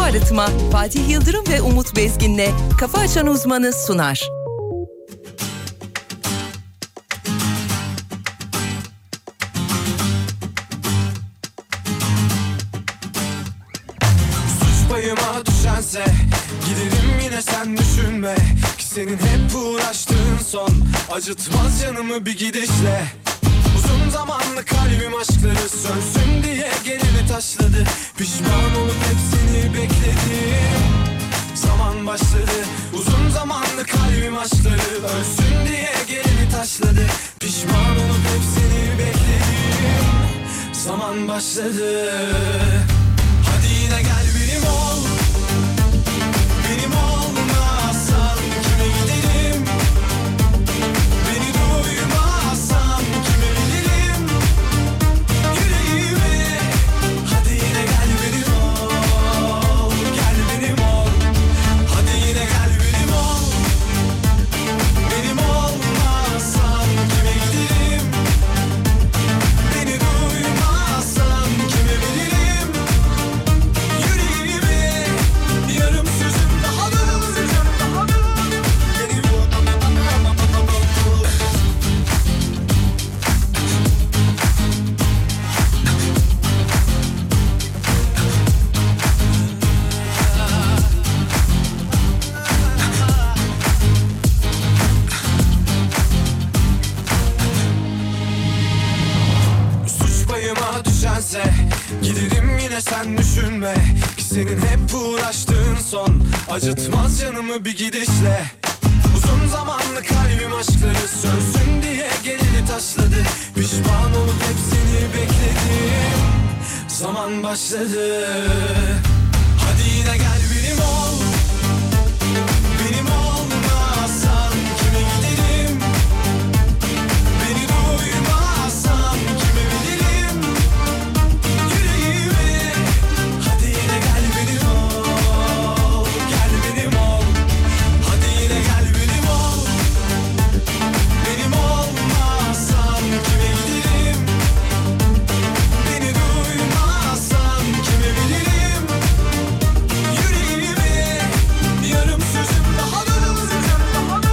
Arıtma Fatih Yıldırım ve Umut Bezgin'le Kafa Açan Uzmanı sunar. Suç payıma düşense Giderim yine sen düşünme Ki senin hep uğraştığın son Acıtmaz canımı bir gidişle Uzun zamanlı kalbim aşkları Sönsün diye gelini taşladı Pişman olup hepsini bekledim Zaman başladı Uzun zamanlı kalbim aşkları Ölsün diye gelini taşladı Pişman olup hepsini bekledim Zaman başladı Hadi yine gel benim ol Benim olmazsan kime gidelim Beni duymazsan kime bilirim Yüreğime Hadi yine gel benim ol Gel benim ol Hadi yine gel benim ol Benim olmazsan kime gidelim Beni duymazsan kime bilirim Yüreğimi yarım sözüm daha da alacağım daha da Beni bu Suç payıma düşense Giderim yine sen düşünme Ki senin hep uğraştığın son Acıtmaz canımı bir gidişle Uzun zamanlı kalbim aşkları Sönsün diye gelini taşladı Pişman olup hepsini bekledim Zaman başladı Hadi yine gel benim ol Benim olmazsan kime gidelim Beni duymazsan kime bilirim Yüreğimi Hadi yine gel benim ol Gel benim ol Hadi yine gel benim ol Benim olmazsan kime giderim Beni duymazsan kime bilirim Yüreğimi Yarım sözüm daha da alacağım daha da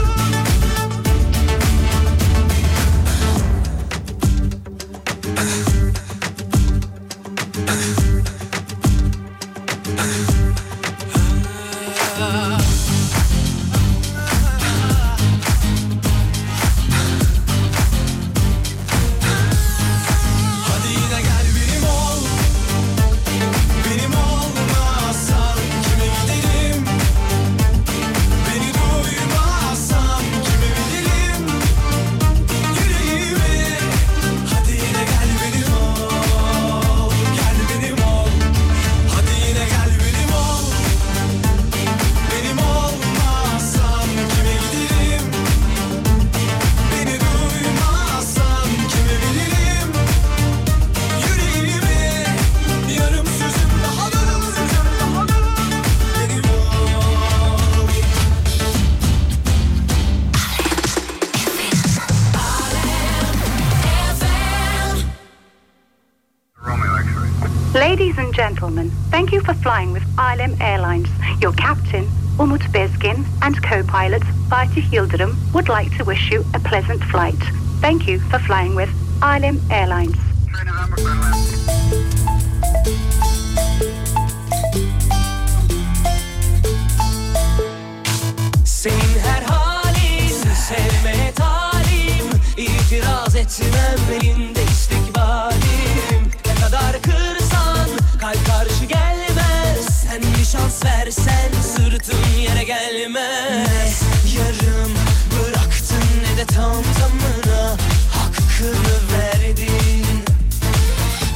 Hadi yine gel benim ol Benim olmazsan kime gidelim Beni duymazsan kime bilirim Yüreğimi Hadi yine gel benim ol Gel benim ol Hadi yine gel benim ol Benim olmazsan kime gidelim Beni duymazsan kime bilirim Yüreğimi yarım sözüm daha da alacağım daha da Beni vur Ladies and gentlemen, thank you for flying with ILM Airlines. Your captain, Umut Bezgin, and co-pilot Fatih Yildirim would like to wish you a pleasant flight. Thank you for flying with ILM Airlines. Senin her halin sevmeye talim İtiraz etmem elinde istikbalim Ne kadar kırsan kalp karşı gelmez Sen bir şans versen sırtın yere gelmez Yarım bıraktın ne de tam tamına Hakkını verdin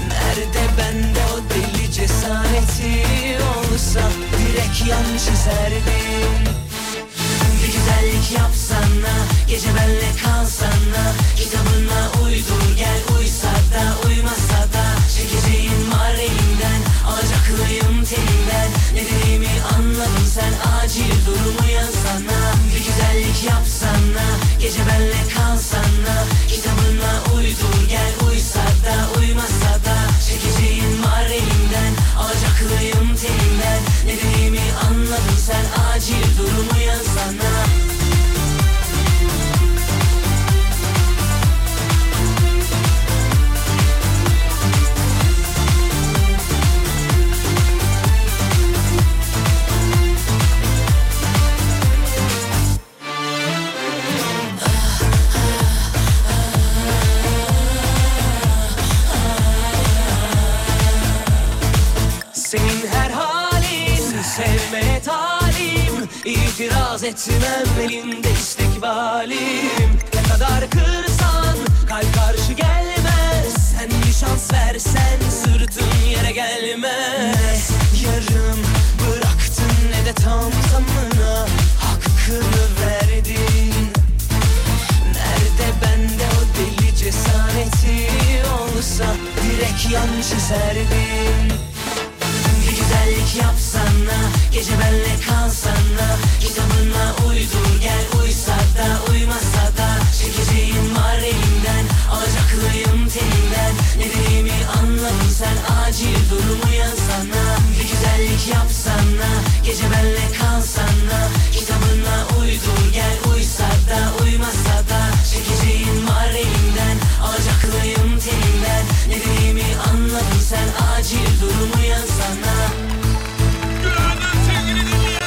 Nerede bende o deli cesareti olsa Direkt yan çizerdim Bir güzellik yapsana Gece benle kalsana Kitabına uydur gel Uysa da uymasa da Çekeceğim var elimden Alacaklıyım telinden Ne dediğimi anladın sen Acil durumu yazsana Bir güzellik yapsana Gece benle kalsana Kitabına uydur gel Uysa da uymasa da Çekeceğim var elimden Alacaklıyım telinden Ne dediğimi İtiraz etmem elinde istikbalim Ne kadar kırsan kalp karşı gelmez Sen bir şans versen sırtın yere gelmez Ne yarım bıraktın ne de tam zamına Hakkını verdin Nerede bende o deli cesareti olsa Direkt yan çizerdim bir güzellik yapsana Gece benle kalsana Kitabına uydur gel Uysa da uymasa da Çekeceğim var elimden Alacaklıyım teninden Ne dediğimi anladın sen Acil durumu yazsana Bir güzellik yapsana Gece benle kalsana Kitabına uydur gel Uysa da uymasa da Çekeceğim var elimden Alacaklıyım teninden Ne dediğimi anladın sen Acil durumu yazsana Günaydın sevgili dinleyenler.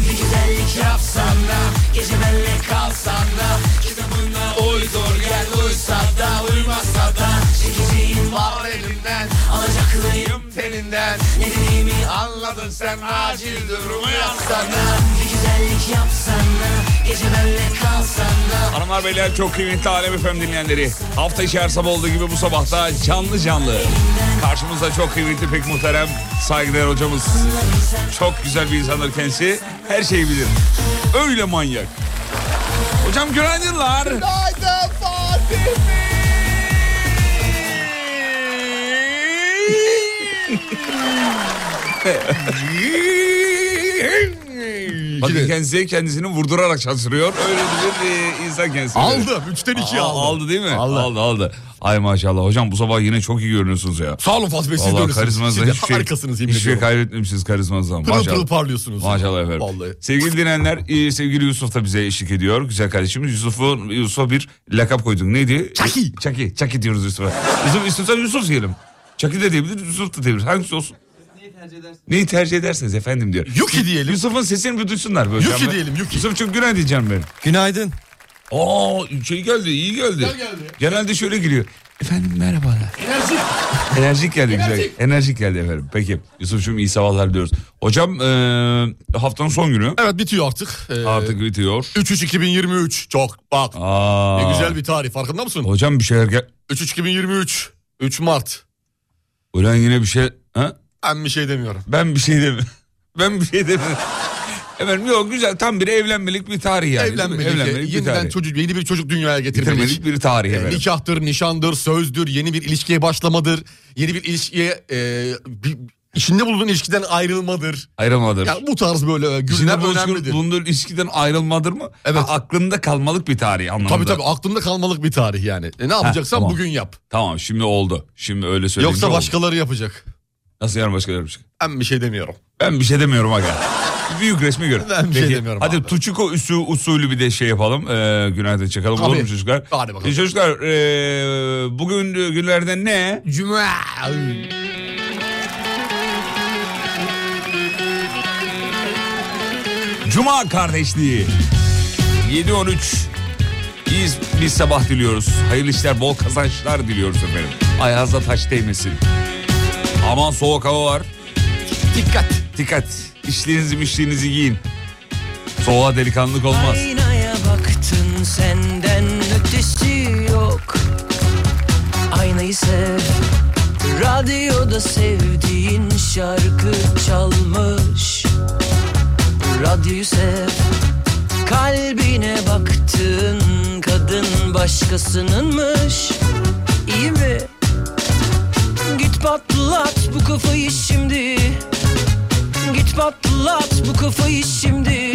Bir güzellik yapsan da Gece benle kalsan da Kitabına uydur gel uysa da Uymasa da Çekeceğim var elimden alacaklıyım teninden Ne dediğimi anladın sen acil durumu yapsana Bir güzellik yapsana Gece benle kalsana Hanımlar beyler çok kıymetli Alem Efem dinleyenleri. Hafta içi her sabah olduğu gibi bu sabah da canlı canlı. Karşımızda çok kıymetli pek muhterem saygıdeğer hocamız. Çok güzel bir insandır kendisi. Her şeyi bilir. Öyle manyak. Hocam günaydınlar. Günaydın Fatih Bakın kendisi kendisini vurdurarak şaşırıyor. Öyle bir e, insan kendisi. Aldı. Üçten Aa, ikiye aldı. Aldı değil mi? Aldı. aldı. aldı. Ay maşallah hocam bu sabah yine çok iyi görünüyorsunuz ya. Sağ olun Fatih Bey siz de Vallahi öylesiniz. karizmanızdan Siz de hiçbir şey, harikasınız yemin hiçbir şey ediyorum. kaybetmemişsiniz karizmanızdan. Pırıl Maşallah. pırıl parlıyorsunuz. Maşallah efendim. Vallahi. Sevgili dinleyenler, e, sevgili Yusuf da bize eşlik ediyor. Güzel kardeşimiz Yusuf'un Yusuf'a bir lakap koyduk. Neydi? Çaki. Çaki. Çaki diyoruz Yusuf'a. Yusuf istiyorsan Yusuf diyelim. Çaki de diyebilir, Yusuf da diyebilir. Hangisi olsun? Neyi tercih ederseniz efendim diyor. Yuki diyelim. Yusuf'un sesini bir duysunlar böyle. Yuki Ama- diyelim, Yuki. Yusuf çok günah diyeceğim ben. Günaydın. Aa şey geldi iyi geldi. Genelde şöyle giriyor. Efendim merhabalar. Enerjik. Enerjik geldi güzel. Enerjik geldi efendim. Peki Yusuf'cum iyi sabahlar diyoruz. Hocam eee, haftanın son günü Evet bitiyor artık. Ee, artık bitiyor. 3-3-2023 çok bak Aa, ne güzel bir tarih farkında mısın? Hocam bir şeyler gel. 3-3-2023 3 Mart. Ulan yine bir şey. Ha? Ben bir şey demiyorum. Ben bir şey demiyorum. ben bir şey demiyorum. Efendim yok güzel tam bir evlenmelik bir tarih yani. değil mi? Evlenmedik. Evlenmelik bir yeniden tarih. çocuk, yeni bir çocuk dünyaya getirmedik. Bitirmelik bir tarih Ee, efendim. Nikahtır, nişandır, sözdür, yeni bir ilişkiye başlamadır, yeni bir ilişkiye e, bir- içinde bulunduğun ilişkiden ayrılmadır. Ayrılmadır. Yani bu tarz böyle İçinde günler önemlidir. bulunduğu ilişkiden ayrılmadır mı? Evet. Ha, aklında kalmalık bir tarih anlamında. Tabii tabii aklında kalmalık bir tarih yani. E, ne yapacaksan tamam. bugün yap. Tamam şimdi oldu. Şimdi öyle söyleyince Yoksa oldu. başkaları yapacak. Nasıl yarın başkaları yapacak? Ben bir şey demiyorum. Ben bir şey demiyorum aga. Büyük resmi gör. Ben bir şey demiyorum Hadi abi. Tuçiko üsü, usulü bir de şey yapalım. Ee, günaydın çakalım. Olur mu Tabii. çocuklar? Hadi bakalım. Ee, çocuklar ee, bugün günlerden ne? Cuma. Cuma kardeşliği. 7-13. Biz, biz sabah diliyoruz. Hayırlı işler, bol kazançlar diliyoruz efendim. Ayağınıza taş değmesin. Aman soğuk hava var. Dikkat. Dikkat. İşlerinizi mişliğinizi giyin. Soğuğa delikanlık olmaz. Aynaya baktın senden ötesi yok Aynayı sev Radyoda sevdiğin şarkı çalmış Radyoyu sev Kalbine baktın kadın başkasınınmış İyi mi? Git patlat bu kafayı şimdi Git patlat bu kafayı şimdi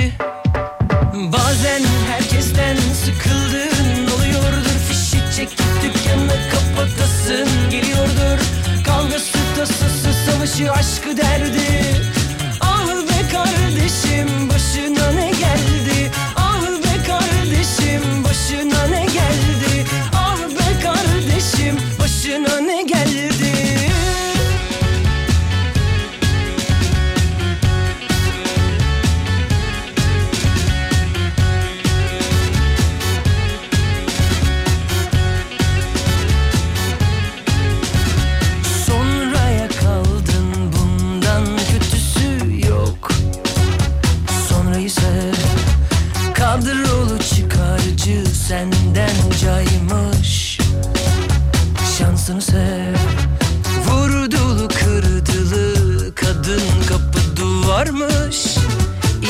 Bazen herkesten sıkıldığın oluyordur Fişi çekip dükkanı kapatasın geliyordur Kavgası tasası savaşı aşkı derdi Ah be kardeşim başına ne geldi Ah be kardeşim başına ne geldi Ah be kardeşim başına ne geldi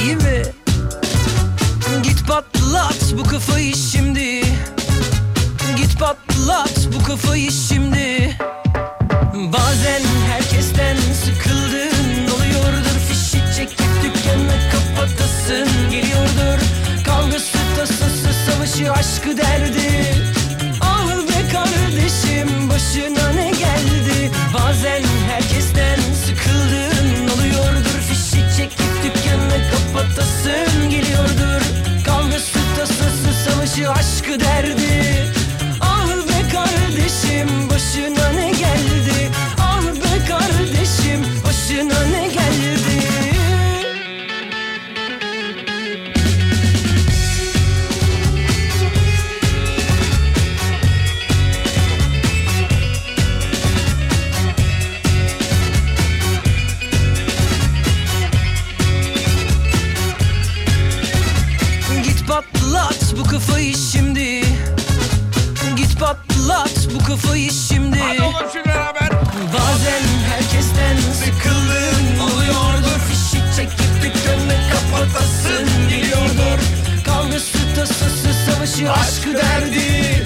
iyi mi? Git patlat bu kafayı şimdi Git patlat bu kafayı şimdi Bazen herkesten sıkıldın Doluyordur fişi çekip dükkanı kapatasın Geliyordur kavgası tasası savaşı aşkı derdi Ah be kardeşim başına ne geldi Bazen herkesten sıkıldın Doluyordur fişi çekip dükkanı kapatasın Geliyordur kavgası tasası savaşı aşkı derdi Ah be kardeşim başına ne geldi Ah be kardeşim başına ne geldi Git patlat bu kafayı şimdi Git patlat bu kafayı şimdi Hadi oğlum şu beraber. Bazen herkesten sıkıldın oluyordur Fişi çekip dükkanı kapatasın geliyordur Kavgası tasası savaşı aşkı derdi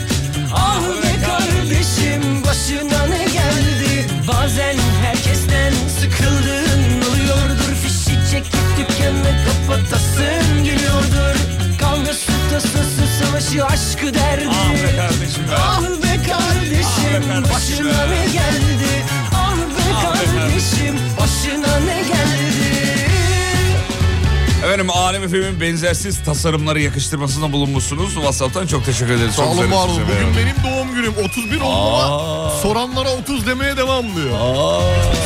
Ah be kardeşim başına ne geldi Bazen herkesten sıkıldın oluyordur Fişi çekip dükkanı kapatasın geliyordur Kavgası tasası savaşı aşkı derdi Ah be kardeşim be. Ah be kardeşim Ah be kardeşim başına be. ne geldi? Ah be kardeşim başına ne geldi? Efendim Alem Efem'in benzersiz tasarımları yakıştırmasında bulunmuşsunuz. WhatsApp'tan çok teşekkür ederiz. Sağ Çok olun güzel var olun. bir şey Bugün be. benim doğum günüm. 31 oldum ama soranlara 30 demeye devam diyor.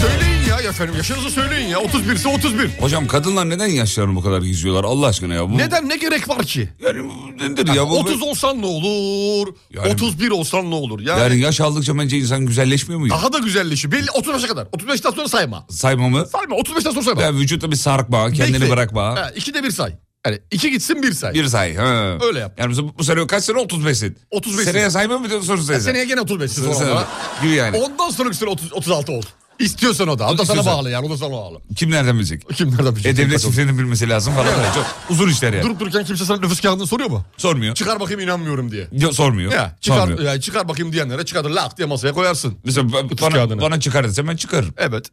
Söyleyin ya efendim yaşınızı söyleyin ya. 31 ise 31. Hocam kadınlar neden yaşlarını bu kadar gizliyorlar Allah aşkına ya? Bu, Neden ne gerek var ki? Yani bu nedir ya? Bu, 30 olsan ne olur? Yani- 31 olsan ne olur? Yani, yani yaş aldıkça bence insan güzelleşmiyor mu? ya? daha da güzelleşiyor. Belli 35'e kadar. 35'ten sonra sayma. Saymamı. Sayma 35'ten sonra sayma. Ya vücutta bir sarkma, kendini Bekle. bırakma. Ha, ikide bir say. Yani iki gitsin bir say. Bir say. Ha. Öyle yap. Yani bu, bu sene kaç sene? 35'sin. 35'sin. Seneye sayma mı diyorsun soru Ya sayısı? seneye gene 35'sin sonra. Sen- ama. Gibi yani. Ondan sonraki sene 30, 36 ol. İstiyorsan o da. O da sana İstiyorsan. bağlı yani. O da sana bağlı. Kim nereden bilecek? Kim nereden bilecek? E devlet şifrenin bilmesi lazım falan. Evet. Çok uzun işler yani. Durup dururken kimse sana nüfus kağıdını soruyor mu? Sormuyor. Çıkar bakayım inanmıyorum diye. Yo, sormuyor. Ya, çıkar, Sormuyor. ya, çıkar bakayım diyenlere çıkarır lak diye masaya koyarsın. Mesela ba- Nüfus bana, kağıdını. bana çıkar dese ben çıkarırım. Evet.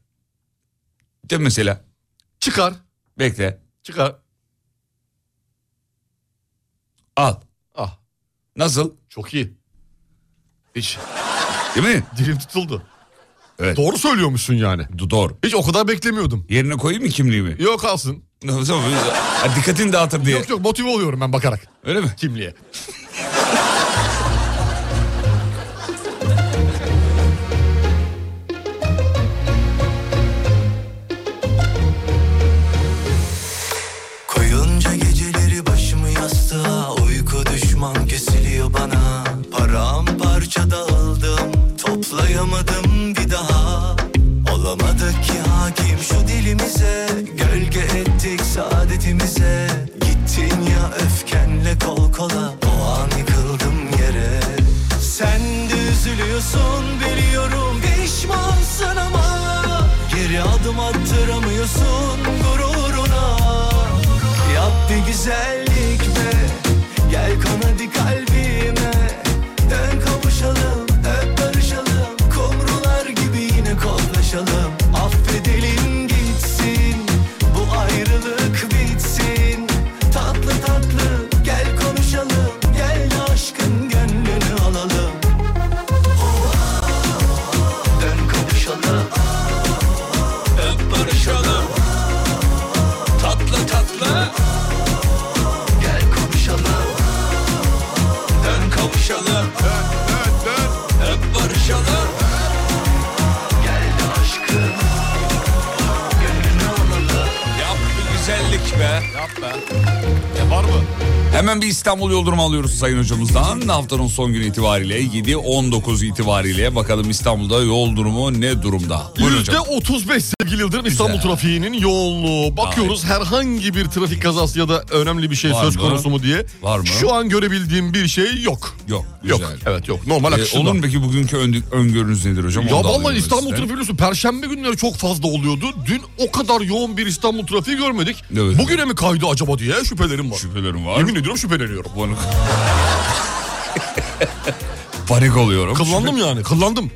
De mesela. Çıkar. Bekle. Çıkar. Al. Ah Nasıl? çok iyi. Hiç Değil mi? dilim tutuldu. Evet. Doğru söylüyormuşsun yani. Do- Doğru. Hiç o kadar beklemiyordum. Yerine koyayım mı kimliğimi? Yok kalsın. Tamam. Ha, Dikkatini dağıtır diye. Yok yok motive oluyorum ben bakarak Öyle mi? kimliğe. Koyunca geceleri başımı yastığa Uyku düşman kesiliyor bana Paramparça dağıldım Toplayamadım bir daha Olamadık ki hakim şu dilimize Gölge ettik saadetimize Gittin ya öfkenle kol kola O an yıkıldım yere Sen de üzülüyorsun biliyorum Pişmansın ama Geri adım attıramıyorsun gururuna Yap bir güzellik be Gel kon hadi kalbime Dön kavuşalım Öp barışalım Kumrular gibi yine kollaşalım Affedelim gitsin Bu ayrılık bitsin Tatlı tatlı Gel konuşalım Gel de aşkın gönlünü alalım Oh, Dön kavuşalım Öp barışalım Tatlı tatlı Gel konuşalım Dön kavuşalım Öp barışalım Gel de aşkın Gönlünü alalım Yap bir güzellik be. Var mı? Hemen bir İstanbul yol durumu alıyoruz Sayın Hocamızdan. Haftanın son günü itibariyle 7-19 itibariyle bakalım İstanbul'da yol durumu ne durumda? Buyurun Yüzde hocam. 35 sevgili Yıldırım İstanbul trafiğinin yoğunluğu. Bakıyoruz herhangi bir trafik kazası ya da önemli bir şey Var söz mı? konusu mu diye. Var mı? Şu an görebildiğim bir şey yok. Yok. Yok. Güzel. Evet yok. Normal Ee, akışında. olur mu peki bugünkü ön- öngörünüz nedir hocam? Ya Onu da vallahi alayım İstanbul sizden. trafiği biliyorsun perşembe günleri çok fazla oluyordu. Dün o kadar yoğun bir İstanbul trafiği görmedik. Evet. Bugün öyle mi kaydı acaba diye şüphelerim var. Şüphelerim var. Yemin ediyorum şüpheleniyorum. Bunu- Panik oluyorum. Kıllandım yani kıllandım.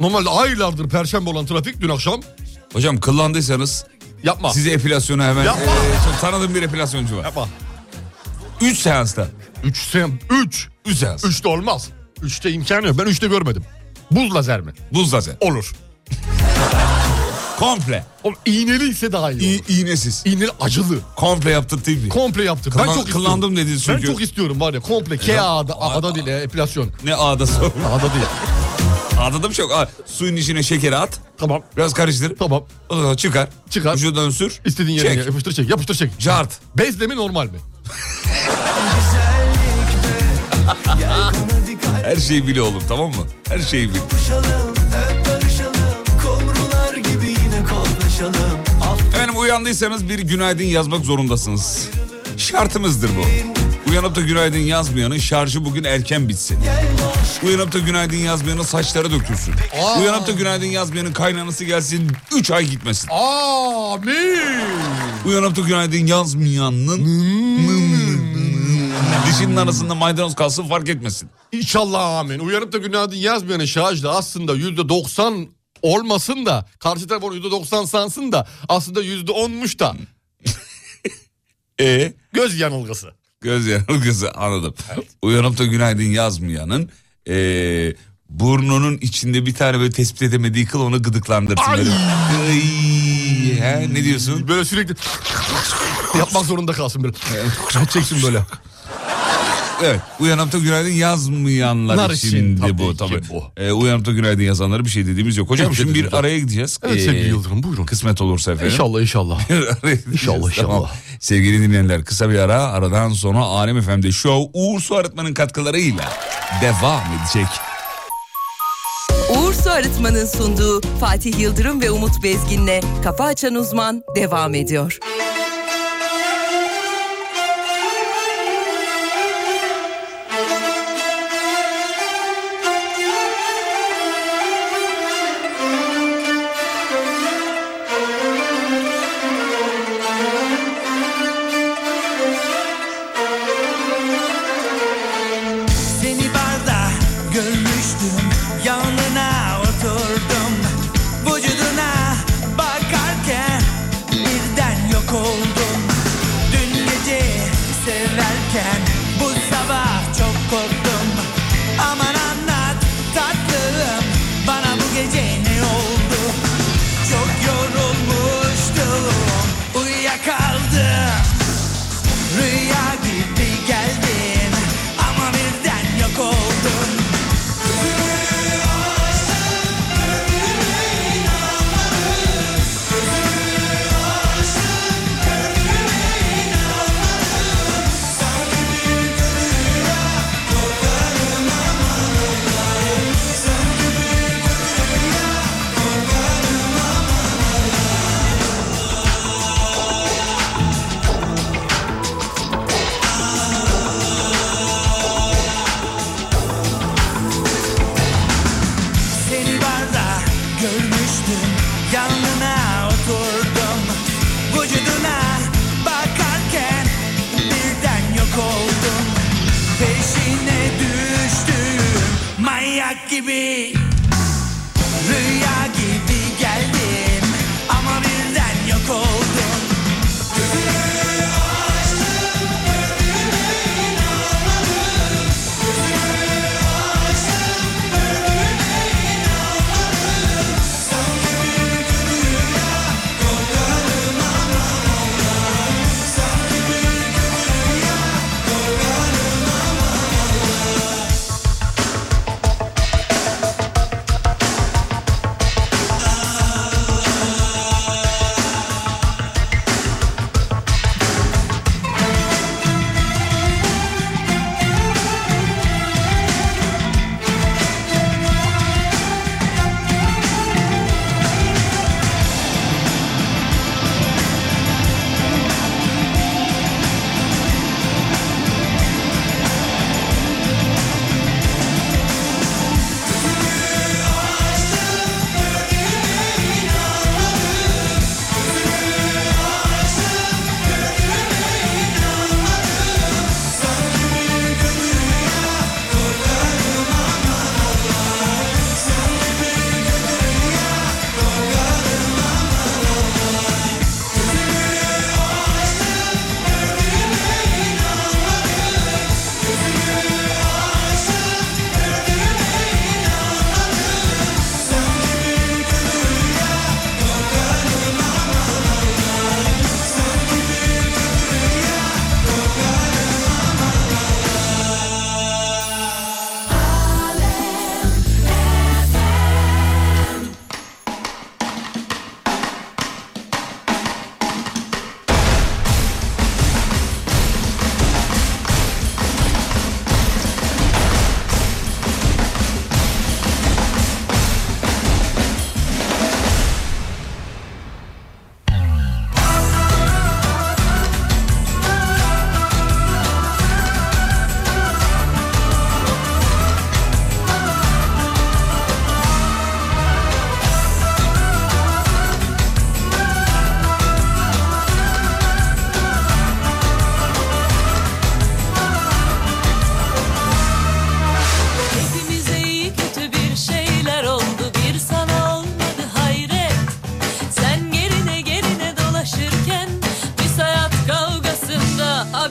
Normalde aylardır perşembe olan trafik dün akşam Hocam kıllandıysanız yapma. size epilasyonu hemen... Yapma. Ee, çok tanıdığım bir epilasyoncu var. Yapma. 3 seansta. Üç sen. Üç. 3 seans. Üçte olmaz. Üçte imkanı yok. Ben üçte görmedim. Buz lazer mi? Buz lazer. Olur. Komple. Oğlum iğneli ise daha iyi İ- olur. iğnesiz. İğneli acılı. Komple yaptırtayım diye. Komple yaptı. Kılan- ben çok kılandım istiyorum. dediniz çünkü. Ben çok istiyorum var ya komple. KA'da, Ay- A'da değil ya, epilasyon. Ne ağda sorun. A'da değil. Ağda da mı çok? Aa, suyun içine şekeri at. Tamam. Biraz karıştır. Tamam. Ondan sonra çıkar. Çıkar. Vücudan sür. İstediğin yerine Çek. yapıştır çek. Yapıştır çek. Cart. Bezle mi normal mi? Her şeyi bile oğlum tamam mı? Her şeyi bil. Barışalım, hep barışalım Kumrular gibi yine kollaşalım Efendim uyandıysanız bir günaydın yazmak zorundasınız. Şartımızdır bu. Uyanıp da günaydın yazmayanın şarjı bugün erken bitsin. Uyanıp da günaydın yazmayanın saçları dökülsün. Aa. Uyanıp da günaydın yazmayanın kaynanası gelsin 3 ay gitmesin. Amin. Uyanıp da günaydın yazmayanın dişinin arasında maydanoz kalsın fark etmesin. İnşallah amin. Uyanıp da günaydın yazmayanın şarjı da aslında yüzde doksan olmasın da karşı taraf onu yüzde doksan sansın da aslında yüzde onmuş da E göz yanılgısı. göz yanılgısı anladım. Uyanıp da günaydın yazmayanın eee, burnunun içinde bir tane böyle tespit edemediği kıl onu gıdıklandırsın. böyle. Ay, he, ne diyorsun? Böyle sürekli yapmak zorunda kalsın böyle. Çeksin böyle. Evet. Uyanıp da günaydın yazmayanlar Nar için, için de tabii bu ki tabii. bu. Eee, uyanıp da günaydın yazanlara bir şey dediğimiz yok. Hocam Yok, şimdi bir dediğimiz yok. araya gideceğiz. Evet Eee, sevgili Yıldırım buyurun. Kısmet olursa efendim. İnşallah inşallah. Araya gideceğiz, İnşallah, tamam. inşallah. Sevgili dinleyenler kısa bir ara aradan sonra Alem Efendi Show Uğur Su Arıtma'nın katkılarıyla devam edecek. Uğur Su Arıtma'nın sunduğu Fatih Yıldırım ve Umut Bezgin'le Kafa Açan Uzman devam ediyor. Seni barda görmüştüm Yanına oturdum Vücuduna bakarken Birden yok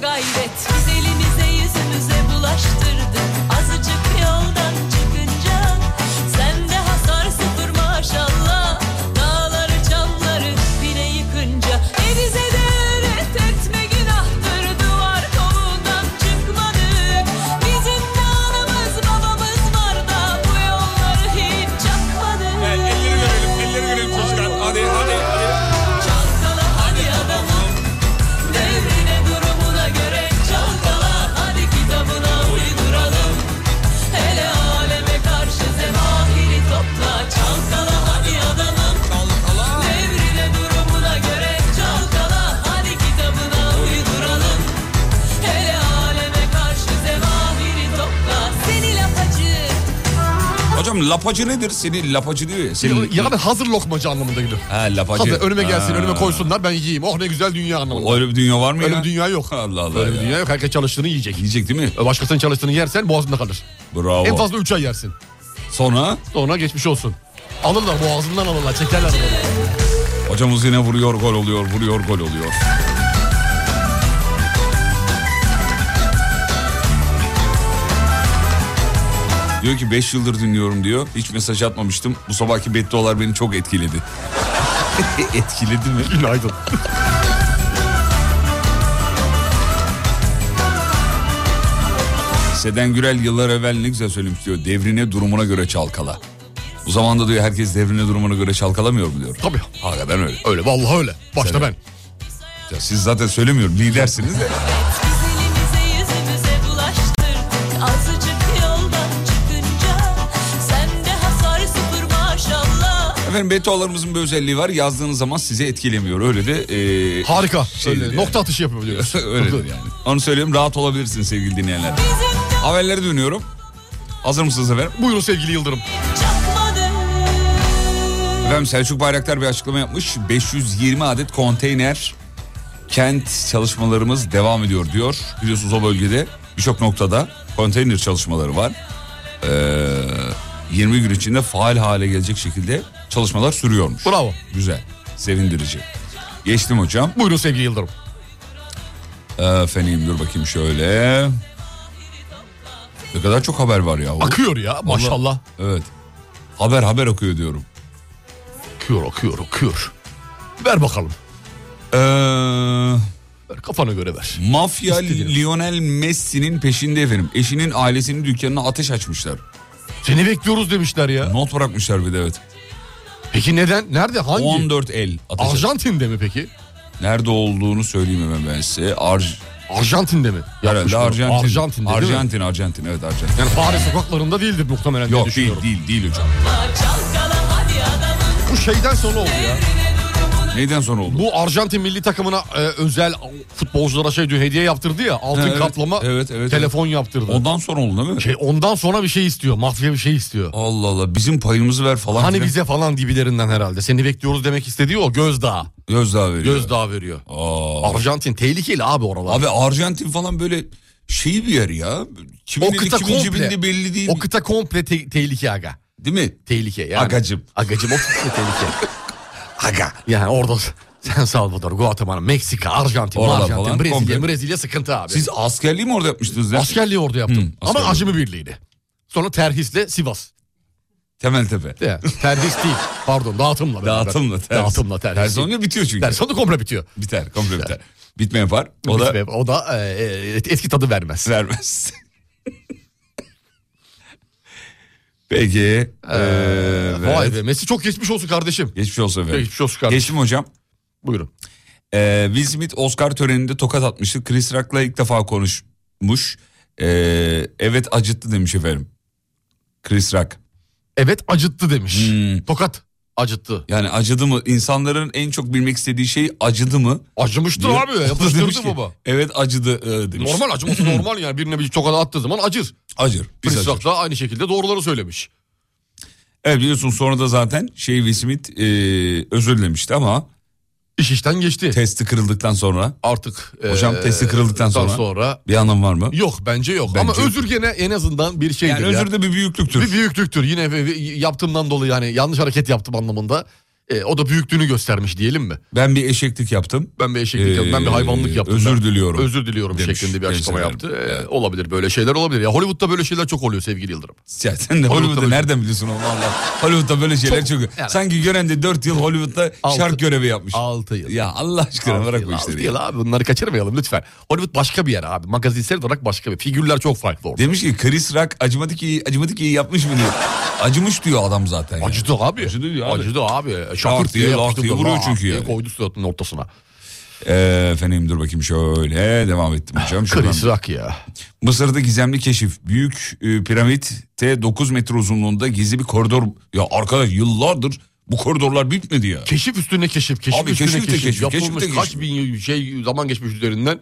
gayret Biz elimize yüzümüze bulaştırdı Azıcık yoldan çıkınca Sen de hasar sıfır maşallah Dağları camları bile yıkınca E bize de öğret etme günahtır Duvar kovuğundan çıkmadık Bizim de anamız babamız var da Bu yolları hiç çakmadık Evet, elleri görelim, elleri görelim çocuklar. Hadi, hadi, hadi. Çalkala hadi adamım Devrine durumuna göre çalkala Hadi kitabına uyduralım Hele aleme karşı zemahiri topla Çalkala hadi adamım Devrine durumuna göre çalkala Hadi kitabına uyduralım Hele aleme karşı zemahiri topla Seni lapacı Hocam lapacı nedir? Seni lapacı diyor ya. Senin... Yani hazır lokmacı anlamında gidiyor. Ha, lapacı. Hazır önüme gelsin Ha. önüme koysunlar ben yiyeyim. Oh ne güzel dünya anlamında. Öyle bir dünya var mı Öyle ya? bir dünya yok. Allah Allah Öyle bir ya. dünya yok. Herkes çalıştığını yiyecek. E, Yiyecek değil mi? Başkasının çalıştığını yersen boğazında kalır. Bravo. En fazla 3 ay yersin. Sonra Sonra geçmiş olsun. Alırlar boğazından alırlar çekerler alırlar. hocamız yine vuruyor gol oluyor, vuruyor gol oluyor. Diyor ki 5 yıldır dinliyorum diyor. Hiç mesaj atmamıştım. Bu sabahki beddualar beni çok etkiledi. etkiledi mi? Günaydın. Seden Gürel yıllar evvel ne güzel söylemiş diyor. Devrine durumuna göre çalkala. Bu zamanda diyor herkes devrine durumuna göre çalkalamıyor mu diyor. Tabii. Hakikaten öyle. Öyle vallahi öyle. Başta Sen- ben. Ya siz zaten söylemiyorum lidersiniz de. Biz elimize yüzümüze bulaştırdık Azıcık yoldan çıkınca Sen de hasar sıfır maşallah Efendim betolarımızın bir özelliği var. Yazdığınız zaman sizi etkilemiyor. Öyle de... e, Harika. şeydir öyle, yani. Nokta atışı yapabiliyoruz. Öyledir yani. Onu söyleyeyim rahat olabilirsin sevgili dinleyenler. Bizim de Haberlere dönüyorum. Hazır mısınız efendim? Buyurun sevgili Yıldırım. çakmadık Efendim Selçuk Bayraktar bir açıklama yapmış. 520 adet konteyner kent çalışmalarımız devam ediyor diyor. Biliyorsunuz o bölgede birçok noktada konteyner çalışmaları var. Ee, 20 gün içinde faal hale gelecek şekilde çalışmalar sürüyormuş. Bravo. Güzel, sevindirici. Geçtim hocam. Ee, Buyurun sevgili Yıldırım. Efendim dur bakayım şöyle. Ne kadar çok haber var ya. Akıyor ya maşallah. Evet. Haber haber okuyor diyorum. Akıyor akıyor akıyor. Ver bakalım. Ee, Ver, kafana göre ver. Mafya İstediğiniz. Lionel Messi'nin peşinde efendim. Eşinin ailesinin dükkanına ateş açmışlar. Seni bekliyoruz demişler ya. Not bırakmışlar bir de evet. Peki neden? Nerede? Hangi? 14 el ateş. Arjantin'de mi peki? Nerede olduğunu söyleyeyim hemen ben size. Ar Arjantin'de mi? herhalde Yapmışlar. Arjantin. Arjantin'de değil mi? Arjantin, Arjantin evet Arjantin. Yani Paris sokaklarında değildir muhtemelen diye Yok düşünüyorum. değil değil değil hocam. Bu şeyden sonra oldu ya. Neyden sonra oldu? Bu Arjantin milli takımına e, özel futbolculara şey diyor hediye yaptırdı ya. Altın Ha, evet, kaplama evet, evet, telefon yaptırdı. Ondan sonra oldu değil mi? Şey, ondan sonra bir şey istiyor. Mafya bir şey istiyor. Allah Allah bizim payımızı ver falan. Hani filan. bize falan gibilerinden herhalde. Seni bekliyoruz demek istediği o gözdağı. Gözdağı veriyor. Gözdağı veriyor. Aa. Arjantin tehlikeli abi oralar. Abi Arjantin falan böyle şey bir yer ya. Kimin o eli kıta kimin cebinde komple. belli değil. o kıta komple te- tehlike aga. değil mi? Tehlike yani. Agacım. Agacım o kıta tehlike. Aga. Yani orada sen Salvador, Guatemala, Meksika, Arjantin, Oralar Arjantin, falan Brezilya, komple. Brezilya sıkıntı abi. Siz askerliği mi orada yapmıştınız? Ya? Askerliği orada yaptım. Hı, askerliği. Ama acemi birliğiydi. Sonra terhisle Sivas. Temeltepe. Ya, terhis değil. Pardon dağıtımla. beraber. Dağıtımla terhis. Dağıtımla terhis. Terhis değil. olunca bitiyor çünkü. Ders sonu komple bitiyor. Biter komple biter. Bitme yapar. O O da, da o da e, e, etki tadı vermez. vermez. Peki. Ee, Vay be Messi çok geçmiş olsun kardeşim. Geçmiş olsun efendim. Geçmiş olsun kardeşim. Geçtim hocam. Buyurun. Ee, Will Smith Oscar töreninde tokat atmıştı. Chris Rock'la ilk defa konuşmuş. Ee, evet acıttı demiş efendim. Chris Rock. Evet acıttı demiş. Hmm. Tokat acıttı. Yani acıdı mı? İnsanların en çok bilmek istediği şey acıdı mı? Acımıştır diyor. abi ya. Demiş Yapıştırdı ki, baba. Evet acıdı ee, demiş. Normal acıması normal yani. Birine bir tokat attığı zaman acır. Acır. Biz Chris acır. Rock da aynı şekilde doğruları söylemiş. Evet E, biliyorsun sonra da zaten şey Will Smith e, özür dilemişti ama İş işten geçti. testi kırıldıktan sonra Artık. e, Hocam testi kırıldıktan daha sonra- bir anlam var mı? Yok bence yok. Bence Ama yok. özür gene en azından bir şeydir Yani ya. özür de bir büyüklüktür. Bir büyüklüktür. Yine ve- ve yaptığımdan dolayı yani yanlış hareket yaptım anlamında. E, o da büyüklüğünü göstermiş diyelim mi? Ben bir eşeklik yaptım. Ben bir eşeklik yaptım, ben bir Ee, hayvanlık yaptım. özür ben. diliyorum. Özür diliyorum Demiş şeklinde bir açıklama gençler. yaptı. E, olabilir böyle şeyler olabilir. Ya Hollywood'da böyle şeyler çok oluyor sevgili Yıldırım. Ya sen de Hollywood'da Hollywood'da böyle- nereden biliyorsun onu Allah? Hollywood'da böyle şeyler Çok- çok... Evet. Sanki gören de 4 yıl Hollywood'da Altı- şark görevi yapmış. 6 yıl. Ya Allah aşkına bırak bu Altı işleri. yıl ya. abi bunları kaçırmayalım lütfen. Hollywood başka bir yer abi. Magazinsel olarak başka bir. Figürler çok farklı orada. Demiş ki Chris Rock acımadı ki acımadı ki yapmış mı diyor. Acımış diyor adam zaten. ya. Acıdı abi. Acıdı diyor abi. Acıdı abi. Şak Şakırt diye, E, diye lak yapıştırdı. diye vuruyor Lak çünkü diye yani. Koydu suratının ortasına. Ee, efendim dur bakayım şöyle devam ettim hocam. Şuradan. Ah, Chris Rock ya. Mısır'da gizemli keşif. Büyük e, piramitte 9 metre uzunluğunda gizli bir koridor. Ya arkadaş yıllardır bu koridorlar bitmedi ya. Keşif üstüne keşif. Keşif Abi üstüne keşif keşif. de keşif, Yapılmış keşif de kaç keşif. bin şey zaman geçmiş üzerinden.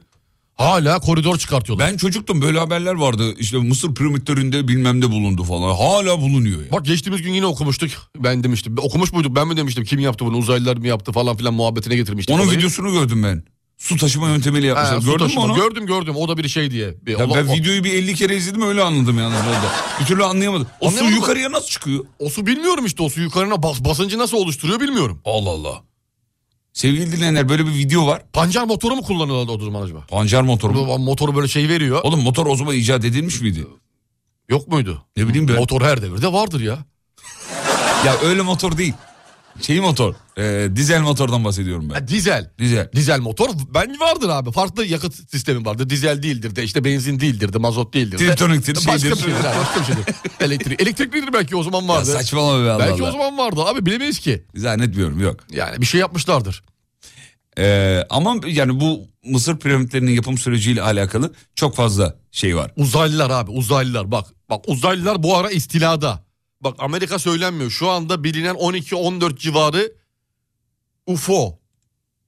Hala koridor çıkartıyorlar. Ben çocuktum böyle haberler vardı. İşte Mısır piramitlerinde bilmem ne bulundu falan. Hala bulunuyor ya. Bak geçtiğimiz gün yine okumuştuk. Ben demiştim. Okumuş muyduk ben mi demiştim? Kim yaptı bunu? Uzaylılar mı yaptı falan filan muhabbetine getirmiştik. Onun olayı. videosunu gördüm ben. Su taşıma yöntemiyle Ha, yapmışlar. su Gördün mü taşıma. onu? Gördüm gördüm. O da bir şey diye. Bir- Ya Allah- ben o- videoyu bir 50 kere izledim öyle anladım yani orada. Bir türlü anlayamadım. O su Anlayamadın mı? yukarıya nasıl çıkıyor? O su bilmiyorum işte o su yukarına bas, basıncı nasıl oluşturuyor bilmiyorum. Allah Allah. Sevgili dinleyenler böyle bir video var. Pancar motoru mu kullanıyorlardı o zaman acaba? Pancar motoru. mu? Bu Motoru böyle şey veriyor. Oğlum motor o zaman icat edilmiş miydi? Yok muydu? Ne bileyim ben. Motor her devirde vardır ya. Ya öyle motor değil. Şey motor. Ee, dizel motordan bahsediyorum ben. Ha, dizel. Dizel. Dizel motor ben vardır abi. Farklı yakıt sistemi vardı. Dizel değildir de işte benzin değildir de mazot değildir de. Tritoniktir, Başka bir şeydir. şeydir. Başka bir şeydir. Elektrik. Elektriklidir belki o zaman Ya vardı. saçmalama be Allah belki Allah. o zaman vardı abi bilemeyiz ki. Zannetmiyorum yok. Yani bir şey yapmışlardır. Ee, ama yani bu Mısır piramitlerinin yapım süreciyle alakalı çok fazla şey var. Uzaylılar abi uzaylılar bak. Bak uzaylılar bu ara istilada. Bak Amerika söylenmiyor. Şu anda bilinen 12-14 civarı UFO,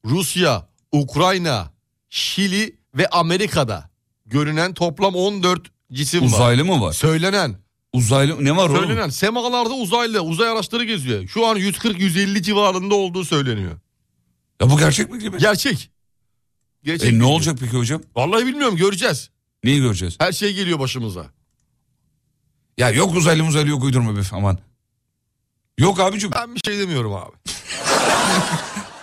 Rusya, Ukrayna, Şili ve Amerika'da görünen toplam 14 cisim var. Uzaylı mı var? Söylenen. Uzaylı ne var oğlum? Söylenen semalarda uzaylı, uzay araçları geziyor. Şu an 140-150 civarında olduğu söyleniyor. Ya bu gerçek mi gibi? Gerçek. Gerçek. E ne olacak peki hocam? Vallahi bilmiyorum göreceğiz. Neyi göreceğiz? Her şey geliyor başımıza. Ya yok uzaylı uzaylı yok uydurma be aman. Yok abicim. Ben bir şey demiyorum abi.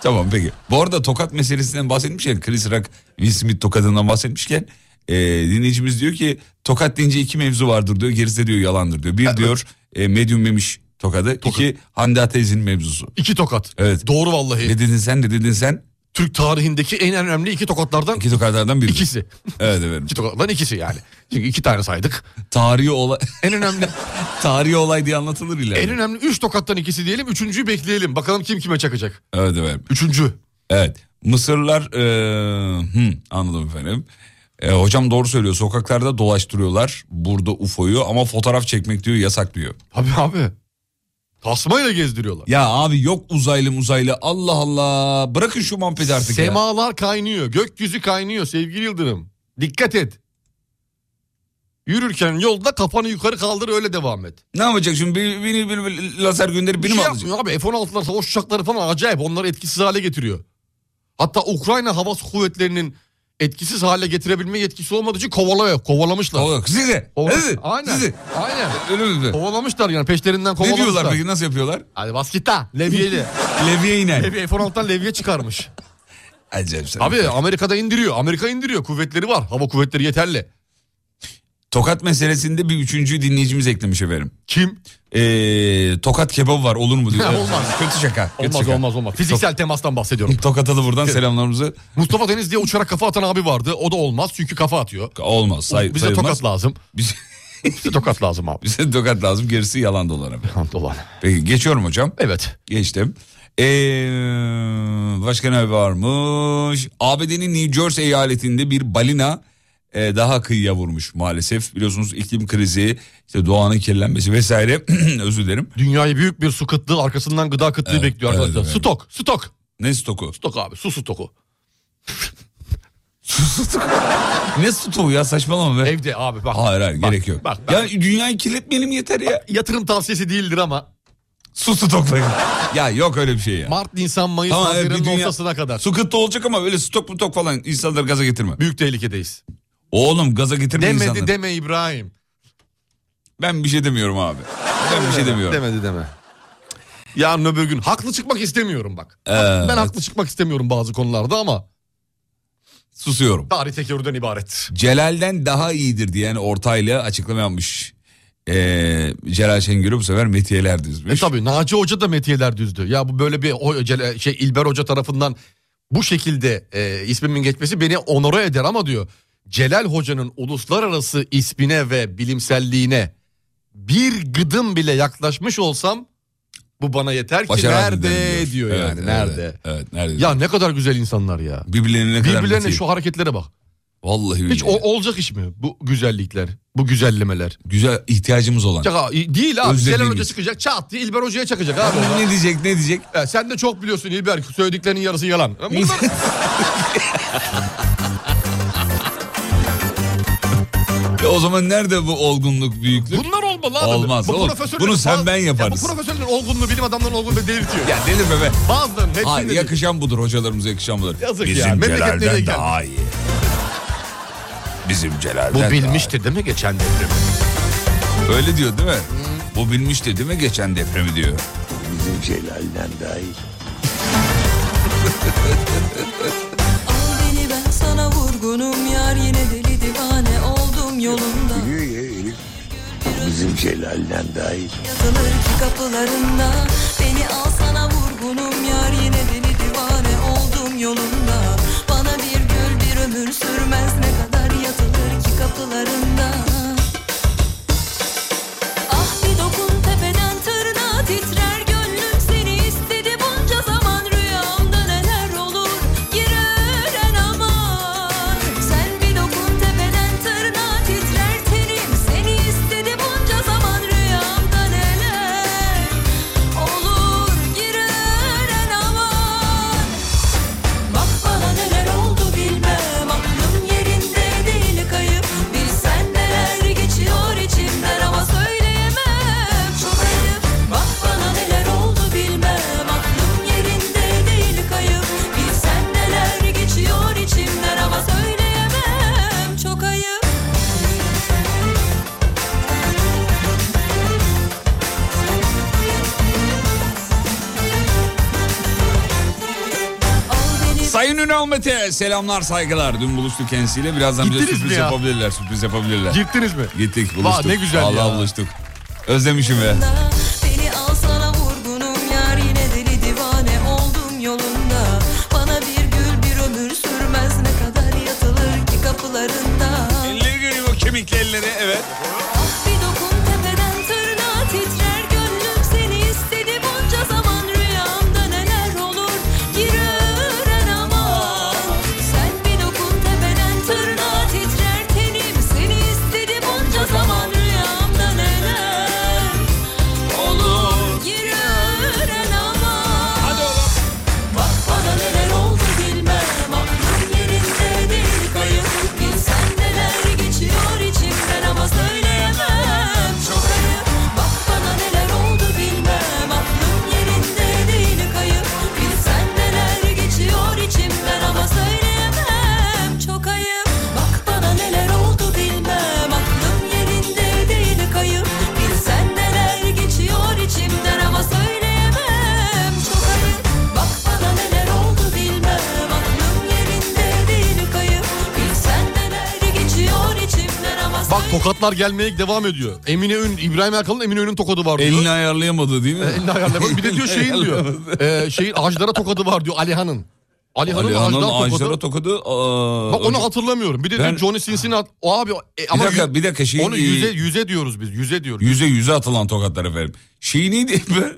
Tamam peki. Bu arada tokat meselesinden bahsetmişken Chris Rock Will Smith tokadından bahsetmişken e, dinleyicimiz diyor ki tokat deyince iki mevzu vardır diyor. Gerisi diyor yalandır diyor. Bir diyor e, medium memiş tokadı. İki Hande Ateş'in mevzusu. İki tokat. Evet. Doğru vallahi. Ne dedin sen ne dedin sen? Türk tarihindeki en önemli iki tokatlardan İki tokatlardan biri. ikisi. Evet efendim. İki tokatlardan ikisi yani. Çünkü iki tane saydık. Tarihi olay En önemli tarihi olay diye anlatılır ileride. en önemli üç tokattan ikisi diyelim. Üçüncüyü bekleyelim. Bakalım kim kime çakacak. Evet efendim. Üçüncü. Evet. Mısırlar eee, hı, anladım efendim. E, hocam doğru söylüyor. Sokaklarda dolaştırıyorlar burada UFO'yu ama fotoğraf çekmek diyor yasak diyor. Abi abi. Tasmayla gezdiriyorlar. Ya abi yok uzaylı uzaylı Allah Allah. Bırakın şu mampeti artık ya. Semalar kaynıyor. Gökyüzü kaynıyor sevgili Yıldırım. Dikkat et. Yürürken yolda kafanı yukarı kaldır öyle devam et. Ne yapacak şimdi beni, beni, beni- beni lazer gönderip Bir beni şey mi alacak? yapmıyor abi F-16'lar savaş uçakları falan acayip onları etkisiz hale getiriyor. Hatta Ukrayna Hava Kuvvetleri'nin etkisiz hale getirebilme yetkisi olmadığı için kovalıyor. Kovalamışlar. Kovala- Sizi. Kovala- Sizi. Aynen. Sizi. Aynen. Öyle mi? Kovalamışlar yani peşlerinden Ne kovalamışlar. diyorlar peki nasıl yapıyorlar? Hadi bas git ha. Levyeli. Levye iner. Levye F-16'dan levye çıkarmış. Acayip sen. Abi Amerika'da indiriyor. Amerika indiriyor. Kuvvetleri var. Hava kuvvetleri yeterli. Tokat meselesinde bir üçüncü dinleyicimiz eklemiş efendim. Kim? Ee, tokat kebabı var olur mu diyor. Ha, olmaz. Kötü şaka. kötü Olmaz şaka. olmaz olmaz. Fiziksel temastan bahsediyorum. Tokatalı buradan selamlarımızı. Mustafa Deniz diye uçarak kafa atan abi vardı. O da olmaz çünkü kafa atıyor. Olmaz say, Bize sayılmaz. tokat lazım. Bize, Bize tokat lazım abi. bize tokat lazım gerisi yalan dolar abi. Dolan. Peki geçiyorum hocam. Evet. Geçtim. Ee, başka ne varmış? ABD'nin New Jersey eyaletinde bir balina e, daha kıyıya vurmuş maalesef. Biliyorsunuz iklim krizi, işte doğanın kirlenmesi vesaire. Özür dilerim. Dünyayı büyük bir su kıtlığı arkasından gıda kıtlığı Evet, bekliyor evet, arkadaşlar. evet. Stok, stok. Ne stoku? Stok abi, su stoku. Ne stoku ya saçmalama be. Evde abi bak. Hayır hayır Bak, gerek yok. Bak, bak. Ya dünyayı kirletmeyelim yeter ya. yatırım tavsiyesi değildir ama Su stoklayın. ya yok öyle bir şey ya. Mart, Nisan, Mayıs, Tamam, evet, Haziran'ın bir dünya- ortasına kadar. Su kıtlığı olacak ama öyle stok mu tok falan insanları gaza getirme. Büyük tehlikedeyiz. Oğlum gaza getirme Demedi insanları. deme İbrahim. ben bir şey demiyorum abi. Ben bir şey demiyorum. Demedi deme. Yarın öbür gün. Haklı çıkmak istemiyorum bak. Ee, Ben haklı çıkmak istemiyorum bazı konularda ama Susuyorum. tarih tekerrürden ibaret. Celal'den daha iyidir diyen ortayla açıklama yapmış. Ee, Celal Şengör'ü bu sefer metiyeler E düzmüş. tabii Naci Hoca da metiyeler düzdü. Ya bu böyle bir o- Cele- şey İlber Hoca tarafından bu şekilde e, ismimin geçmesi beni onore eder ama diyor. Celal Hoca'nın uluslararası ismine ve bilimselliğine bir gıdım bile yaklaşmış olsam bu bana yeter ki Başaramadım nerede dedim diyor Evet, yani evet, nerede. Evet, nerede? Ya ne kadar güzel insanlar ya. birbirlerine ne kadar Birbirlerine metiye. şu hareketlere bak. Vallahi Hiç billahi. o- olacak iş mi bu güzellikler, bu güzellemeler? güzel ihtiyacımız olan. Çak ha- değil abi. Özlediğimiz. Celal Hoca çıkacak çat diye İlber Hoca'ya çakacak abi. Ne diyecek ne diyecek? Ya sen de çok biliyorsun İlber. Söylediklerinin yarısı yalan. Ya bunlar- E o zaman nerede bu olgunluk büyüklük? Bunlar olmalı abi. Olmaz oğlum. profesörlerin Bunu sen bazı- ben Ya yaparız. bu profesörlerin olgunluğu bilim adamlarının olgunluğu delirtiyor. Ya nedir be be? Bazılarının hepsini Hayır, delirtiyor. yakışan budur hocalarımıza yakışan budur. Yazık ya, Bizim memleket nereye Celal'den geldi? daha iyi. Bizim Celal'den Bu daha bilmişti değil mi geçen devrim? iyi. Öyle diyor değil mi? Bu bilmişti değil mi geçen depremi diyor. Al beni ben sana vurgunum yar yine deli divane oldum yolunda. Bizim Celal'den daha iyi. Yazılır ki kapılarında Beni al sana vurgunum yar yine deli divane oldum yolunda Bana bir gül bir ömür sürmez ne kadar yatılır ki kapılarında Ah bir dokun tepeden tırnağa titrer gönlüm seni istedi bunca zaman rüyamda neler olur girer aman Sen bir dokun tepeden tırnağa titrer tenim seni istedi bunca zaman rüyamda neler olur girer aman Bak bana neler oldu bilmem Aklım yerinde değil kayıp Bilsen neler geçiyor içimden Ama söyleyemem çok ayıp Bak bana neler oldu bilmem Aklım yerinde değil kayıp Bilsen neler geçiyor içimden Ama söyleyemem çok ayıp Al beni Sayın Ünal Mete selamlar saygılar. Dün buluştuk kendisiyle birazdan bize Gittiniz mi sürpriz ya? yapabilirler sürpriz yapabilirler. Gittiniz mi? Gittik buluştuk. Vah, ne güzel Vallahi ya. buluştuk. Özlemişim be. yolunda. Beni al sana vurgunum yar yine deli divane oldum yolunda Bana bir gül bir ömür sürmez ne kadar yatılır ki kapılarında Elleri göreyim o kemikli elleri evet. Ah bir dokun tepeden tırnağa titrer gönlüm seni istedi bunca zaman rüyamda neler olur girer aman Sen bir dokun tepeden tırnağa titrer tenim seni istedi bunca zaman rüyamda neler olur girer aman Hadi oğlum. Bak bana neler oldu bilmem Aklım yerinde değil kayıp Bilsen neler geçiyor içimden Ama söyleyemem çok ayıp Bak bana neler oldu bilmem Aklım yerinde değil kayıp Bilsen neler geçiyor içimden Ama söyleyemem çok ayıp Bak bana neler oldu bilmem Aklım yerinde değil kayıp Bilsen neler geçiyor içimden Ama söyleyemem çok ayıp Bak bana neler oldu bilmem Aklım yerinde değil kayıp Bilsen neler geçiyor içimden ama Bak söyle- tokatlar gelmeye devam ediyor. Emine Ün, İbrahim Erkal'ın Emine Ün'ün tokadı var diyor. E, Elini ayarlayamadı değil mi? Elini ayarlamadı. Bir de diyor şeyin diyor. E, şeyin ağaçlara tokadı var diyor Alihan'ın. Alihan'ın Ali ağaçlara Han'ın tokadı. ağaçlara tokadı. aa, Bak onu önce- hatırlamıyorum. Bir de Ben- diyor Johnny Cincinnati. O abi e, Bir ama dakika yü- bir dakika şey. onu yüze, yüze diyoruz biz. Yüze diyoruz. Yüze yüze atılan tokatlar efendim. Şey neydi be?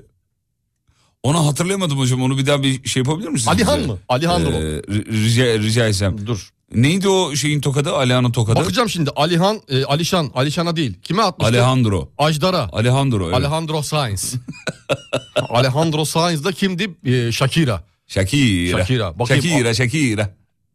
Onu hatırlayamadım hocam. Onu bir daha bir şey yapabilir misiniz? Alihan bize? mı? Alihan'dır Ee, o. ri- rica, rica etsem. Dur. Neydi o şeyin tokadı? Alihan'ın tokadı. Bakacağım şimdi. Alihan, e, Alişan, Alişan'a değil. Kime atmıştı? Alejandro. Ajdara. Alejandro. Evet. Alejandro Sainz. Alejandro Sainz da kimdi? Ee, Shakira. Shakira. Shakira. Bakayım. Shakira. Shakira.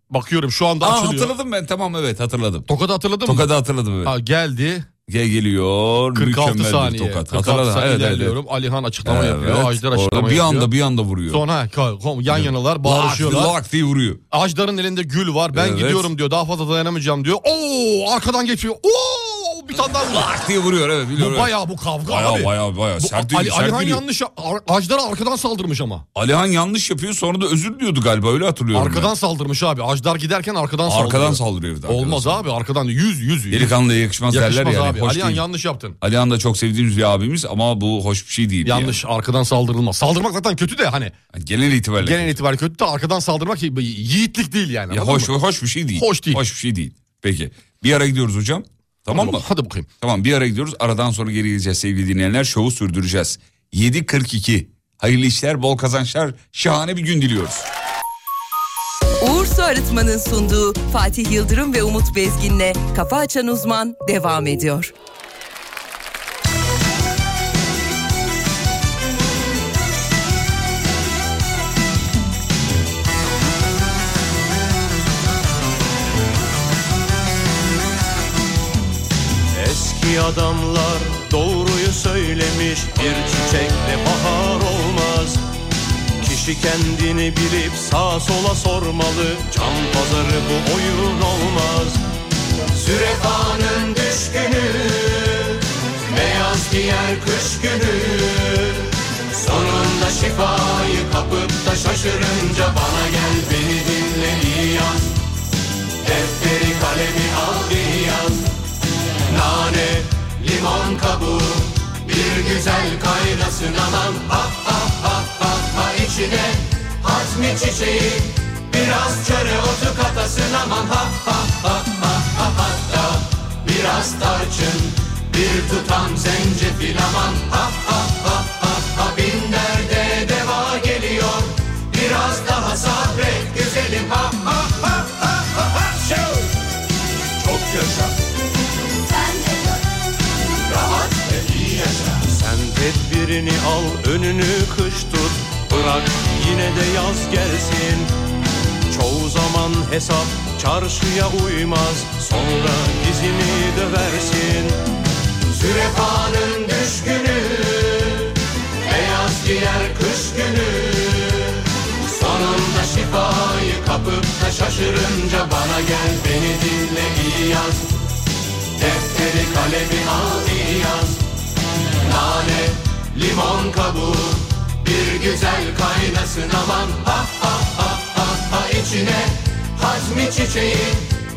Bakıyorum şu anda Aa, açılıyor. hatırladım ben. Tamam evet hatırladım. Tokadı hatırladın mı? Tokadı hatırladım evet. Ha, geldi. Gel geliyor. 46 mükemmel bir saniye. Tokat. 46 Hatırladım. saniye evet, evet, ilerliyorum. Alihan açıklama Evet. yapıyor. Ajdar Orada açıklama bir yapıyor. anda bir anda vuruyor. Sonra ha, ka- kom- yan yanalar bağırışıyorlar. Lak diye vuruyor. Ajdar'ın elinde gül var. Ben Evet. gidiyorum diyor. Daha fazla dayanamayacağım diyor. Oo arkadan geçiyor. Oo vur bir tane daha vur. Lak diye vuruyor evet Bu biliyorum. bayağı bu kavga Bayağı abi. bayağı bayağı. Bu Sert, Ali, Ali, sert Alihan gidiyor. yanlış ar- Ajdar'a arkadan saldırmış ama. Alihan yanlış yapıyor sonra da özür diliyordu galiba öyle hatırlıyorum. Arkadan ben. saldırmış abi. Ajdar giderken arkadan saldırıyor. Arkadan saldırıyor bir de. arkadan Olmaz saldırıyor. abi arkadan yüz yüz. yüz. Delikanlıya yakışmaz, derler Yakışmaz yani. abi. Hoş Alihan değil. yanlış yaptın. Alihan da çok sevdiğimiz bir abimiz ama bu hoş bir şey değil. Yanlış arkadan saldırılmaz. Saldırmak zaten kötü de hani yani. Genel itibariyle. genel itibariyle kötü de arkadan saldırmak y- yiğitlik değil yani. Ya anladın hoş, mı? hoş bir şey değil. Hoş değil. Hoş bir şey değil. Peki. Bir ara gidiyoruz hocam. Tamam mı? Hadi bakayım. Tamam bir ara gidiyoruz. Aradan sonra geri geleceğiz sevgili dinleyenler. Şovu sürdüreceğiz. 7.42. Hayırlı işler, bol kazançlar, şahane bir gün diliyoruz. Uğur Su Arıtma'nın sunduğu Fatih Yıldırım ve Umut Bezgin'le Kafa Açan Uzman devam ediyor. Eski adamlar doğruyu söylemiş Bir çiçekle bahar olmaz Kişi kendini bilip sağa sola sormalı Can pazarı bu oyun olmaz Sürefanın düşkünü Beyaz giyer kış günü Sonunda şifayı kapıp da şaşırınca Bana gel beni dinle iyi yaz Defteri kalemi al geri yaz nane, limon kabuğu Bir güzel kaynasın aman Ah ah ah ah ah içine Hazmi çiçeği Biraz çöre otu katasın aman Ha ha ha ha ha hatta Biraz tarçın Bir tutam zencefil aman Ha ha ha ha ha Bin derde deva geliyor Biraz daha sabret güzelim Ha ha ha ha ha ha Şov! Çok yaşa Sen tedbirini al önünü kış tut Bırak yine de yaz gelsin Çoğu zaman hesap çarşıya uymaz Sonra dizini döversin Sürefanın düşkünü Beyaz giyer kış günü Sonunda şifayı kapıp da şaşırınca Bana gel beni dinle iyi yaz Defteri kalemi al iyi yaz Nane, limon kabuğu Bir güzel kaynasın aman Ha ha ha ha ha içine Hazmi çiçeği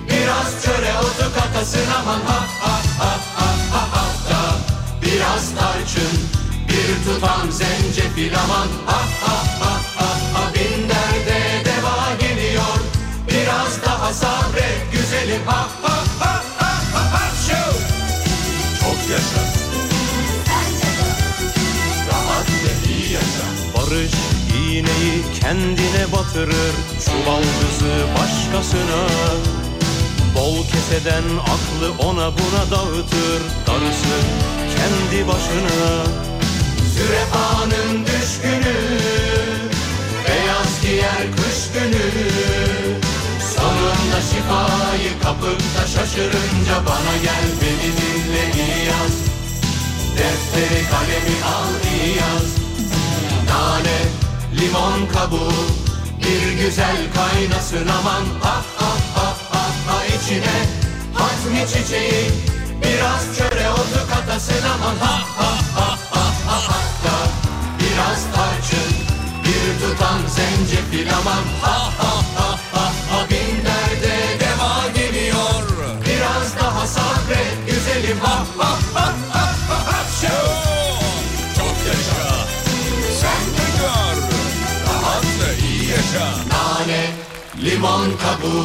Biraz çöre otu katasın aman Ha ha ha ha ha hatta Biraz tarçın Bir tutam zencefil aman Ha ha ha ha ha Bin derde deva geliyor Biraz daha sabret güzelim Ha ha ha ha ha ha Şov! Çok yaşa Barış iğneyi kendine batırır Şu baldızı başkasına Bol keseden aklı ona buna dağıtır Darısı kendi başına Sürefanın düşkünü Beyaz giyer kış günü Sonunda şifayı kapıp da şaşırınca Bana gel beni dinle iyi yaz Defteri kalemi al iyi yaz Nane, limon kabuğu Bir güzel kaynasın aman Ah ah ah ah ah içine Hazmi çiçeği Biraz çöre otu katasın aman Ha ha ha ha ha hatta Biraz tarçın Bir tutam zencefil aman Ha ha ha ha ha Bin derde deva geliyor Biraz daha sabret güzelim Ha ha ha ha ha ha Şov! Çok yaşa. Sen de gör. Rahat ve iyi yaşa. Nane, limon kabuğu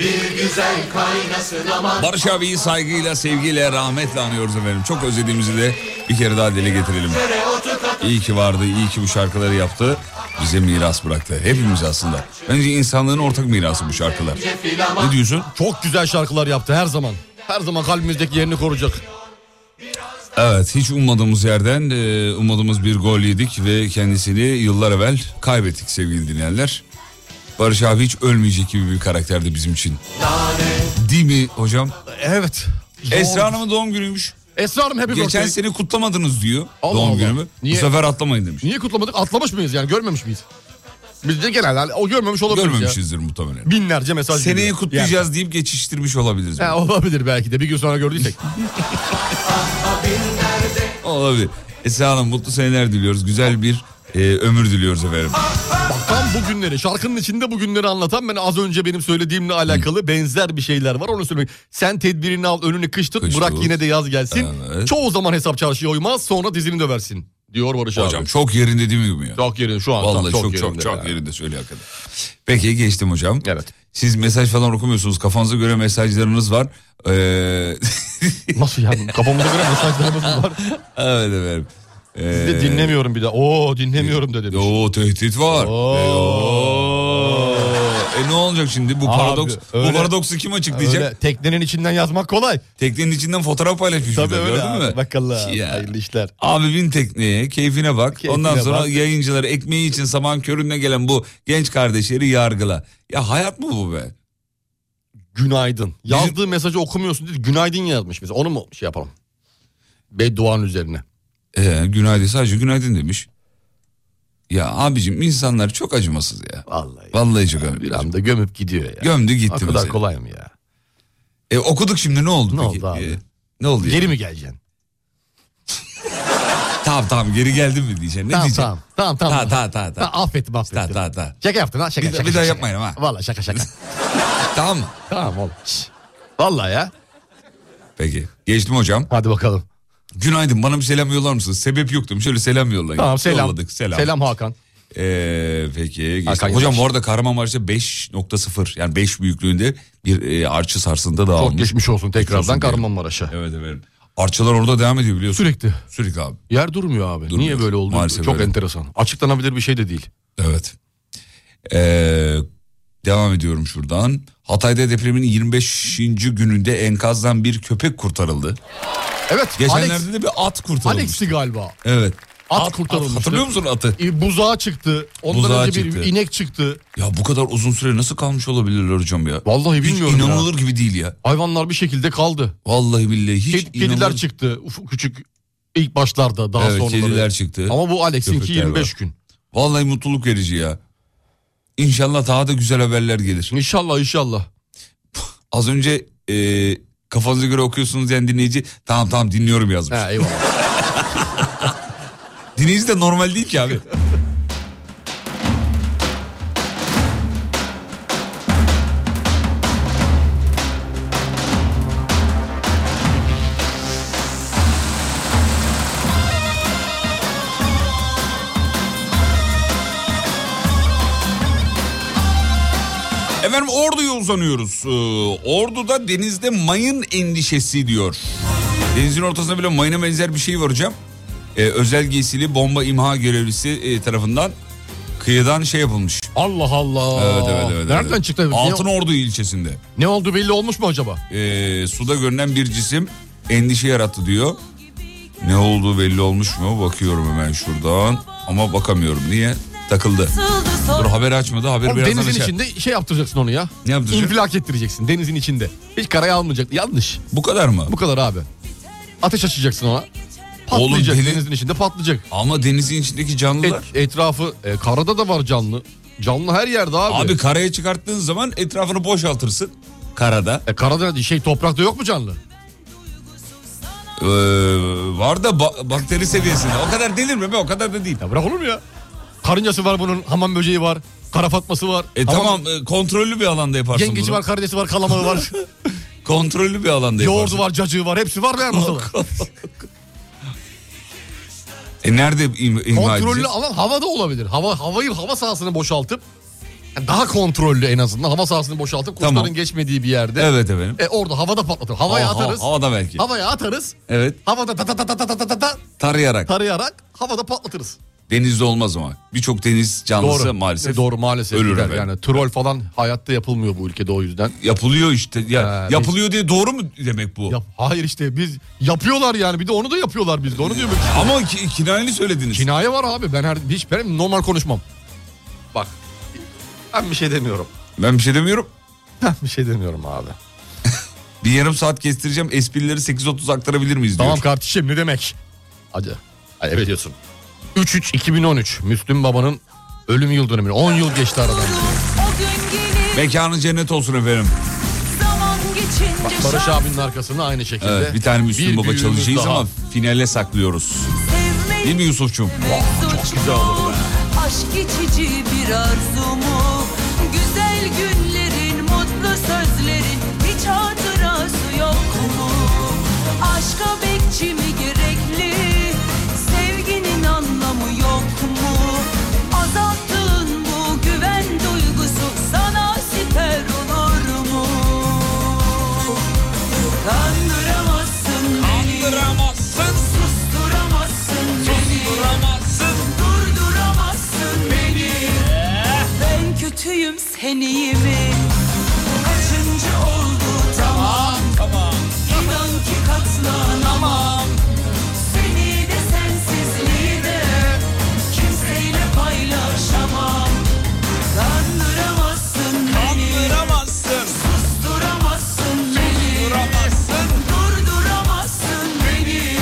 Bir güzel kaynasın aman Barış abiyi saygıyla, sevgiyle, rahmetle anıyoruz efendim. Çok özlediğimizi de bir kere daha dile getirelim. İyi ki vardı, iyi ki bu şarkıları yaptı. Bize miras bıraktı. Hepimiz aslında. Bence insanlığın ortak mirası bu şarkılar. Ne diyorsun? Çok güzel şarkılar yaptı her zaman. Her zaman kalbimizdeki yerini koruyacak. Evet hiç ummadığımız yerden e, ummadığımız bir gol yedik ve kendisini yıllar evvel kaybettik sevgili dinleyenler. Barış abi hiç ölmeyecek gibi bir karakterdi bizim için. Değil mi hocam? Evet. Esra Hanım'ın doğum günüymüş. Esra Hanım happy Geçen birthday. sene kutlamadınız diyor Allah doğum Allah. günümü. Niye? Bu sefer atlamayın demiş. Niye kutlamadık? Atlamış mıyız yani görmemiş miyiz? Biz de genelde hani o görmemiş olabiliriz Görmemişizdir muhtemelen. ya. Binlerce mesaj Seneyi geliyor. kutlayacağız deyip geçiştirmiş olabiliriz. Yani. Ha, olabilir belki de bir gün sonra gördüysek. Olabilir. Esra Hanım mutlu seneler diliyoruz. Güzel bir e, ömür diliyoruz efendim. Bak tam bu günleri şarkının içinde bu günleri anlatan ben az önce benim söylediğimle alakalı benzer bir şeyler var onu söylemek. Sen tedbirini al önünü kış tut Kış bırak tut. yine de yaz gelsin. Evet. Çoğu zaman hesap çarşıya uymaz sonra dizini döversin diyor Barış Hocam abi. çok yerinde değil mi bu ya? Çok yerinde şu an. Vallahi tam çok çok yerinde çok, yani. yerinde söyle hakikaten. Peki geçtim hocam. Evet. Siz mesaj falan okumuyorsunuz. Kafanıza göre mesajlarınız var. Ee, Nasıl yani kafamıza göre mesajlarımız var. evet efendim. Bir de dinlemiyorum bir de. Oo dinlemiyorum da demiş. Oo tehdit var. Oo. E, oo. E ne olacak şimdi bu Abi, paradoks? öyle- bu paradoksu kim açıklayacak? Öyle teknenin içinden yazmak kolay. Teknenin içinden fotoğraf paylaşmış. Tabii bir de, öyle abi. gördün mü? Bakalım. Ya. Hayırlı işler. Abi bin tekneye, keyfine bak. Keyfine Ondan sonra bak. yayıncıları ekmeği için saman körüne gelen bu genç kardeşleri yargıla. Ya hayat mı bu be? Günaydın. Yazdığı mesajı okumuyorsun dedi. Günaydın yazmış bize. Onu mu şey yapalım? Bedduanın üzerine. Ee, günaydın sadece günaydın demiş. Ya abicim insanlar çok acımasız ya. Vallahi. Vallahi çok acımasız. Bir anda gömüp gidiyor ya. Gömdü O gitti kadar mesela. kolay mı ya? E, okuduk şimdi ne oldu Ne peki? oldu abi? Ee, ne oldu? ya? Geri mi geleceksin? Tamam tamam geri geldim mi diyeceksin. Ne Tamam, diyeceksin? tamam tamam tamam. Ta, ta, ta, ta. Ha, affettim affettim. Ta, ta, ta. Şaka yaptın ha şaka Bir, şaka. bir daha şaka. yapmayın ama. Valla şaka şaka. Tamam mı? tamam oğlum. Şş. Valla ya. Peki. Geçtim hocam. Hadi bakalım. Günaydın bana bir selam yollar mısınız? Sebep yok demiş. Şöyle selam yollayın. Tamam selam. Yolladık, selam. selam. Hakan. Ee, peki. geçtim. Hakan Hocam Yavaş. bu arada Kahramanmaraş'ta 5.0 yani 5 büyüklüğünde bir e, arçı sarsında daha Çok olmuş. geçmiş olsun tekrardan olsun diyelim. Kahramanmaraş'a. Evet evet. Arçalar orada devam ediyor biliyorsun. Sürekli. Sürekli abi. Yer durmuyor abi. Durmuyor. Niye böyle oldu? Maalesef Çok öyle. enteresan. Açıklanabilir bir şey de değil. Evet. Ee, devam ediyorum şuradan. Hatay'da depremin 25. gününde enkazdan bir köpek kurtarıldı. Evet. Geçenlerde Alex, de bir at kurtarılmış. Alex'i galiba. Evet. At kurtarılmıştı. hatırlıyor musun atı? E, buzağa çıktı. Ondan Buzağa önce bir çıktı. inek çıktı. Ya bu kadar uzun süre nasıl kalmış olabilirler hocam ya? Vallahi bilmiyorum Hiç ya. inanılır gibi değil ya. Hayvanlar bir şekilde kaldı. Vallahi billahi hiç Ked- kediler inanılır- çıktı. Uf, küçük ilk başlarda daha Evet, sonra. kediler çıktı. Ama bu Alex'inki Köpekler 25 var. gün. Vallahi mutluluk verici ya. İnşallah daha da güzel haberler gelir. İnşallah inşallah. Az önce e, kafanıza göre okuyorsunuz yani dinleyici tamam tamam dinliyorum yazmış. He eyvallah. Dinleyici de normal değil ki abi. Efendim Ordu'ya uzanıyoruz. Ee, Ordu'da denizde mayın endişesi diyor. Denizin ortasında bile mayına benzer bir şey var hocam. Ee, özel giysili bomba imha görevlisi e, tarafından kıyıdan şey yapılmış. Allah Allah. Evet evet evet. evet. Nereden çıktı? Ne, Altınordu ilçesinde. ne oldu belli olmuş mu acaba? Ee, suda görünen bir cisim endişe yarattı diyor. Ne olduğu belli olmuş mu? Bakıyorum hemen şuradan. Ama bakamıyorum. Niye? Takıldı. Dur haberi açmadı. Haberi Oğlum, birazdan denizin açar. içinde şey yaptıracaksın onu ya. Ne yaptıracağım? İnfilak ettireceksin denizin içinde. Hiç karaya almayacak. Yanlış. Bu kadar mı? Bu kadar abi. Ateş açacaksın ona. Patlayacak deli- denizin içinde patlayacak. Ama denizin içindeki Et- canlılar. etrafı e, karada da var canlı. Canlı her yerde abi. Abi karaya çıkarttığın zaman etrafını boşaltırsın. Karada. E, karada şey toprakta yok mu canlı? Ee, var da ba- bakteri seviyesinde. O kadar delirme be o kadar da değil. Ya bırak olur mu ya? Karıncası var bunun, hamam böceği var, kara fatması var. E hamam- tamam, e, kontrollü bir alanda yaparsın Yengeci bunu. var, karidesi var, kalamağı var, Kontrollü bir alanda yaparsın. yoğurdu var, cacığı var. Hepsi var veya masada. E nerede im- imha edeceğiz? Kontrollü alan havada olabilir. Hava havayı hava sahasını boşaltıp yani daha kontrollü en azından hava sahasını boşaltıp kuşların Tamam. geçmediği bir yerde. Evet efendim. E orada havada patlatır. Havaya Hava- atarız. havada belki. Havaya atarız. Evet. Havada ta ta ta ta ta ta ta ta ta Tarayarak. tarayarak havada patlatırız. Denizde olmaz ama. Birçok deniz canlısı Doğru. maalesef. Doğru maalesef. Ölür gider. efendim. Yani troll falan hayatta yapılmıyor bu ülkede o yüzden. Yapılıyor işte. Ya, Ha, yapılıyor diye doğru mu demek bu? Yap, hayır işte biz yapıyorlar yani bir de onu da yapıyorlar biz de onu diyorum. Ama ki, kinayeli söylediniz. Kinaye var abi ben her hiç benim normal konuşmam. Bak ben bir şey demiyorum. ben bir şey demiyorum. Ben bir şey demiyorum abi. Bir yarım saat kestireceğim. Esprileri 8.30 aktarabilir miyiz diyor. Tamam kardeşim ne demek? Hadi. Hadi evet diyorsun. 3-3-2013 Müslüm Baba'nın Ölüm yıl dönümüne 10 yıl geçti aradan. O gün gelir Mekanı cennet olsun efendim. zaman Bak geçince Barış şans abinin arkasında aynı şekilde. Evet, bir tane Müslüm bir Baba büyüğümüz çalışacağız daha. ama finale saklıyoruz. sevmeyi Değil mi Yusuf'cum? Çok güzel olur Aşk geçici bir arzu mu? Güzel günlerin, mutlu sözlerin hiç hatırası yok mu? Aşka bekçi mi gerekli? Sevginin anlamı yok mu? Azalttığın bu güven duygusu sana siper olur mu? Kandıramazsın beni. Susturamazsın beni Durduramazsın beni Ben kötüyüm sen iyi mi? Kaçıncı oldu tamam İnan ki katlanamam Seni de sensizliği de Kimseyle paylaşamam Kandıramazsın beni Susturamazsın beni Durduramazsın beni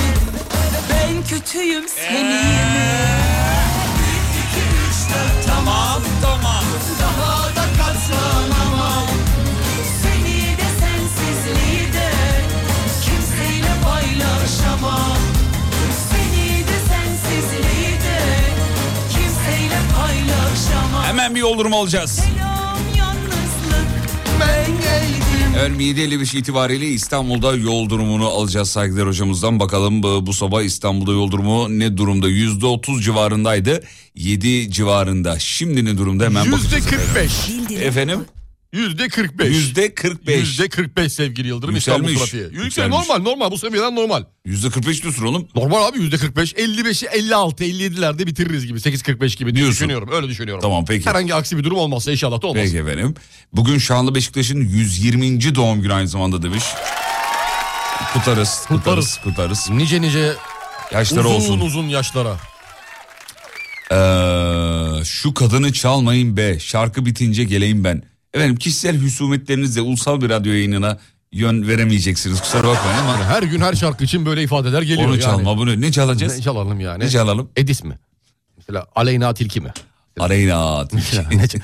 Ben kötüyüm seni Tamam tamam. Daha da katlanamam Seni de sensizliği de Kimseyle paylaşamam Seni de sensizliği de Kimseyle paylaşamam Hemen bir yol durumu alacağız. Selam yalnızlık Ben geldim Evet 755 itibariyle İstanbul'da yol durumunu alacağız saygıdeğer hocamızdan. Bakalım bu bu sabah İstanbul'da yol durumu ne durumda? %30 civarındaydı. 7 civarında. Şimdi ne durumda hemen Yüzde bakacağız. 45. Efendim? Yüzde 45. Yüzde 45. Yüzde 45 sevgili Yıldırım Yükselmiş. İstanbul trafiği. Yüksel- Yükselmiş. normal normal bu seviyeden normal. Yüzde 45 diyorsun oğlum. Normal abi yüzde 45. 55'i 56 57'lerde bitiririz gibi. 8-45 gibi diye Diyorsun. düşünüyorum. Öyle düşünüyorum. Tamam, peki. Herhangi aksi bir durum olmazsa inşallah da olmaz. Peki efendim. Bugün Şanlı Beşiktaş'ın 120. doğum günü aynı zamanda demiş. Kutlarız, kutlarız, Kutlarız. kutlarız. Nice nice Yaşları uzun olsun. uzun yaşlara. Ee, şu kadını çalmayın be. Şarkı bitince geleyim ben. Efendim kişisel husumetlerinizle ulusal bir radyo yayınına yön veremeyeceksiniz. Kusura bakmayın ama Her gün her şarkı için böyle ifadeler geliyor onu yani. çalma bunu. Ne çalacağız? Ne çalalım yani? Ne çalalım? Edis mi? Mesela Aleyna Tilki mi? Arayna. at. Ne çal-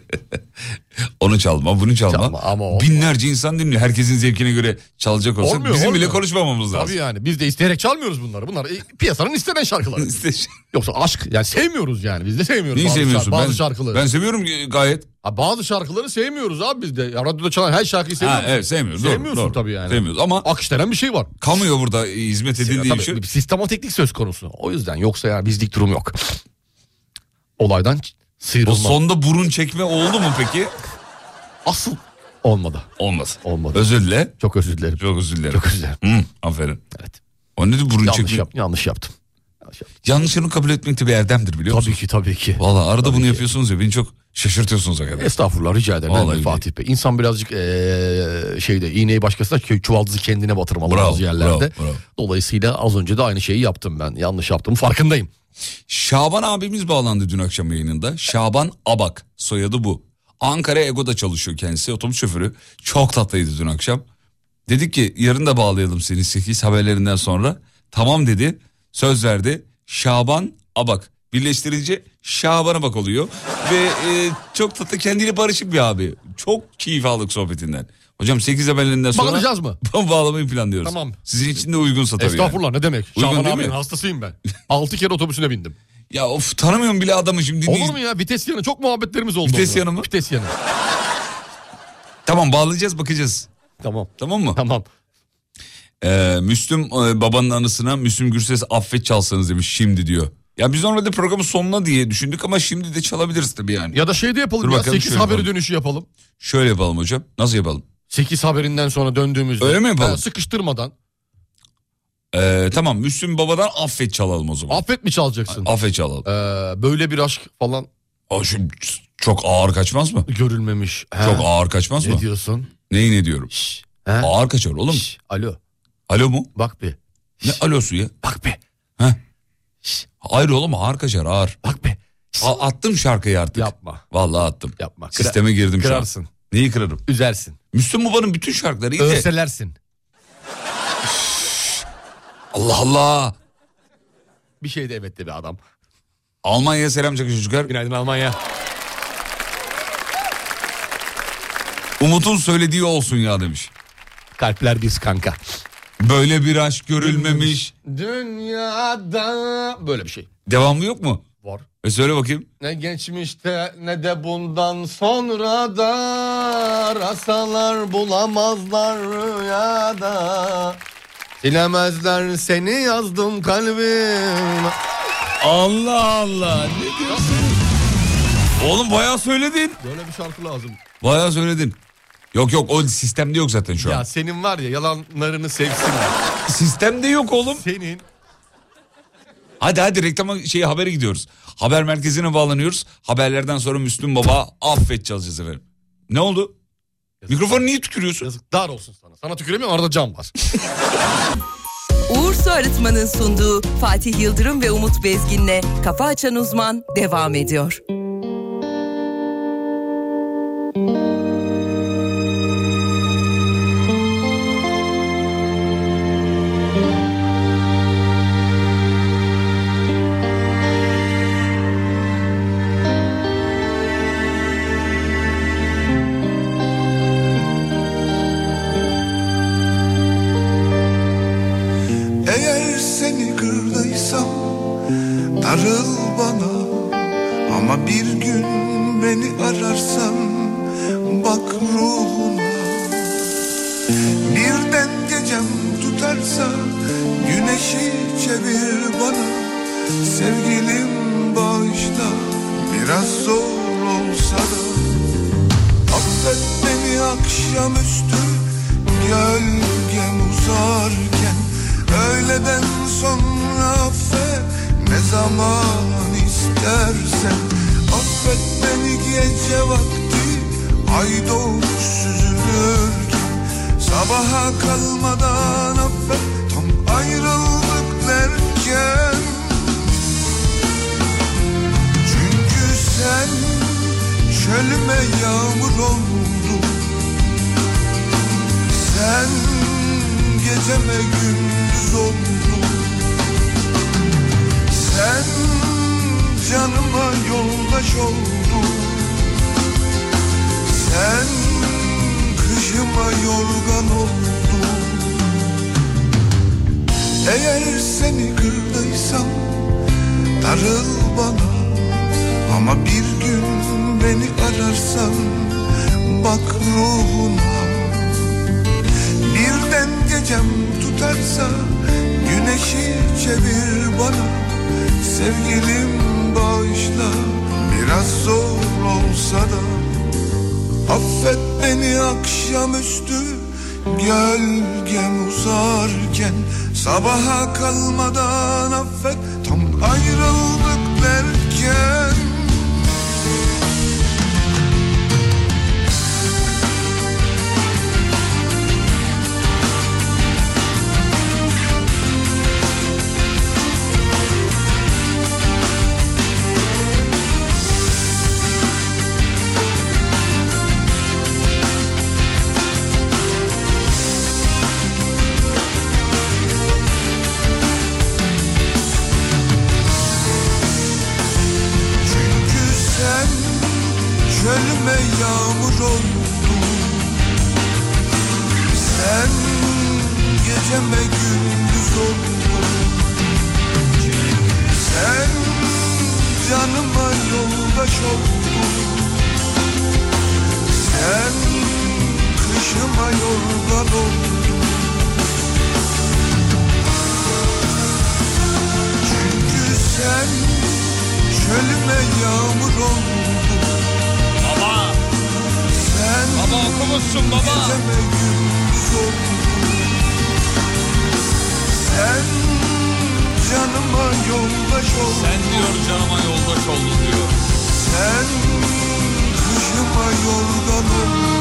onu çalma bunu çalma. Çalma ama olmaz. Binlerce insan dinliyor. Herkesin zevkine göre çalacak olsa Olmuyor, bizim bile olmuyor. konuşmamamız lazım. Tabii yani biz de isteyerek çalmıyoruz bunları. Bunlar e, piyasanın istenen şarkıları. İşte- Yoksa aşk yani sevmiyoruz yani biz de sevmiyoruz. Neyi bazı şar- sevmiyorsun? Bazı ben, şarkıları. ben seviyorum e, gayet. Ha, bazı şarkıları sevmiyoruz abi biz de. Ya, radyoda çalan her şarkıyı Ha, sevmiyoruz. evet sevmiyoruz. Doğru, Sevmiyorsun doğru. tabii yani. Sevmiyoruz ama Akışlenen bir şey var. kamuya burada e, hizmet edildiği Tabii, için. bir sistematiklik söz konusu. O yüzden yoksa yani bizlik durum yok. Olaydan ç- O sıyrılma. sonda burun çekme oldu mu peki? Asıl olmadı. Olmaz. Olmadı. Özür dile. Çok özür dilerim. Çok özür dilerim. Çok özür dilerim. Hı, aferin. Evet. O nedir burun Yanlış, çekme? yap, yanlış yaptım. Yanlış yaptım. Yanlışını kabul etmek de bir erdemdir biliyor musun? Tabii ki tabii ki. Valla arada bunu ki. yapıyorsunuz ya beni çok şaşırtıyorsunuz o kadar. Estağfurullah rica ederim. Vallahi Önemli Fatih Bey. İnsan birazcık eee, şeyde iğneyi başkasına kö- çuvaldızı kendine batırmalı Bravo, bazı yerlerde. bravo, bravo. Dolayısıyla az önce de aynı şeyi yaptım ben. Yanlış yaptım farkındayım. Şaban abimiz bağlandı dün akşam yayınında. Şaban Abak soyadı bu. Ankara Ego'da çalışıyor kendisi otobüs şoförü. Çok tatlıydı dün akşam. Dedik ki yarın da bağlayalım seni 8 haberlerinden sonra. Tamam dedi söz verdi. Şaban Abak birleştirince Şaban Abak oluyor. Ve e, çok tatlı kendiyle barışık bir abi. Çok keyif aldık sohbetinden. Hocam 8 haberlerinden sonra... Bağlayacağız mı? Bağlamayı planlıyoruz. Tamam. Sizin için de uygunsa tabii. yani. Estağfurullah ne demek. Uygun Şaban değil abinin mi? hastasıyım ben. 6 kere otobüsüne bindim. Ya of tanımıyorum bile adamı şimdi. Olur mu ya vites yanı çok muhabbetlerimiz oldu. Vites onunla. yanı mı? Vites yanı. Tamam bağlayacağız bakacağız. Tamam. Tamam mı? Tamam. Ee, Müslüm e, babanın anısına Müslüm Gürses affet çalsanız demiş şimdi diyor. Ya biz normalde programın sonuna diye düşündük ama şimdi de çalabiliriz tabii yani. Ya da şeyde yapalım Dur ya bakalım 8 şöyle haberi yapalım. dönüşü yapalım. Şöyle yapalım hocam. Nasıl yapalım? 8 haberinden sonra döndüğümüzde. Öyle mi yapalım? Ha, sıkıştırmadan. Ee, tamam Müslüm babadan affet çalalım o zaman. Affet mi çalacaksın? affet çalalım. Ee, böyle bir aşk falan Aa, şimdi çok ağır kaçmaz mı? görülmemiş. He. Çok ağır kaçmaz mı? Ne diyorsun? Neyi ne diyorum? Şş, he? Ağır kaçar oğlum. Şş, alo Alo mu? bak bir. Ne alosu ya? Bak bir. Hayır oğlum ağır kaçar ağır. Bak bir. A- attım şarkıyı artık. Yapma. Vallahi attım. Yapma. Kıra- Sisteme girdim şu an. Kırarsın. Neyi kırarım? Üzersin. Müslüm Baba'nın bütün şarkıları iyi de- Örselersin. Allah Allah. Bir şey de evet de bir adam. Almanya'ya selam çakın çocuklar. Günaydın Almanya. Umut'un söylediği olsun ya demiş. Kalpler biz kanka. Böyle bir aşk görülmemiş. Dünyada böyle bir şey Devamlı yok mu? var. E söyle bakayım. Ne geçmişte ne de bundan sonra da rasalar bulamazlar rüyada. Silemezler seni yazdım kalbim. Allah Allah. Ne diyorsun? Oğlum bayağı söyledin. Böyle bir şarkı lazım. Bayağı söyledin. Yok yok o sistemde yok zaten şu an. Ya senin var ya yalanlarını sevsinler. Sistemde yok oğlum. Senin Hadi hadi reklama şey habere gidiyoruz. Haber merkezine bağlanıyoruz. Haberlerden sonra Müslüm Baba affet çalacağız efendim. Ne oldu? Mikrofonu niye tükürüyorsun? yazıklar olsun sana. Sana tüküremiyorum arada cam var. Uğur Su Arıtma'nın sunduğu Fatih Yıldırım ve Umut Bezgin'le Kafa Açan Uzman devam ediyor. Eğer seni kırdıysam darıl bana Ama bir gün beni ararsan bak ruhuna Birden gecem tutarsa güneşi çevir bana Sevgilim bağışla biraz zor olsa da Affet beni akşamüstü gölgem uzarken Öğleden sonra affet ne zaman istersen Affet beni gece vakti ay doğmuş süzülürken Sabaha kalmadan affet tam ayrıldık derken Çünkü sen çölüme yağmur oldun sen geceme gündüz oldun Sen canıma yoldaş oldun Sen kışıma yorgan oldun Eğer seni kırdıysam darıl bana Ama bir gün beni ararsan bak ruhuna Birden gecem tutarsa güneşi çevir bana Sevgilim bağışla biraz zor olsa da Affet beni akşamüstü gölgem uzarken Sabaha kalmadan affet tam ayrıldık derken Çünkü sen çölüme yağmur oldun Sen geceme gündüz oldun Sen canıma yoldaş oldun Sen kışıma yorgan oldun Çünkü sen çölüme yağmur oldun Baba, Sen baba okumuşsun baba. Geceme gündüz oldun Sen canıma yoldaş oldun Sen diyor canıma yoldaş oldun diyor. Sen kışıma yorgan oldun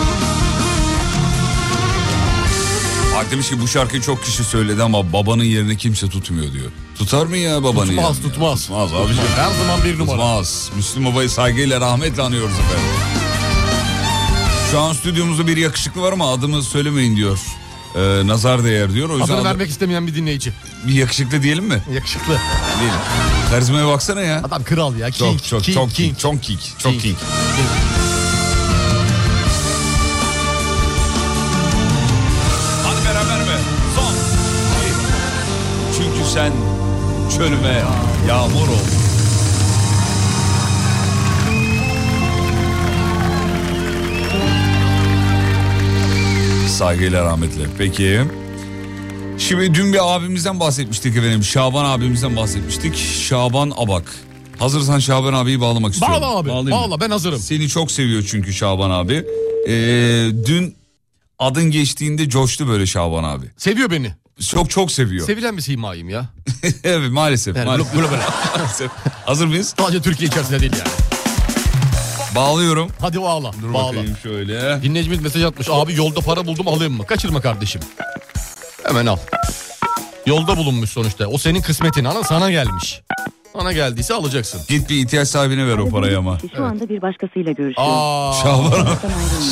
Bak demiş ki bu şarkıyı çok kişi söyledi ama babanın yerini kimse tutmuyor diyor. Tutar mı ya babanın yerini? tutmaz ya? tutmaz. Tutmaz abiciğim. Her zaman bir numara. Tutmaz. Müslüm Baba'yı saygıyla rahmetle anıyoruz efendim. Şu an stüdyomuzda bir yakışıklı var ama adımı söylemeyin diyor. Ee, nazar değer diyor. O yüzden Adını adı- vermek istemeyen bir dinleyici. bir yakışıklı diyelim mi? Yakışıklı. Değil. Karizmaya baksana ya. Adam kral ya. King, Çok çok king, çok king. king, çok king, çok king. Hadi beraber mi? Son. Hayır. Çünkü sen çölüme yağmur ol. Saygıyla rahmetle. Peki. Şimdi dün bir abimizden bahsetmiştik efendim. Şaban abimizden bahsetmiştik. Şaban Abak. Hazırsan Şaban abiyi bağlamak istiyorum. Bağla abi. Bağlayayım mı? Bağla ben hazırım. Seni çok seviyor çünkü Şaban abi. Ee, dün adın geçtiğinde coştu böyle Şaban abi. Seviyor beni. Çok çok seviyor. Sevilen bir simayım ya. evet maalesef. Yani maalesef. glo- global. Hazır mıyız? Sadece Türkiye içerisinde değil yani. Bağlıyorum. Hadi bağla. Dur bağla. bakayım şöyle. Dinleyicimiz mesaj atmış. Abi yolda para buldum alayım mı? Kaçırma kardeşim. Hemen al. Yolda bulunmuş sonuçta. O senin kısmetin. Ana sana gelmiş. Sana geldiyse alacaksın. Git bir ihtiyaç sahibine ver o parayı ama. Şu anda bir başkasıyla görüşüyor. Aa, Şaban abi.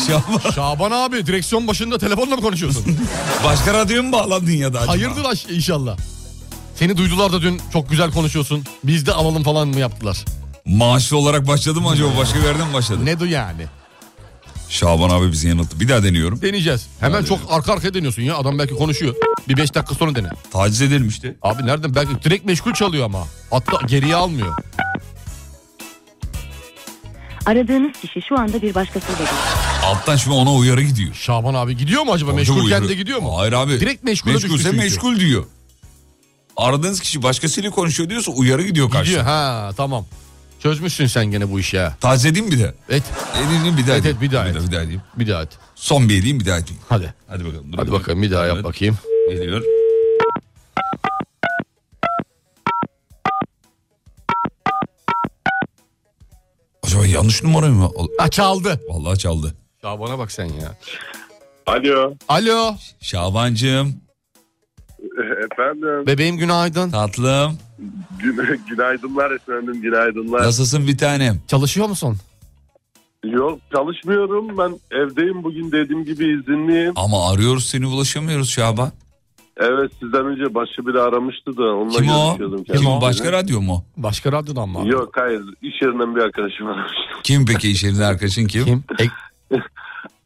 Şaban. Şaban abi direksiyon başında telefonla mı konuşuyorsun? Başka radyoya mı bağlandın ya da acaba? Hayırdır aş- inşallah. Seni duydular da dün çok güzel konuşuyorsun. Biz de alalım falan mı yaptılar? Maaşlı olarak başladı mı acaba? Başka bir yerden mi başladı? Ne du yani? Şaban abi bizi yanılttı. Bir daha deniyorum. Deneyeceğiz. Hemen Hadi. çok arka arkaya deniyorsun ya. Adam belki konuşuyor. Bir beş dakika sonra dene. Taciz edilmişti. Abi nereden? Belki direkt meşgul çalıyor ama. Hatta geriye almıyor. Aradığınız kişi şu anda bir başkasıyla görüşüyor. Alttan şimdi ona uyarı gidiyor. Şaban abi gidiyor mu acaba? Hoca Meşgulken uyarı- de gidiyor mu? Hayır abi. Direkt meşgule Meşgulse düştü çünkü. meşgul diyor. Aradığınız kişi başkasıyla konuşuyor diyorsa uyarı gidiyor karşı. Gidiyor ha tamam. Çözmüşsün sen gene bu işi ha. Taciz edeyim bir de. Et Edeyim bir daha Evet, edeyim. evet, bir daha bir et. daha, bir daha edeyim. bir daha et. Son bir edeyim bir daha edeyim. Hadi. Hadi bakalım. dur Hadi bakalım bir daha yap Evet, bakayım. Geliyor. Acaba yanlış numarayı mı? al- Ha çaldı. Vallahi çaldı. Şaban'a bak sen ya. Alo. Alo. Şabancığım, Efendim. Bebeğim günaydın. tatlım. Gün- günaydınlar efendim. Günaydınlar. Nasılsın bir tanem? Çalışıyor musun? Yok çalışmıyorum. Ben evdeyim bugün dediğim gibi izinliyim. Ama arıyoruz seni ulaşamıyoruz Şaban. Evet sizden önce başı biri aramıştı da onunla Kim o? görüşüyordum Kim o? kendisiyle. Başka radyo mu? Başka radyodan mı? abi? Yok hayır iş yerinden bir arkadaşım aramış. Kim peki iş yerinde arkadaşın kim? Kim? E,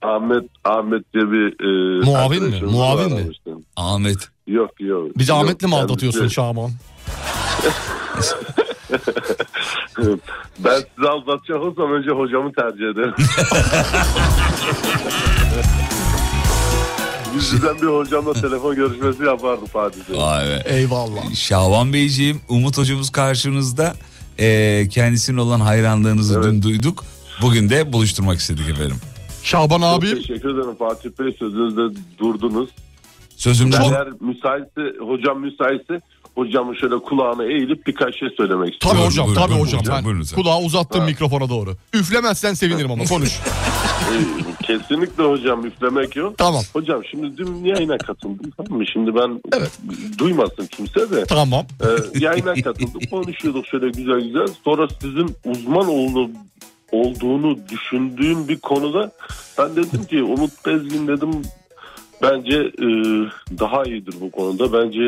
Ahmet Ahmet diye bir e, Muavin mi? arkadaşımız Muavin mi? aramıştı. Ahmet. Yok yok. bizi Yok, Ahmet'le mi kendisi- aldatıyorsun Şaban? Ben sizi aldatacak olsam önce hocamı tercih ederim. Yüzden bir hocamla telefon görüşmesi yapardım Fatih'e. Vay be. Eyvallah. Şaban Beyciğim, Umut hocamız karşınızda. Ee, kendisine olan hayranlığınızı dün duyduk. Bugün de buluşturmak istedik efendim. Şaban Çok abi teşekkür ederim Fatih Bey sözünüzde durdunuz. Sözümden Eğer müsaitse hocam müsaitse hocamın şöyle kulağına eğilip birkaç şey söylemek istiyorum. Tabii Buyurun, hocam, buyurun, tabii buyurun hocam. hocam, Ben buyurun lütfen. kulağı uzattım mikrofona doğru. Üflemezsen sevinirim ama konuş. Ee, Kesinlikle hocam üflemek yok. tamam. Hocam şimdi dün yayına katıldım tamam mı? Şimdi ben duymasın kimse de. Tamam. Ee, yayına katıldık konuşuyorduk şöyle güzel güzel. Sonra sizin uzman olduğu, olduğunu düşündüğüm bir konuda ben dedim ki Umut Bezgin dedim bence e, daha iyidir bu konuda. Bence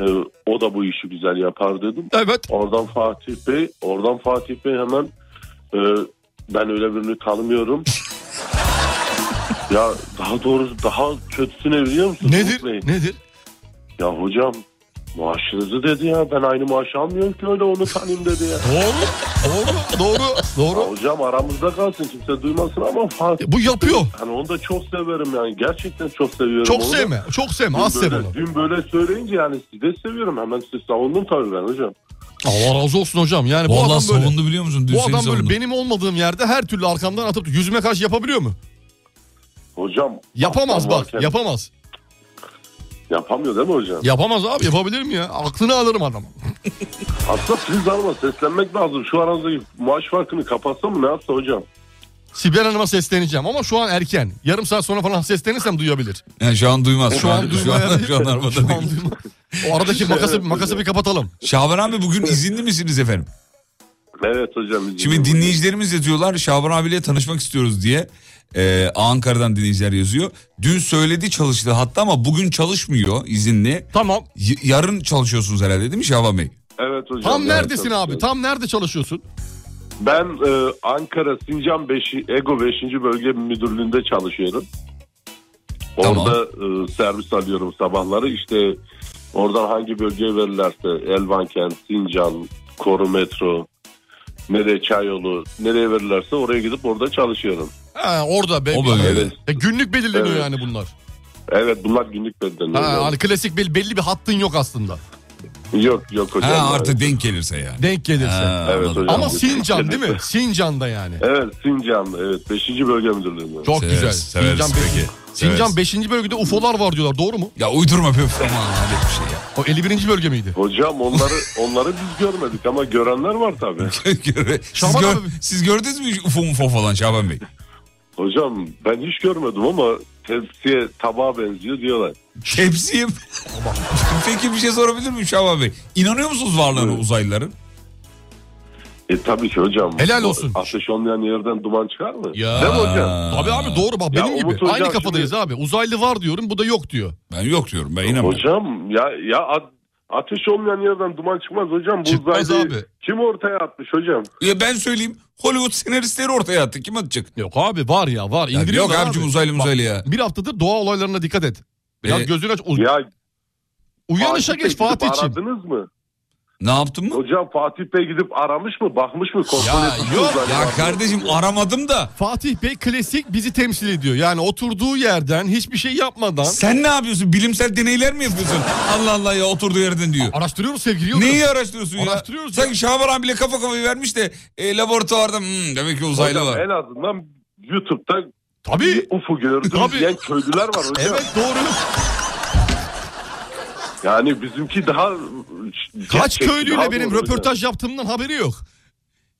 e, o da bu işi güzel yapar dedim. Evet. Oradan Fatih Bey, oradan Fatih Bey hemen e, ben öyle birini tanımıyorum. ya daha doğrusu daha kötüsü ne biliyor musun? Nedir? Umut Bey? Nedir? Ya hocam maaşınızı dedi ya ben aynı maaş almıyorum ki öyle onu tanıyayım dedi ya. Doğru. Doğru. Doğru. Ya Doğru. hocam aramızda kalsın kimse duymasın ama Fatih. Bu yapıyor. Hani onu da çok severim yani gerçekten çok seviyorum Çok onu da. sevme. Çok sevme. Az Dün sev böyle, onu. dün böyle söyleyince yani sizi de seviyorum. Hemen sizi savundum tabii ben hocam. Allah razı olsun hocam. Yani bu Vallahi adam böyle. savundu biliyor musun? Dün Bu seni adam böyle savundu. benim olmadığım yerde her türlü arkamdan atıp yüzüme karşı yapabiliyor mu? Hocam. Yapamaz aklım bak. varken- Yapamaz. Yapamıyor değil mi hocam? Yapamaz abi. Yapabilir mi ya? Aklını alırım adam. Aslında siz alma seslenmek lazım. Şu aranızdaki maaş farkını kapatsa mı ne yapsa hocam? Sibel Hanım'a sesleneceğim ama şu an erken. Yarım saat sonra falan seslenirsem duyabilir. Yani şu an duymaz. Şu an şu an, duymayabilir. şu an arabada Şu an değil. duyma- O aradaki makası, makası bir kapatalım. Şaban abi bugün izinli misiniz efendim? Evet hocam. Şimdi dinleyicilerimiz yazıyorlar Şaban abiyle tanışmak istiyoruz diye. Ee, Ankara'dan dinleyiciler yazıyor. Dün söyledi çalıştı hatta ama bugün çalışmıyor izinli. Tamam. yarın çalışıyorsunuz herhalde değil mi Şaban Bey? Evet hocam. Tam evet, neredesin tabii. abi? Tam nerede çalışıyorsun? Ben e, Ankara Sincan 5. Ego 5. Bölge Müdürlüğü'nde çalışıyorum. Orada e, servis alıyorum sabahları. İşte oradan hangi bölgeye verirlerse Elvan Kent, Sincan, Koru Metro, nereye Çayolu, nereye verirlerse oraya gidip orada çalışıyorum. Ha, orada. Be, O bölgede. E, günlük belirleniyor Evet. yani bunlar. Evet bunlar günlük bedeni. Ha, hani klasik bel- belli bir hattın yok aslında. Yok yok hocam. Ha, artık denk gelirse yani. Denk gelirse. Ha, Evet anladım. hocam. Ama Sincan değil mi? Sincan'da yani. Evet Sincan evet 5. Bölge Müdürlüğü'nde. Çok Severiz, güzel. Şey, severiz Sincan, beş- peki. Sincan Severiz. 5. bölgede UFO'lar var diyorlar. Doğru mu? Ya uydurma be üf, aman öyle bir şey ya. O 51. bölge miydi? Hocam onları onları biz görmedik ama görenler var tabii. siz, Şaban gör- abi. siz gördünüz mü hiç UFO mufo falan Şaban Bey? Hocam ben hiç görmedim ama tepsiye tabağa benziyor diyorlar. Tepsiyim. Peki bir şey sorabilir miyim Şaban Bey? İnanıyor musunuz varlığına uzaylıların? E tabii ki hocam. Helal olsun. Ateş olmayan yerden duman çıkar mı? Ya. Değil mi hocam? Abi abi doğru bak Ya benim gibi. Umut hocam Aynı kafadayız şimdi- abi. Uzaylı var diyorum bu da yok diyor. Ben yok diyorum ben inanmıyorum. Hocam ya ya a- ateş olmayan yerden duman çıkmaz hocam. Bu Çıkmaz uzaydayı abi. Kim ortaya atmış hocam? Ya ben söyleyeyim Hollywood senaristleri ortaya attı kim atacak? Yok abi var ya var. Ya İndiriyorlar yok abi. abicim uzaylı Bak, uzaylı ya. Bir haftadır doğa olaylarına dikkat et. Ya Ee, gözünü aç. U- Ya Uyanışa Fatih Bey geç Fatih'ciğim. Aradınız mı? Ne yaptın mı? Hocam Fatih Bey gidip aramış mı? Bakmış mı? Kontrol Ya etmiş mi yok uzaylı var Ya mı? kardeşim aramadım da Fatih Bey klasik bizi temsil ediyor. Yani oturduğu yerden hiçbir şey yapmadan sen ne yapıyorsun? Bilimsel deneyler mi yapıyorsun? Allah Allah ya oturduğu yerden diyor. araştırıyoruz sevgili Yıldırım. Neyi araştırıyorsun ya? Araştırıyoruz ya. Sanki Şaban abiyle kafa kafaya vermiş de e, laboratuvarda "Hmm, demek ki uzaylı Hocam, var. En azından YouTube'da Tabii. UFO gördüm Tabii. diyen köylüler var hocam. Evet doğru. Yani bizimki daha Kaç köylüyle Daha benim doğru hocam. röportaj yaptığımdan haberi yok.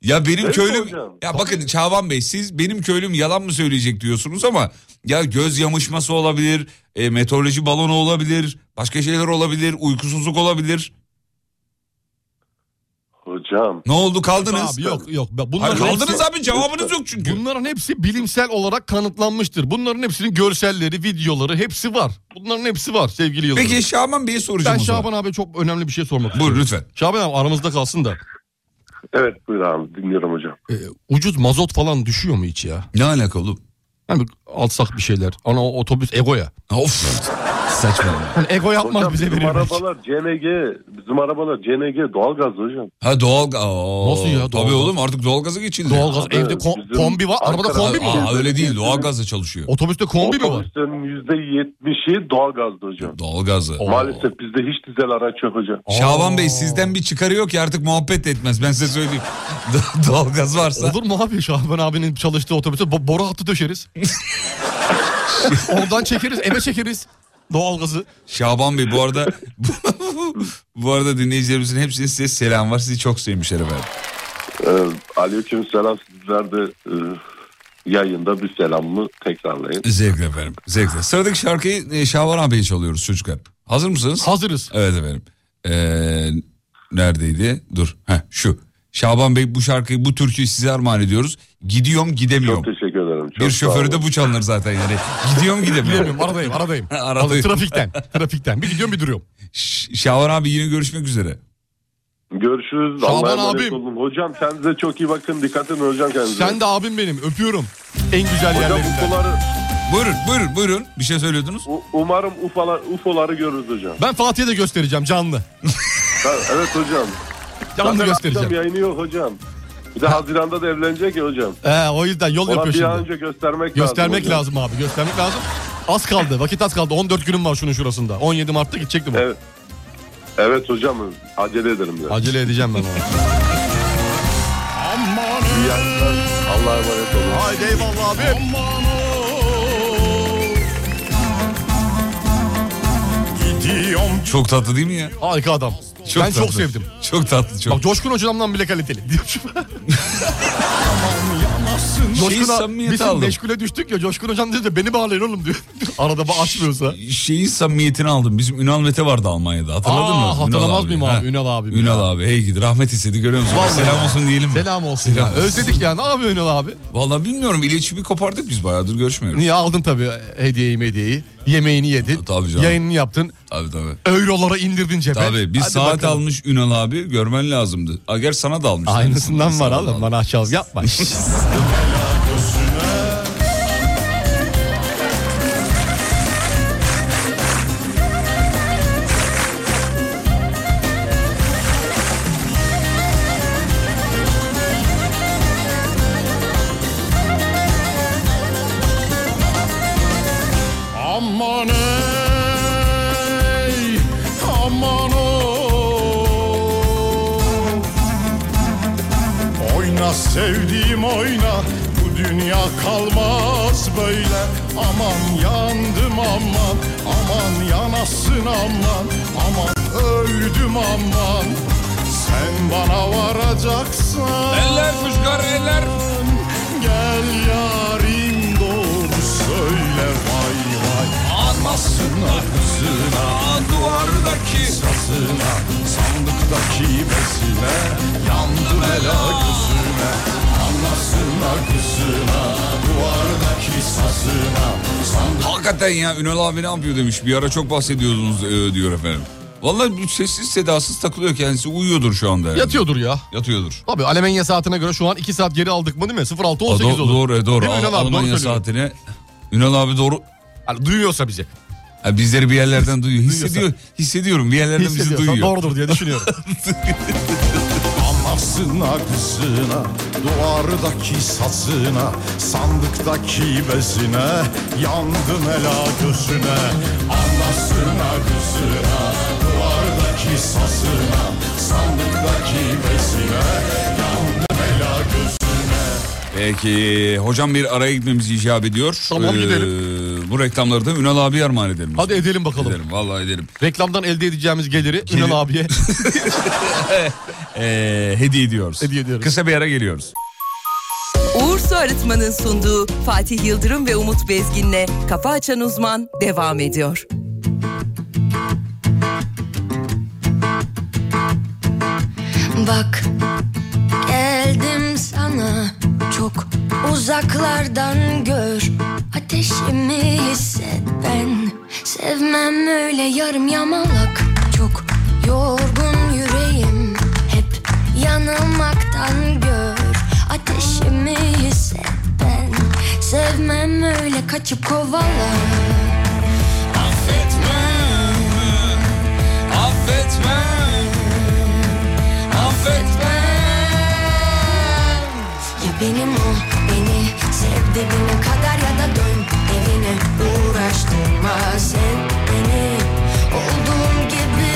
Ya benim Evet köylüm hocam. ya bakın Şaban Bey siz benim köylüm yalan mı söyleyecek diyorsunuz ama ya göz yamışması olabilir, e, meteoroloji balonu olabilir, başka şeyler olabilir, uykusuzluk olabilir. Hocam Ne oldu kaldınız? Abi yok yok. Hayır, Bunlar kaldınız hepsi- abi cevabınız yok çünkü. Bunların hepsi bilimsel olarak kanıtlanmıştır. Bunların hepsinin görselleri, videoları hepsi var. Bunların hepsi var sevgili Yıldırım. Peki Şaban Bey'e soracağım ben o zaman. Şaban abi çok önemli bir şey sormak Buyur istiyorum. lütfen. Şaban abi aramızda kalsın da. evet buyur abi dinliyorum hocam. e, ucuz mazot falan düşüyor mu hiç ya? Ne alaka oğlum? Hani alsak bir şeyler. Ana o otobüs egoya. Of saçmalama. Hani ego yapmaz Hocam, bize bizim verir. belki. arabalar CNG bizim arabalar CNG doğalgaz hocam. Ha doğal Nasıl ya, Tabii doğalgaz? oğlum artık doğalgaza geçildi. Doğalgaz evde Evet, kom- bizim kombi var. Arabada Ankara- kombi mi var? Aa, öyle değil doğalgazla çalışıyor. Otobüste kombi mi var? Otobüslerin %70'i doğalgazdı hocam. Doğalgazla. Maalesef bizde hiç dizel araç yok hocam. Şaban Bey sizden bir çıkarı yok ki artık muhabbet de etmez ben size söyleyeyim. Do- Doğalgaz varsa. Olur mu abi Şaban abinin çalıştığı otobüse bo- boru hattı döşeriz. Oradan çekeriz eve çekeriz. Doğalgazı. Şaban Bey bu arada bu arada dinleyicilerimizin hepsinin size selam var. Sizi çok sevmişler efendim. Ee, aleyküm selam sizler de e, yayında bir selamımı tekrarlayın. Zevkle efendim. Zevkle. Sıradaki şarkıyı e, Şaban abiye çalıyoruz çocuklar. Hazır mısınız? Hazırız. Evet efendim. Ee, neredeydi? Dur. Heh, şu. Şaban Bey bu şarkıyı, bu türküyü size armağan ediyoruz. Gidiyorum gidemiyorum. Çok teşekkür ederim. Çok bir sağ olun. şoförü de bu çalınır zaten yani. Gidiyorum gidemiyorum. Bilemiyorum aradayım aradayım. Aradayım. Aradayım, Trafikten trafikten. Bir gidiyorum bir duruyorum. Ş- Şaban abi yine görüşmek üzere. Görüşürüz. Şaban Allah'a emanet abim. olun. Hocam kendinize çok iyi bakın. Dikkat edin hocam kendinize. Sen de abim benim öpüyorum. En güzel Hocam yerlerinden. UFO'ları, Buyurun buyurun buyurun. Bir şey söylüyordunuz. u- umarım UFO'lar, UFO'ları görürüz hocam. Ben Fatih'e de göstereceğim canlı. Ha, evet hocam. Canlı Zaten akşam göstereceğim. yayını yok hocam. Bir de Haziran'da da evlenecek ya hocam. Ee, o yüzden yol Ona yapıyor bir an şimdi. önce göstermek, Göstermek lazım. lazım abi göstermek lazım. Az kaldı vakit az kaldı 14 günüm var şunun şurasında. 17 Mart'ta gidecektim. o. Evet. hocam. Evet hocam acele ederim. Ya. Acele edeceğim ben ona. İyi akşamlar. Allah'a emanet olun. Haydi eyvallah abi. Çok tatlı değil mi ya? Harika adam. ben tatlı. çok sevdim. Çok tatlı çok. Bak Coşkun hocamdan bile kaliteli. Olsun. Şeyi Coşkun samimiyete biz şey aldım. meşgule düştük ya Coşkun hocam dedi de beni bağlayın oğlum diyor. Arada ba- açmıyorsa. Şeyi samimiyetini aldım. Bizim Ünal Mete vardı Almanya'da. Hatırladın Aa, mı? hatırlamaz mıyım abi, Ünal abi. Ha. Ünal abi. Hey gidi rahmet istedi görüyor musun? Vallahi. Selam olsun diyelim mi? Selam olsun. Selam ya. olsun. Özledik ya ne yapıyor Ünal abi? Vallahi bilmiyorum. İletişimi kopardık biz bayağıdır görüşmüyoruz. Niye aldın tabii hediyeyi hediyeyi. Yemeğini yedin. Tabii canım. Yayınını yaptın. Tabii tabii. Eurolara indirdin cebe. Tabii bir Hadi saat bakalım. almış Ünal abi görmen lazımdı. Ager sana da almış. Aynısından Sana var da oğlum bana aşağı yapma. Aman ey, aman o. Oyna sevdiğim oyna, bu dünya kalmaz böyle. Aman yandım aman, aman yanasın aman, aman öldüm aman. Sen bana varacaksan. Eller fışkar eller. Gel yarim doğru söyle vay vay Anlasınlar kızına Duvardaki sazına Sandıktaki besine Yandım ela gözüne Anlasınlar kızına Duvardaki sazına Sandık Hakikaten ya Ünal abi ne yapıyor demiş. Bir ara çok bahsediyordunuz e, diyor efendim. Vallahi bu sessiz sedasız takılıyor kendisi uyuyordur şu anda. herhalde. Yatıyordur ya. Yatıyordur. Tabii Alemanya saatine göre şu an 2 saat geri aldık mı değil mi? 06 Aa, 18 do- oldu. doğru e, doğru. Değil mi Al- Ünal abi? Doğru Almanya söylüyorum. saatine Ünal abi doğru. duyuyorsa bizi. bizleri bir yerlerden duyuyor. Hissediyor, hissediyorum bir yerlerden bizi Hissediyorsan duyuyor. doğrudur diye düşünüyorum. Anlasınlar kızına Duvardaki sazına Sandıktaki bezine Yandım ela gözüne Anlasınlar kızına Duvardaki sazına Sandıktaki bezine Yandım ela gözüne Peki hocam bir araya gitmemiz icap ediyor. Tamam, gidelim. Bu reklamları da Ünal abiye armağan edelim. Hadi edelim bakalım. Edelim vallahi edelim. Reklamdan elde edeceğimiz geliri Ünal abiye Ee, hediye ediyoruz. hediye ediyoruz. Kısa bir ara geliyoruz. Uğur Su Arıtma'nın sunduğu Fatih Yıldırım ve Umut Bezgin'le Kafa Açan Uzman devam ediyor. Bak geldim sana çok uzaklardan gör Ateşimi hisset ben sevmem öyle yarım yamalak Çok yorgun yüreğim hep yanılmaktan gör Ateşimi hisset ben sevmem öyle kaçıp kovala Affetmem Affetmem affetmem Ya benim o beni sev dibine kadar ya da dön evine uğraştırma sen beni olduğum gibi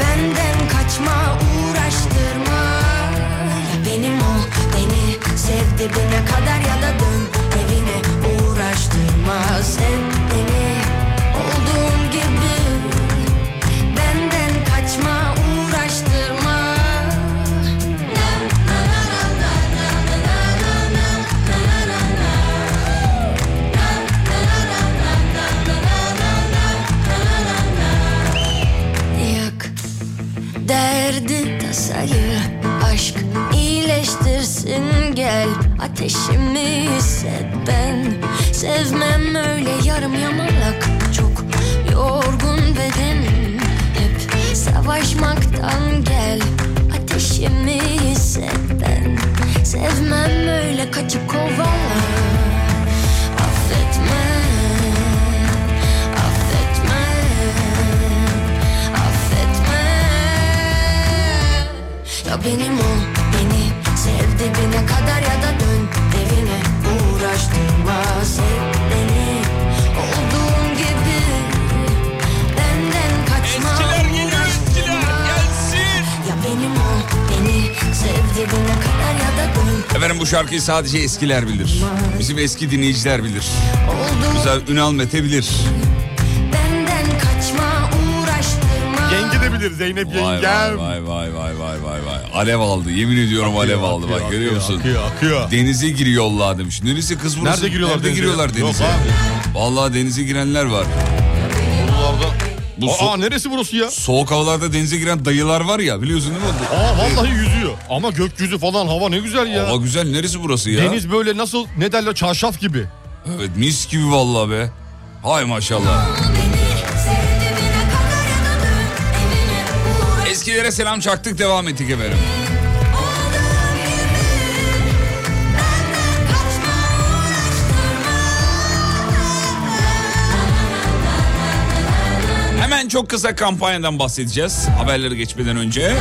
benden kaçma uğraştırma Ya benim o beni sev dibine kadar ya da dön evine uğraştırma sen beni olduğum gibi benden kaçma uğraştırma Yak derdi tasayı Aşk iyileştirsin gel Ateşimi hisset ben Sevmem öyle yarım yamalak Çok yorgun bedenim Hep savaşmaktan gel Ateşimi hisset ben Sevmem öyle kaçıp kovala Affetme Affetme affetmem Ya benim o beni sev dibine kadar ya da dön evine uğraştırma Sev beni olduğum gibi benden kaçma Eskiler geliyor eskiler gelsin Ya benim o beni sev dibine kadar ya da dön Efendim bu şarkıyı sadece eskiler bilir. Bizim eski dinleyiciler bilir. olduğum Mesela Ünal Mete bilir. benden kaçma uğraştırma Yenge de bilir olabilir Zeynep Vay vay yengem. vay vay vay vay vay vay. Alev aldı. Yemin ediyorum alev aldı. Bak akıyor, görüyor musun? akıyor, akıyor. Denize giriyorlar demiş. Neresi kız burası? Nerede giriyorlar Nerede denize? giriyorlar Yok denize? Vallahi denize girenler var. Bu Aa neresi burası ya? Soğuk havalarda denize giren dayılar var ya biliyorsun değil mi? Aa vallahi yüzüyor. Ama gökyüzü falan hava ne güzel ya. Hava güzel neresi burası ya? Deniz böyle nasıl ne derler çarşaf gibi. Evet mis gibi vallahi be. Hay maşallah. Eskilere selam çaktık devam ettik efendim. Hemen çok kısa kampanyadan bahsedeceğiz haberleri geçmeden önce.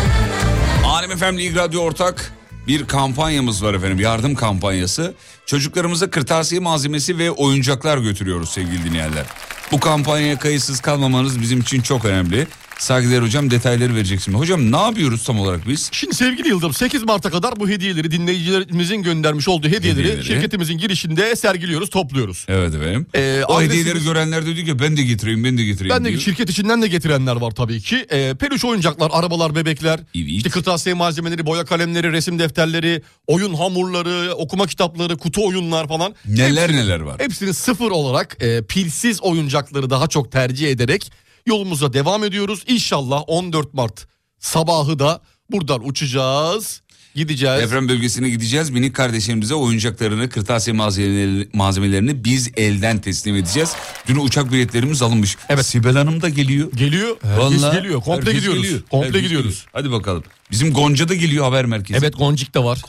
Alem FM Lig Radyo ortak bir kampanyamız var efendim yardım kampanyası. Çocuklarımıza kırtasiye malzemesi ve oyuncaklar götürüyoruz sevgili dinleyenler. Bu kampanyaya kayıtsız kalmamanız bizim için çok önemli. Saygıdeğer hocam detayları verecek şimdi. Hocam ne yapıyoruz tam olarak biz? Şimdi sevgili Yıldırım 8 Mart'a kadar bu hediyeleri dinleyicilerimizin göndermiş olduğu hediyeleri, Hediyeleri. şirketimizin girişinde sergiliyoruz topluyoruz. Evet efendim. Ee, o adresimiz- hediyeleri görenler de diyor ki ben de getireyim ben de getireyim Ben de diyor. şirket içinden de getirenler var tabii ki. Ee, peluş oyuncaklar, arabalar, bebekler, işte kırtasiye malzemeleri, boya kalemleri, resim defterleri, oyun hamurları, okuma kitapları, kutu oyunlar falan. Neler neler var. Hepsini sıfır olarak e, pilsiz oyuncakları daha çok tercih ederek yolumuza devam ediyoruz. İnşallah 14 Mart sabahı da buradan uçacağız, gideceğiz. Deprem bölgesine gideceğiz. Minik kardeşlerimize oyuncaklarını, kırtasiye malzemelerini, malzemelerini biz elden teslim edeceğiz. Dün uçak biletlerimiz alınmış. Evet. Sibel Hanım da geliyor. Geliyor. Herkes geliyor. Komple herkes gidiyoruz. Komple gidiyoruz. geliyor. Hadi bakalım. Bizim Gonca da geliyor haber merkezi. Evet Goncik da var.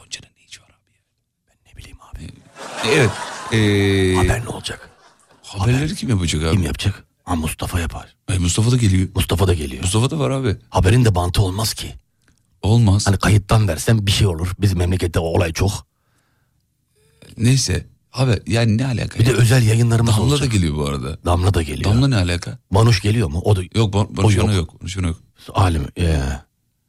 Evet. Ee, Haber ne olacak? Haberleri kim yapacak abi? Kim yapacak? Ha Mustafa yapar. E, Mustafa da geliyor. Mustafa da geliyor. Mustafa da var abi. Haberin de bantı olmaz ki. Olmaz. Hani kayıttan versen bir şey olur. Bizim memlekette o olay çok. Neyse. Haber yani ne alaka? Bir de özel yayınlarımız Damla olacak. da geliyor bu arada. Damla da geliyor. Damla ne alaka? Manuş geliyor mu? O da Yok Ban- Barış Ana yok. Barış Ana yok. Alim. ee,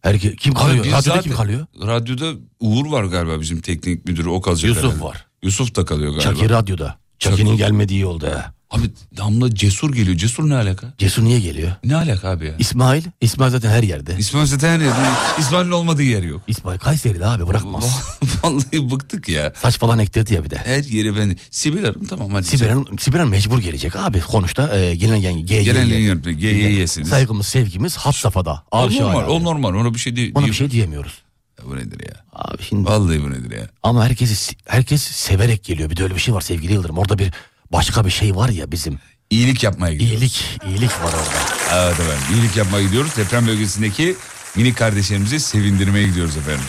herke- kim kalıyor? biz Radyoda zaten- kim kalıyor? Radyoda Uğur var galiba bizim teknik müdürü o kalacak Yusuf herhalde. var. Yusuf da kalıyor galiba. Çaki radyoda. Çaki'nin gelmediği yolda. ha. Abi Damla Cesur geliyor. Cesur ne alaka? Cesur niye geliyor? Ne alaka abi ya? İsmail. İsmail zaten her yerde. İsmail zaten her yerde. İsmail'in olmadığı yer yok. İsmail Kayseri'de abi bırakmaz. Vallahi bıktık ya. Saç falan ektirdi ya bir de. Her yeri ben... Sibel Hanım tamam hadi. Sibel Hanım, Sibel Hanım mecbur gelecek abi. Konuşta e, genel yayın. G- Genel G- yayın yönetmeni, GYY'siniz. Saygımız, sevgimiz had safhada. O Arşa normal, ayağı. o normal. Ona bir şey değil. Ona bir şey diyemiyoruz. Bu nedir ya? Abi şimdi Vallahi bu nedir ya? ama herkesi herkes severek geliyor. Bir de öyle bir şey var sevgili Yıldırım. Orada bir başka bir şey var ya bizim. İyilik yapmaya gidiyoruz. İyilik, iyilik var orada. Evet efendim. İyilik yapmaya gidiyoruz. Deprem bölgesindeki minik kardeşlerimizi sevindirmeye gidiyoruz efendim.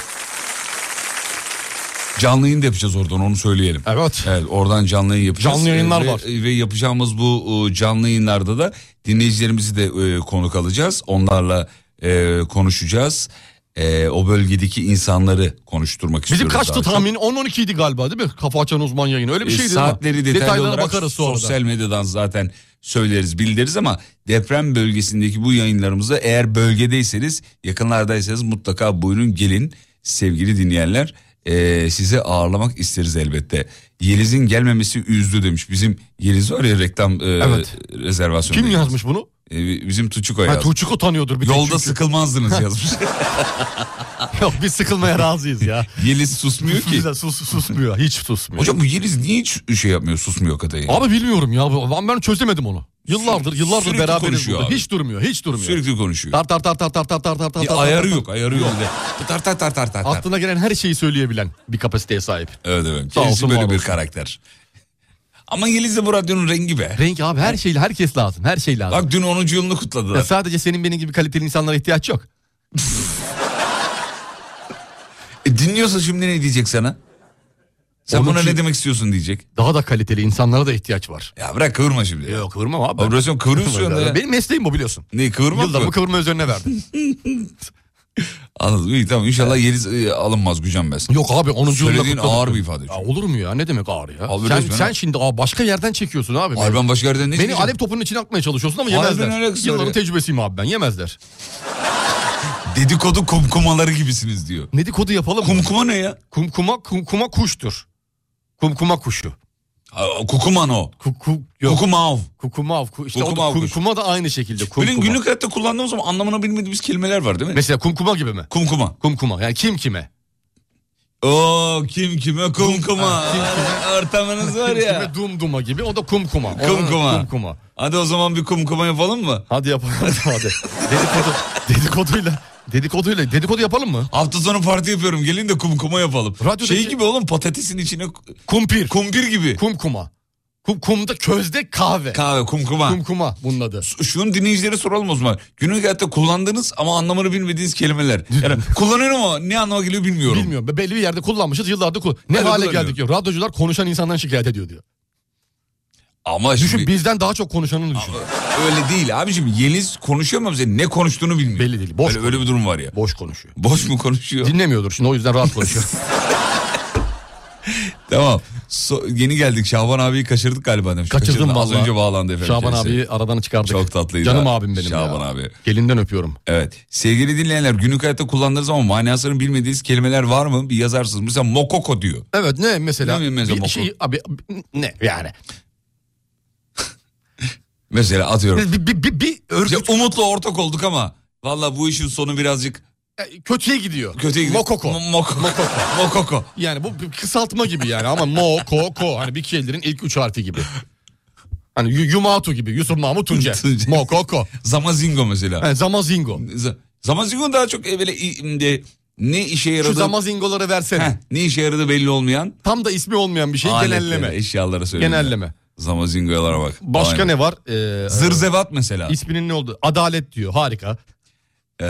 Canlı yayın da yapacağız oradan onu söyleyelim. Evet. Evet oradan canlı yayın yapacağız. Canlı yayınlar Ee, ve, var. Ve yapacağımız bu e, canlı yayınlarda da dinleyicilerimizi de e, konuk alacağız. Onlarla e, konuşacağız. E, o bölgedeki insanları konuşturmak Bizim istiyoruz. kaçtı daha çok. tahmin? 10-12 idi galiba değil mi? Kafa açan uzman yayını. Öyle bir E, şeydi. değil mi? Saatleri detaylı Detaylara olarak bakarız sonra. sosyal medyadan zaten söyleriz bildiririz ama deprem bölgesindeki bu yayınlarımızı eğer bölgedeyseniz yakınlardaysanız mutlaka buyurun gelin sevgili dinleyenler Ee, sizi ağırlamak isteriz elbette. Yeliz'in gelmemesi üzdü demiş bizim Yeliz var ya reklam e, Evet. rezervasyonu. Kim yazmış bunu? Ee, bizim Tuçuko Ha, yazmış. Tuğçuk'u tanıyordur bir tek Yolda çünkü. sıkılmazdınız yazmış. Yok biz sıkılmaya razıyız ya. Yeliz susmuyor ki. Bize sus, susmuyor. Hiç susmuyor. Hocam bu Yeliz niye hiç şey yapmıyor susmuyor kadayı? Abi bilmiyorum ya. Ben, ben çözemedim onu. Yıllardır yıllardır Sürekli beraberiz konuşuyor burada. abi. Hiç durmuyor. Hiç durmuyor. Sürekli konuşuyor. Tar tar tar tar tar tar tar tar tar. Bir tar, ayarı tar, yok ayarı yok. Tar tar tar tar tar. tar. Aklına gelen her şeyi söyleyebilen bir kapasiteye sahip. Evet evet. Sağ olsun, Kendisi var böyle bir olsun. karakter. Ama Yeliz de bu radyonun rengi be. Renk abi her şey herkes lazım. Her şey lazım. Bak dün 10. yılını kutladılar. Ya sadece senin benim gibi kaliteli insanlara ihtiyaç yok. E, dinliyorsa şimdi ne diyecek sana? Sen Onun buna için- ne demek istiyorsun diyecek. Daha da kaliteli insanlara da ihtiyaç var. Ya bırak kıvırma şimdi. Yok kıvırmam abi. Abi resmen kıvırıyorsun ya. Benim mesleğim bu biliyorsun. Ne kıvırma Yıllarımı mı? kıvırma üzerine verdim. Anladım iyi tamam inşallah Yeliz e, alınmaz gücenmez. Yok abi 10. yılında Söylediğin kutladık. ağır bir ifade. Ya olur mu ya ne demek ağır ya? Abi sen, resmen- sen şimdi aa, başka yerden çekiyorsun abi. Abi ben başka yerden ne Beni diyeceğim? alev topunun içine atmaya çalışıyorsun ama Harbiden yemezler. alakası var Yılların ya. tecrübesiyim abi ben yemezler. Dedikodu kumkumaları gibisiniz diyor. Ne dedikodu yapalım? Kumkuma ne ya? Kumkuma kumkuma kuştur. Kumkuma kuşu. Kukumano. Kuku, Kukumav. Kukumav. Ku- işte o da- Kukumav kuş. kumkuma da aynı şekilde. Böyle günlük hayatta kullandığımız zaman anlamını bilmediğimiz kelimeler var değil mi? Mesela kumkuma gibi mi? Kumkuma. Kumkuma. Yani kim kime? Oo kim kime kumkuma. Ortamınız var Kim ya. kime dumduma gibi o da kumkuma. Kumkuma. Kum kuma. Hadi o zaman bir kumkuma yapalım mı? Hadi yapalım hadi. Dedikodu, dedikoduyla dedikoduyla dedikodu yapalım mı? Hafta sonu parti yapıyorum. Gelin de kumkuma yapalım. Radyodaki- Şey gibi oğlum patatesin içine kumpir. Kumpir gibi. Kumkuma. Kum, kumda közde kahve. Kahve kumkuma. Kumkuma bunun adı. Şunu dinleyicilere soralım o zaman. Günlük hayatta kullandığınız ama anlamını bilmediğiniz kelimeler. Yani kullanıyorum ama ne anlama geliyor bilmiyorum. Bilmiyorum. Be- Belli bir yerde kullanmışız yıllardır kullan. Ne Evet, hale kullanıyorum. geldik diyor. Radyocular konuşan insandan şikayet ediyor diyor. Ama Düşün şimdi bizden daha çok konuşanını düşün. öyle değil abicim. Yeliz konuşuyor ama bize ne konuştuğunu bilmiyor. Belli değil. Boş öyle, öyle bir durum var ya. Boş konuşuyor. Boş mu konuşuyor? Dinlemiyordur şimdi o yüzden rahat konuşuyor. Tamam. So- yeni geldik. Şaban abiyi kaçırdık galiba demiş. Kaçırdım Az vallahi. önce bağlandı efendim. Şaban kendisi. abiyi aradan çıkardık. Çok tatlıydı. Canım ha. abim benim Şaban ya. abi. Elinden öpüyorum. Evet. Sevgili dinleyenler günlük hayatta kullandığınız zaman manasını bilmediğiniz kelimeler var mı? Bir yazarsınız. Mesela mokoko diyor. Evet ne mesela? Ne mi mesela bir mokoko? şey, abi, ne yani? Mesela atıyorum. Bir, bir, bir, bir örgüt Ya Umut'la ortak olduk ama valla bu işin sonu birazcık kötüye gidiyor. kötüye gidiyor. Mokoko. Mo- mokoko. Mokoko. Yani bu bir kısaltma gibi yani ama mo, ko, ko. Hani bir kelimenin ilk üç harfi gibi. Hani Yu- Yumatu gibi Yusuf Mahmut Tuncer. Tuncer. mo, ko, ko. Zamazingo mesela. Yani zamazingo. Z- Zamazingo daha çok e, böyle i- e, ne işe Şu yaradı? zamazingoları versene. Heh, ne işe yaradı belli olmayan Tam da ismi olmayan bir şey aletlere, genelleme. eşyalara söyle. Genelleme. Zamazingo'lara bak. Başka Aynen. ne var? Ee, Zırzevat mesela. İsminin ne oldu? Adalet diyor. Harika. Ee,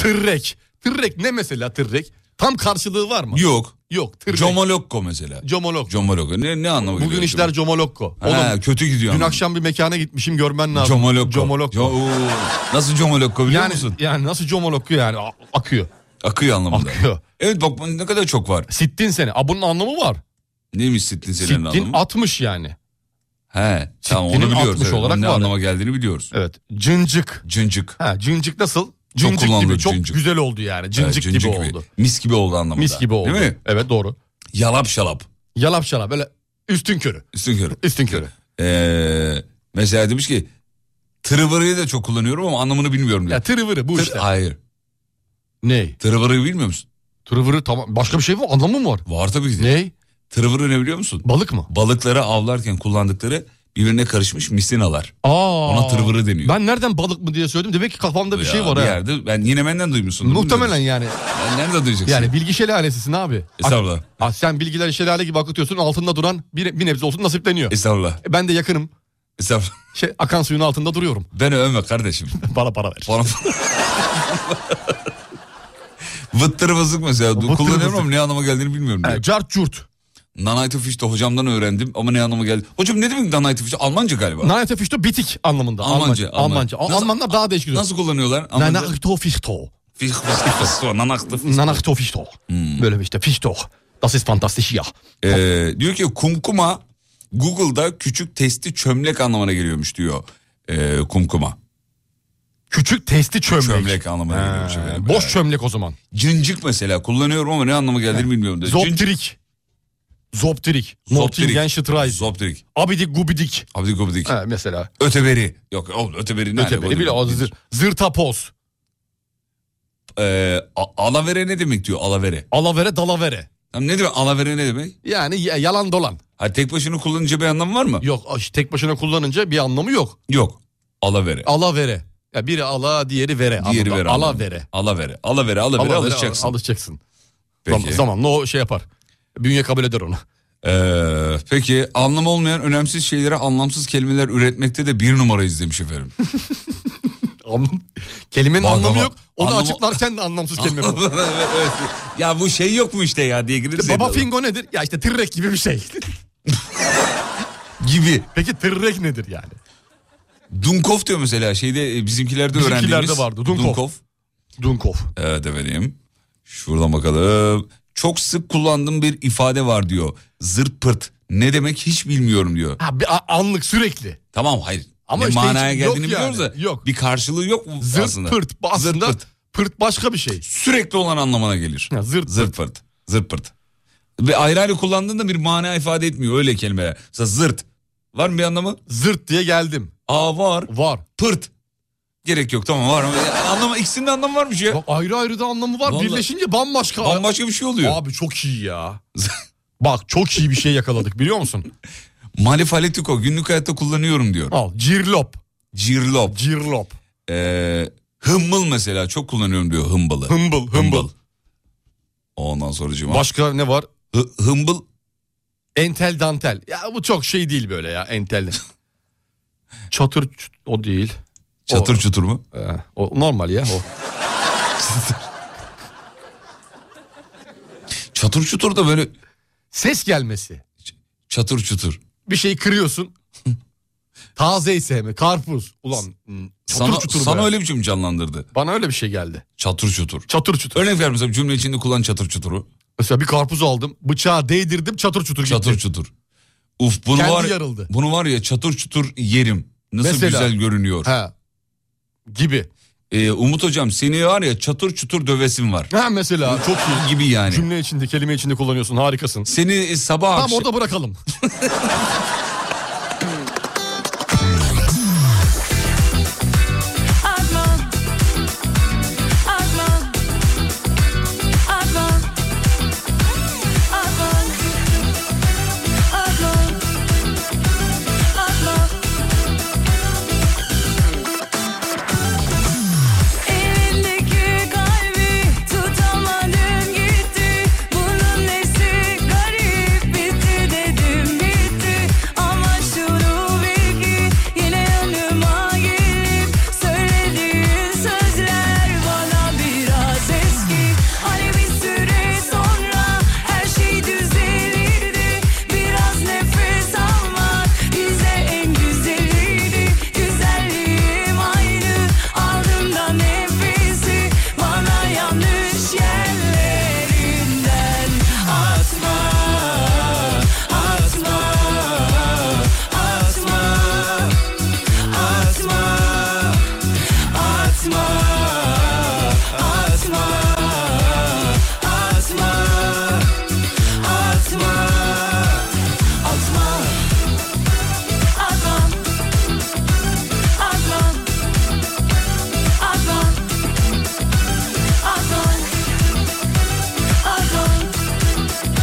Tırrek. Tırrek ne mesela tırrek? Tam karşılığı var mı? yok. Yok tırrek. Comolokko mesela. Comolok. Comolokko. Ne, ne anlamı Bugün geliyor işler comolokko. acaba? Ha, kötü gidiyor. Dün ama. akşam bir mekana gitmişim görmen lazım. Comolokko. Comolokko. Co- Oo. Nasıl comolokko biliyor yani, musun? yani nasıl comolokko yani A- akıyor. Akıyor anlamında. Akıyor. Evet bak ne kadar çok var. Sittin seni. A bunun anlamı var. Neymiş sittin senin Sittin anlamı? 60 yani. He tamam onu sittinin biliyoruz. 60 evet. Onun olarak ne var. anlama geldiğini biliyoruz. Evet. Cıncık. Cıncık. Ha cıncık nasıl? Cıncık gibi kullanılır çok cıncık. güzel oldu yani. Evet, Cıncık, gibi, oldu. Mis gibi oldu anlamında. Mis gibi oldu. Değil mi? Evet doğru. Yalap şalap. Yalap şalap böyle üstün körü. Üstün körü. Üstün körü. Ee, mesela demiş ki tırıvırıyı da çok kullanıyorum ama anlamını bilmiyorum. Ya diyor. tırıvırı bu Tır- işte. Hayır. Ney? Tırıvırıyı bilmiyor musun? Tırıvırı tamam. Başka bir şey mi? Anlamı mı var? Var tabii ki. de. Ney? Tırıvırı ne biliyor musun? Balık mı? Balıkları avlarken kullandıkları birbirine karışmış misinalar. Aa. Ona tırvırı deniyor. Ben nereden balık mı diye söyledim. Demek ki kafamda bir Ya, şey var bir ha. yerde ben yine benden duymuşsundur. Muhtemelen bilmiyorum. yani. Ben nerede duyacaksın? Yani bilgi şelalesisin abi. Estağfurullah. Ah, sen bilgiler şelale gibi akıtıyorsun. Altında duran bir, bir nebze olsun nasipleniyor. Estağfurullah. E, ben de yakınım. Estağfurullah. Şey, akan suyun altında duruyorum. Beni övme kardeşim. Bana para ver. Bana... Vıttır vızık mesela. Vıttır Kullanıyorum vızık. ama ne anlama geldiğini bilmiyorum diyor. E, cart curt. Nanay Tüfüş'te hocamdan öğrendim ama ne anlama geldi. Hocam ne demek Nanay Tüfüş? Almanca galiba. Nanetefişto bitik anlamında. Almanca, Alman- Almanca. Almanca. Al- Nasıl- Almanlar daha değişik. Nasıl kullanıyorlar? Almanca? Nanetefişto. Fiş- fiş- fiş- nanak tüfüş. Nanetefişto. Hmm. Böyle bir işte. Fişto. Das ist fantastisch ya. Ee, diyor ki kumkuma Google'da küçük testi çömlek anlamına geliyormuş diyor. Ee, kumkuma. Küçük testi çömlek. Çömlek anlamına Ha, geliyormuş. efendim. boş çömlek o zaman. Cincik mesela kullanıyorum ama ne anlama geldiğini bilmiyorum. diyor. Cincik- Zoptrik. Zoptrik. Mortingenstreich. Zoptrik. Abidik gubidik. Abdik gubidik. Ha, mesela. Öteberi. Yok oğlum öteberi ne? alaka? Öteberi bile o zır, zırtapoz. Ee, a- alavere ne demek diyor alavere. Alavere dalavere. Tam ne demek alavere ne demek? Yani y- yalan dolan. Ha, tek başına kullanınca bir anlamı var mı? Yok aş- tek başına kullanınca bir anlamı yok. Yok. Alavere. Alavere. Ya biri ala diğeri vere. Diğeri ver. anlamı. Alavere. Alavere. Alavere. Alavere Alavere, alışacaksın. al- Alışacaksın. Peki. Zam- zamanla o şey yapar. Bünye kabul eder onu. Ee, peki anlam olmayan önemsiz şeylere anlamsız kelimeler üretmekte de bir numarayız demiş efendim. Anlam- Kelimenin Bak anlamı ama- yok. Onu anlamı- açıklarken de anlamsız kelime bu. Evet, evet. ya bu şey yok mu işte ya diye girirse. Baba fingo nedir? Ya işte tırrek gibi bir şey. gibi. Peki tırrek nedir yani? Dunkov diyor mesela şeyde e, bizimkilerde Bizimkilerde öğrendiğimiz. vardı, Dunkov. Dunkov. Evet efendim. Şuradan bakalım. Çok sık kullandığım bir ifade var diyor. Zırt pırt. Ne demek hiç bilmiyorum diyor. Ha, bir a- anlık sürekli. Tamam hayır. Ama Ama işte manaya hiç- yok geldiğini yani, biliyoruz da. yok. Bir karşılığı yok mu Zırt aslında? pırt. Aslında Zırt pırt. başka bir şey. Sürekli olan anlamına gelir. Ha, zırt pırt. Zırt pırt. Zırt pırt. Ve ayrı ayrı kullandığında bir mana ifade etmiyor öyle kelimeler. Mesela zırt. Var mı bir anlamı? Zırt diye geldim. Aa var. Var. Pırt. Gerek yok tamam var. Anlamı, ikisinin de anlamı varmış ya. Ayrı ayrı da anlamı var. Vallahi. Birleşince bambaşka. Bambaşka bir şey oluyor. Abi çok iyi ya. Bak çok iyi bir şey yakaladık biliyor musun? Malefalitiko günlük hayatta kullanıyorum diyor. Al cirlop. Cirlop. Cirlop. Ee, hımbıl mesela çok kullanıyorum diyor hımbalı. Hımbıl, hımbıl. Ondan sonra cuma. Başka ne var? hımbıl. Entel dantel. Ya bu çok şey değil böyle ya entel. Çatır çut- o değil. Çatır çutur mu? o normal ya o. çatır çutur da böyle ses gelmesi. Çatır çutur. Bir şey kırıyorsun. Taze ise mi? Karpuz. Ulan hmm, çatır sana, çutur sana be. öyle bir şey mi canlandırdı? Bana öyle bir şey geldi. Çatır çutur. Çatır çutur. Örnek ver mesela cümle içinde kullan çatır çuturu. Mesela bir karpuz aldım. Bıçağa değdirdim çatır çutur gitti. Çatır çutur. Uf bunu Kendi var yarıldı. Bunu var ya çatır çutur yerim. Nasıl Mesela. güzel görünüyor. Ee, Ha. Gibi. Umut hocam seni var ya çatır çutur dövesim var. Ha mesela çok iyi. Gibi yani. Cümle içinde kelime içinde kullanıyorsun harikasın. Seni e, sabah Tamam akşam- orada bırakalım. Arman Arman Arman Arman Arman Arman Evindeki kalbi tutamadım gitti Bunun nesi garip bitti dedim bitti Ama şunu bil ki yine yanıma gelip Söylediğin sözler bana biraz eski Hani bir süre sonra her şey düzelirdi Biraz nefes almak bize en güzeliydi Güzelliğim aynı alnımda nefesi Bana yanlış yerlerinden atma Atma, atma, atma, atma, atma, atma, atma, atma, atma. Atlan Atlan Atlan Atlan Atlan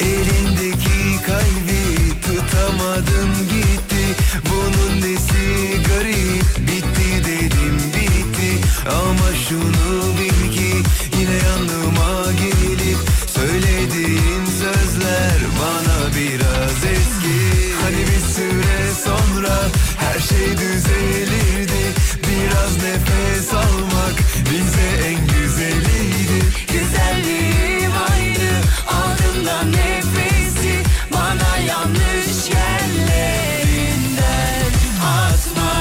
Elindeki kalbi tutamadım gitti Bunun nesi garip bitti dedim bitti Ama şunu bil ki yine yanıma gelip Söylediğin sözler bana biraz eski Hani bir süre sonra her şey düzelirdi Biraz nefes almak bize en güzeliydi Güzelliğim aynı Alnımdan nefesi Bana yanlış yerlerinden Atma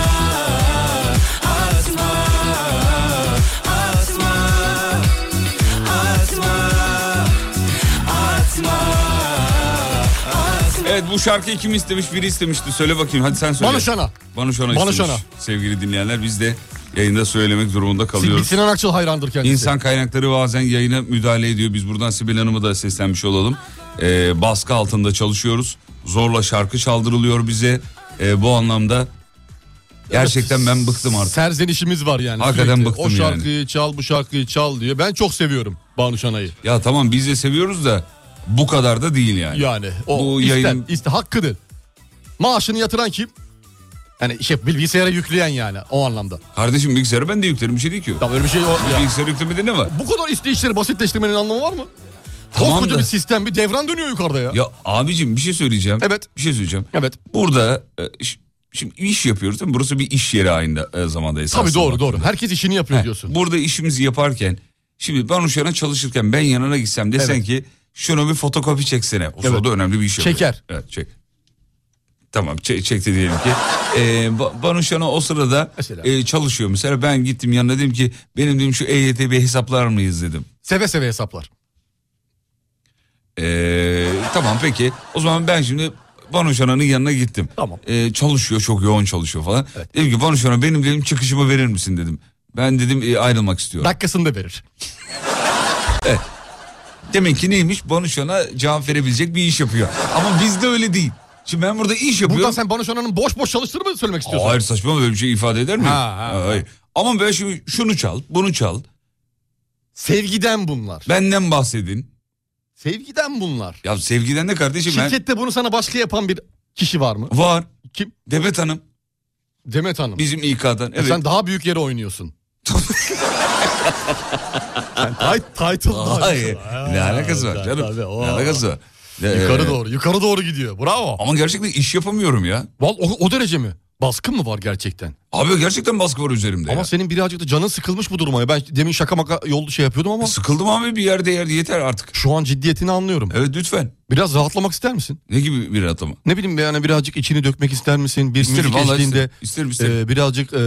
Atma Atma Atma Atma Evet bu şarkıyı kim istemiş biri istemişti söyle bakayım hadi sen söyle. Banu Şana. Banu Şana Banu istemiş. Şana. Sevgili dinleyenler biz de yayında söylemek durumunda Bir kalıyoruz. Sinan Akçıl hayrandır kendisi. İnsan kaynakları bazen yayına müdahale ediyor. Biz buradan Sibel Hanım'a da seslenmiş olalım. Ee, baskı altında çalışıyoruz. Zorla şarkı çaldırılıyor bize. Ee, bu anlamda gerçekten ben bıktım artık. Serzenişimiz var yani. Hakikaten sürekli. bıktım O şarkıyı çal bu şarkıyı çal diye. Ben çok seviyorum Banu Şanay'ı. Ya tamam biz de seviyoruz da bu kadar da değil yani. Yani o bu ister, yayın ister hakkıdır. Maaşını yatıran kim? Yani şey bilgisayara yükleyen yani o anlamda. Kardeşim bilgisayarı ben de yüklerim bir şey değil ki. Tamam öyle bir şey yok ya. Bilgisayarı yüklemede ne var? Bu kadar isteyişleri basitleştirmenin anlamı var mı? Tamam Koskoca da- bir sistem bir devran dönüyor yukarıda ya. Ya abicim bir şey söyleyeceğim. Evet. Bir şey söyleyeceğim. Evet. Burada e, ş- şimdi iş yapıyoruz değil mi? Burası bir iş yeri aynı e, zamanda esasında. Tabii doğru doğru. Herkes işini yapıyor Heh, diyorsun. Burada işimizi yaparken şimdi ben uşağına çalışırken ben yanına gitsem desen Evet. ki şunu bir fotokopi çeksene. O sırada önemli bir iş yapıyor. Çeker. Evet çek. Tamam çe- çekti diyelim ki. Ee, Ba- Banu Şen'e o sırada e, çalışıyor mesela. Ben gittim yanına dedim ki benim dedim şu EYT bir hesaplar mıyız dedim. Seve seve hesaplar. Ee, tamam peki. O zaman ben şimdi Banu Şen'in yanına Ee, gittim. Tamam. çalışıyor çok yoğun çalışıyor falan. Dedim ki Banu Şen'e benim dedim çıkışımı verir misin dedim. Ben dedim e, ayrılmak istiyorum. Dakikasını da verir. Evet. Demek ki neymiş? Banuşon'a cevap verebilecek bir iş yapıyor. Ama bizde öyle değil. Şimdi ben burada iş yapıyorum. Buradan sen bana şu ananın boş boş çalıştığını mı söylemek istiyorsun? Hayır saçma böyle bir şey ifade eder mi? Ha, ha, ha. Hayır. Ama ben şimdi şunu çal, bunu çal. Sevgiden bunlar. Benden bahsedin. Sevgiden bunlar. Ya sevgiden de kardeşim ben- Şirkette bunu sana başka yapan bir kişi var mı? Var. Kim? Demet Hanım. Demet Hanım. E Bizim İK'dan. Evet. Sen daha büyük yere oynuyorsun. sen tight, title daha- Hayır. Ne Ha, alakası var tabii, canım? tabii, o. ne alakası var? Ne- Yukarı doğru, yukarı doğru gidiyor. Bravo. Ama gerçekten iş yapamıyorum ya. Val, o, o derece mi? Baskın mı var gerçekten? Abi gerçekten baskı var üzerimde. Ama ya. senin birazcık da canın sıkılmış bu duruma. ya. Ben demin şaka maka yolda şey yapıyordum ama. E, Sıkıldım abi bir yerde yerde yeter artık. Şu an ciddiyetini anlıyorum. Evet lütfen. Biraz rahatlamak ister misin? Ne gibi bir atama? Ne bileyim yani birazcık içini dökmek ister misin? Bir İsterim, müzik vallahi eşliğinde isterim, isterim, isterim. e, birazcık e,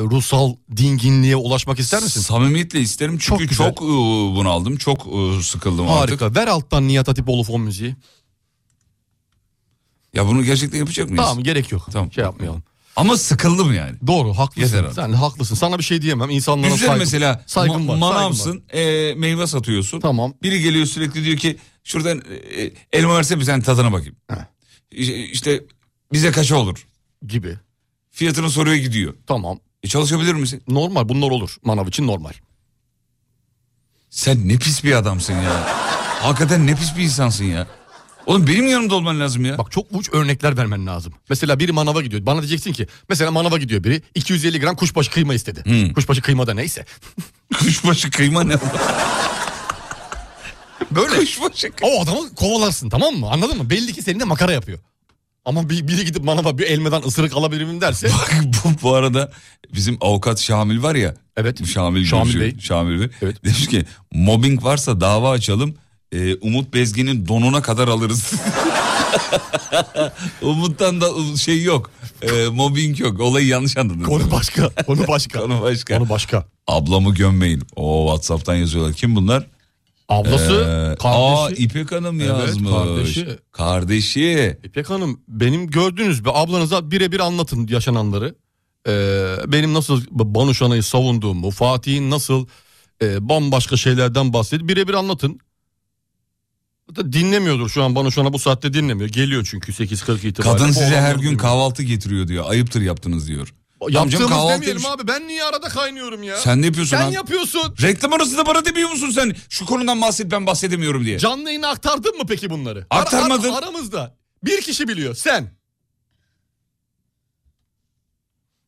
ruhsal dinginliğe ulaşmak ister misin? Samimiyetle isterim çünkü çok, çok ıı, bunaldım. Çok ıı, sıkıldım artık. Harika. Ver alttan Nihat Hatipoğlu fon müziği. Ya bunu gerçekten yapacak mıyız? Tamam gerek yok. Tamam. Şey yapmayalım. Ama sıkıldım yani. Doğru haklısın. Yeter artık. Sen haklısın. Sana bir şey diyemem. İnsanlara Güzel saygım, mesela saygım ma- var. saygım var. manavsın e, meyve satıyorsun. Tamam. Biri geliyor sürekli diyor ki şuradan e, elma versene bir tane tadına bakayım. İşte, işte bize kaça olur? Gibi. Fiyatını soruyor gidiyor. Tamam. E, çalışabilir misin? Normal bunlar olur. Manav için normal. Sen ne pis bir adamsın ya. Hakikaten ne pis bir insansın ya. Oğlum benim yanımda olman lazım ya. Bak çok uç örnekler vermen lazım. Mesela biri manava gidiyor. Bana diyeceksin ki mesela manava gidiyor biri 250 gram kuşbaşı kıyma istedi. Kuşbaşı kıyma da neyse. Hmm. Kuşbaşı kıyma ne? Böyle. Kuşbaşı O adamı kovalarsın tamam mı? Anladın mı? Belli ki seninle makara yapıyor. Ama bir- biri gidip manava bir elmeden ısırık alabilir miyim derse. Bak bu, bu arada bizim avukat Şamil var ya. Evet. Şamil, Şamil Gümüşü- Bey. Şamil Bey. Demiş ki mobbing varsa dava açalım. e, Umut Bezgin'in donuna kadar alırız. Umut'tan da şey yok. E, mobbing yok. Olayı yanlış anladınız. Konu başka. Konu başka. Konu başka. Konu başka. Ablamı gömmeyin. O WhatsApp'tan yazıyorlar. Kim bunlar? E, Ablası, Ee, Aa kardeşi. İpek Hanım Evet, yazmış. kardeşi. Kardeşi. İpek Hanım benim gördüğünüz bir ablanıza birebir anlatın yaşananları. Ee, benim nasıl Banuş Ana'yı savunduğumu, Fatih'in nasıl e, bambaşka şeylerden bahsedip birebir anlatın. Hatta dinlemiyordur şu an Banuş Ana bu saatte dinlemiyor. Geliyor çünkü 8.40 itibariyle. Kadın size Oğlanlar her gün dinliyor. kahvaltı getiriyor diyor. Ayıptır yaptınız diyor. Yaptığımız kahvaltı demeyelim abi ben niye arada kaynıyorum ya? Sen ne yapıyorsun Sen abi? yapıyorsun. Reklam arasında bana demiyor musun sen? Şu konudan bahset ben bahsedemiyorum diye. Canlı yayına aktardın mı peki bunları? Aktarmadım. Ara- ara- aramızda bir kişi biliyor sen.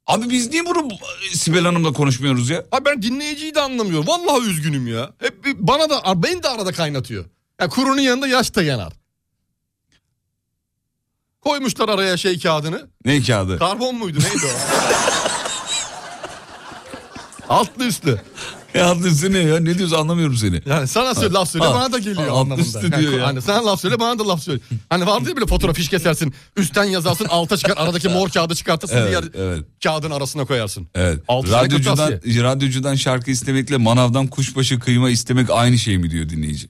Abi biz niye bunu e, Sibel Hanım'la konuşmuyoruz ya? Ha ben dinleyiciyi de anlamıyorum. Vallahi üzgünüm ya. Hep bir- bana da beni de arada kaynatıyor. Ya kurunun yanında yaş da yanar. Koymuşlar araya şey kağıdını. Ne kağıdı? Karbon muydu neydi o? Altlı üstlü. Ya adresi E, ne ya? Ne diyorsun anlamıyorum seni. Yani sana söyle, Ha, laf söyle ha, bana da geliyor ha, anlamında. Altlı üstü diyor Yani ya. Hani sen laf söyle bana da laf söyle. Hani vardı ya böyle fotoğraf iş kesersin. Üstten yazarsın alta çıkar aradaki mor kağıdı çıkartırsın Evet, diğer evet. kağıdın arasına koyarsın. Evet. Altı tane radyocudan, kırtasiye. radyocudan şarkı istemekle manavdan kuşbaşı kıyma istemek aynı şey mi diyor dinleyici?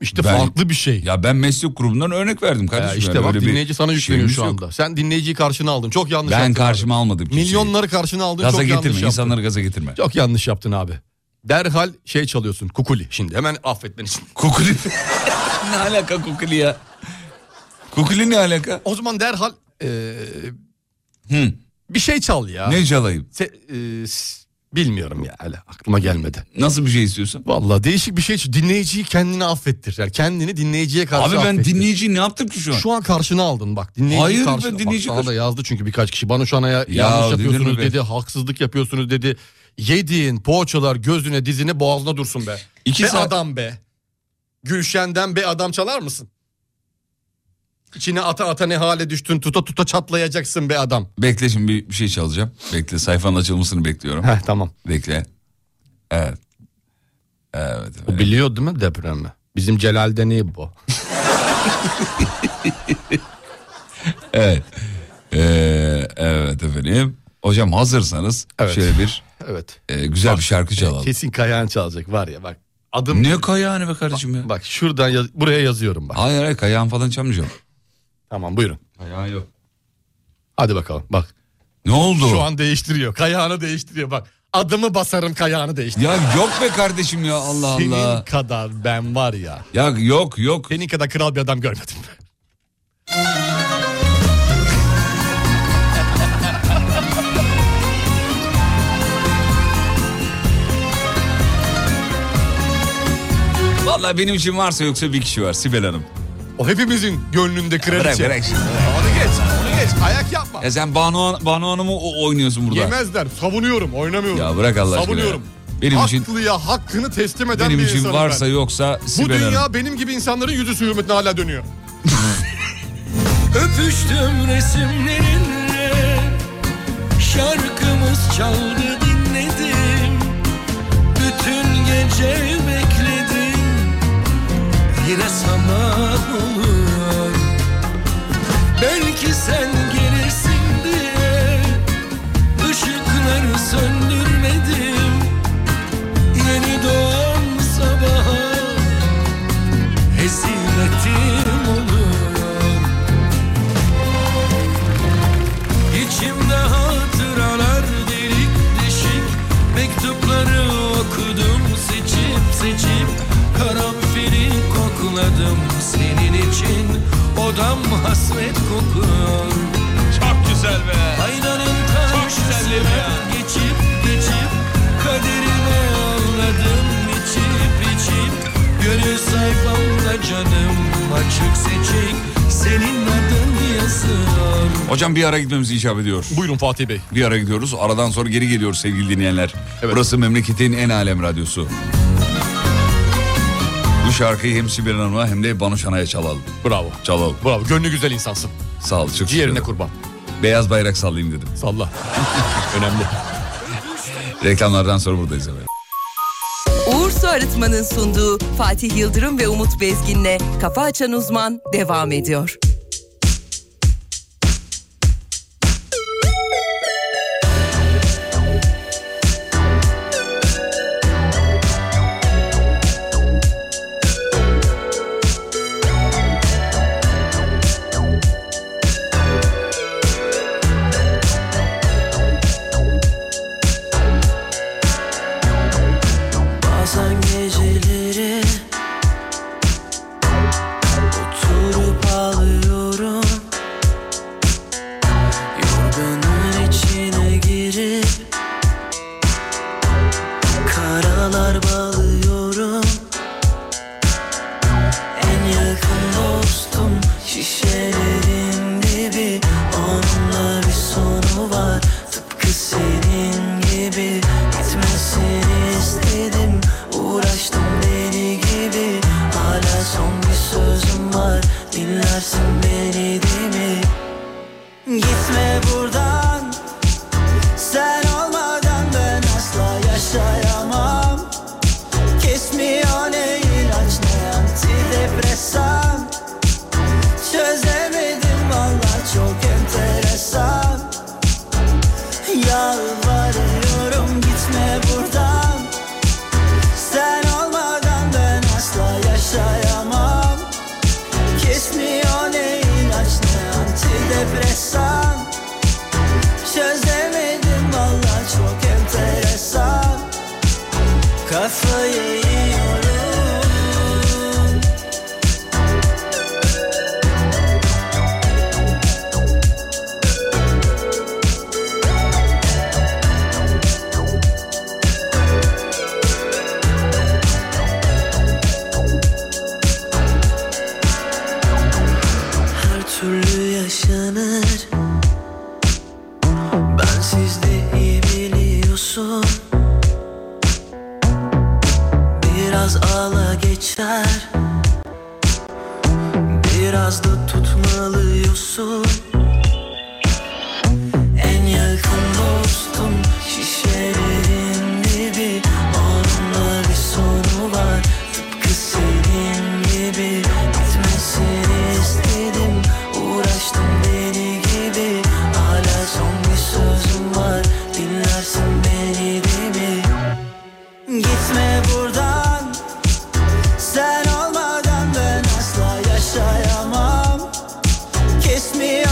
İşte farklı bir şey. Ya ben meslek grubundan örnek verdim kardeşim. Ya işte Yani bak öyle bir dinleyici sana yükleniyor şeyimiz şu yok. anda. Sen dinleyiciyi karşına aldın. Çok yanlış Ben yaptın. karşıma almadım kimseyi. Milyonları karşına aldın. Gaza çok getirme yanlış yaptın. insanları gaza getirme. Çok yanlış yaptın abi. Derhal şey çalıyorsun kukuli. Şimdi hemen affet beni. Kukuli. ne alaka kukuli ya? Kukuli ne alaka? O zaman derhal eee, bir şey çal ya. Ne çalayım? Se- eee, s- bilmiyorum ya hala aklıma gelmedi. Nasıl bir şey istiyorsun? Vallahi değişik bir şey. çal- Dinleyiciyi kendini affettir. Yani kendini dinleyiciye karşı Abi ben affettir. dinleyiciyi ne yaptım ki şu an? Şu an karşına aldın bak. Dinleyici Hayır, ben karşına. Bak, dinleyici sana karşı- da yazdı çünkü birkaç kişi. Bana şu an ya, Ya, yanlış dinlerim yapıyorsunuz be. dedi. Haksızlık yapıyorsunuz dedi. Yediğin poğaçalar gözüne dizine boğazına dursun be. İki be saat- adam be. Gülşen'den be adam çalar mısın? İçine ata ata ne hale düştün tuta tuta çatlayacaksın be adam. Bekle şimdi bir, bir şey çalacağım. Bekle sayfanın açılmasını bekliyorum. Heh tamam. Bekle. Evet. Evet. O biliyor değil mi depremi? Bizim Celal'de ne bu? Evet. Ee, evet efendim. Hocam hazırsanız Evet. şöyle bir Evet. e, güzel bir şarkı çalalım. Kesin Kayahan çalacak var ya bak. Adım Ne Kayahan'ı be kardeşim ya? Bak, bak şuradan yaz- buraya yazıyorum bak. Hayır hayır Kayahan falan çalmayacağım. Tamam buyurun. Kayahan yok. Hadi bakalım bak. Ne oldu? Şu an değiştiriyor. Kayağını değiştiriyor bak. Adımı basarım kayağını değiştir. Ya yok be kardeşim ya Allah Allah. Senin kadar ben var ya. Ya yok yok. Senin kadar kral bir adam görmedim. Vallahi benim için varsa yoksa bir kişi var Sibel Hanım. O hepimizin gönlünde kraliçe. Bırak bırak şimdi. Onu geç onu geç ayak yapma. Ya sen Banu, Banu Hanım'ı o- oynuyorsun burada. Yemezler savunuyorum oynamıyorum. Ya bırak Allah aşkına Savunuyorum. ya. Benim için- Haklıya hakkını teslim eden Benim bir için insanım varsa ben. yoksa Bu Sibel dünya Hanım. benim gibi insanların yüzü suyu hürmetine hala dönüyor. Öpüştüm resimlerinle Şarkımız çaldı dinledim Bütün gece bekledim Yine sana oluyor Belki sen gelirsin diye Işıkları söndürmedim Yeni doğan sabaha Hesimetim oluyor İçimde hatıralar delik deşik Mektupları okudum seçip seçip Karanfili kokladım senin için Odam hasret kokuyor Çok güzel be Aynanın karşısına geçip geçip Kaderime ağladım içip içip Gönül sayfamda canım açık seçik Senin adın yazıyor Hocam bir ara gitmemiz icap ediyor. Buyurun Fatih Bey. Bir ara gidiyoruz. Aradan sonra geri geliyoruz sevgili dinleyenler. Burası memleketin en alem radyosu. Bu şarkıyı hem Sibel Hanım'a hem de Banu Şanay'a çalalım. Bravo. Çalalım. Bravo. Gönlü güzel insansın. Sağ ol. Çok Ciğerine şükür. kurban. Beyaz bayrak sallayayım dedim. Salla. Önemli. Reklamlardan sonra buradayız efendim. Uğur Su Arıtma'nın sunduğu Fatih Yıldırım ve Umut Bezgin'le Kafa Açan Uzman devam ediyor. Bazen geceleri Oturup ağlıyorum Yorganın içine girip Karalar bağlıyorum En yakın dostum Şişelerin dibi Onunla bir sonu var Tıpkı senin gibi Gitmesini istedim Uğraştım deli gibi Hala son bir sözüm var Dinlersin beni değil mi? Gitme buradan Sen olmadan ben asla yaşayamam Kesmiyor ne ilaç ne antidepresan Çözemedim valla çok enteresan Yalvarıyorum gitme buradan Sen olmadan ben asla yaşayamam Kesmiyor ne ilaç ne antidepresan Çözemedim valla çok enteresan Kafayı yiyorum Her türlü yaşanır Ben sizde iyi biliyorsun Biraz ağla geçer Biraz da tutmalıyorsun En yakın dostum Şişelerin dibi Onunla bir sonu var Tıpkı senin gibi Bitmesini istedim Uğraştım deli gibi Hala son bir sözüm var Dinlersin beni değil mi? Gitme buradan Sen olmadan ben asla yaşayamam Kesmiyor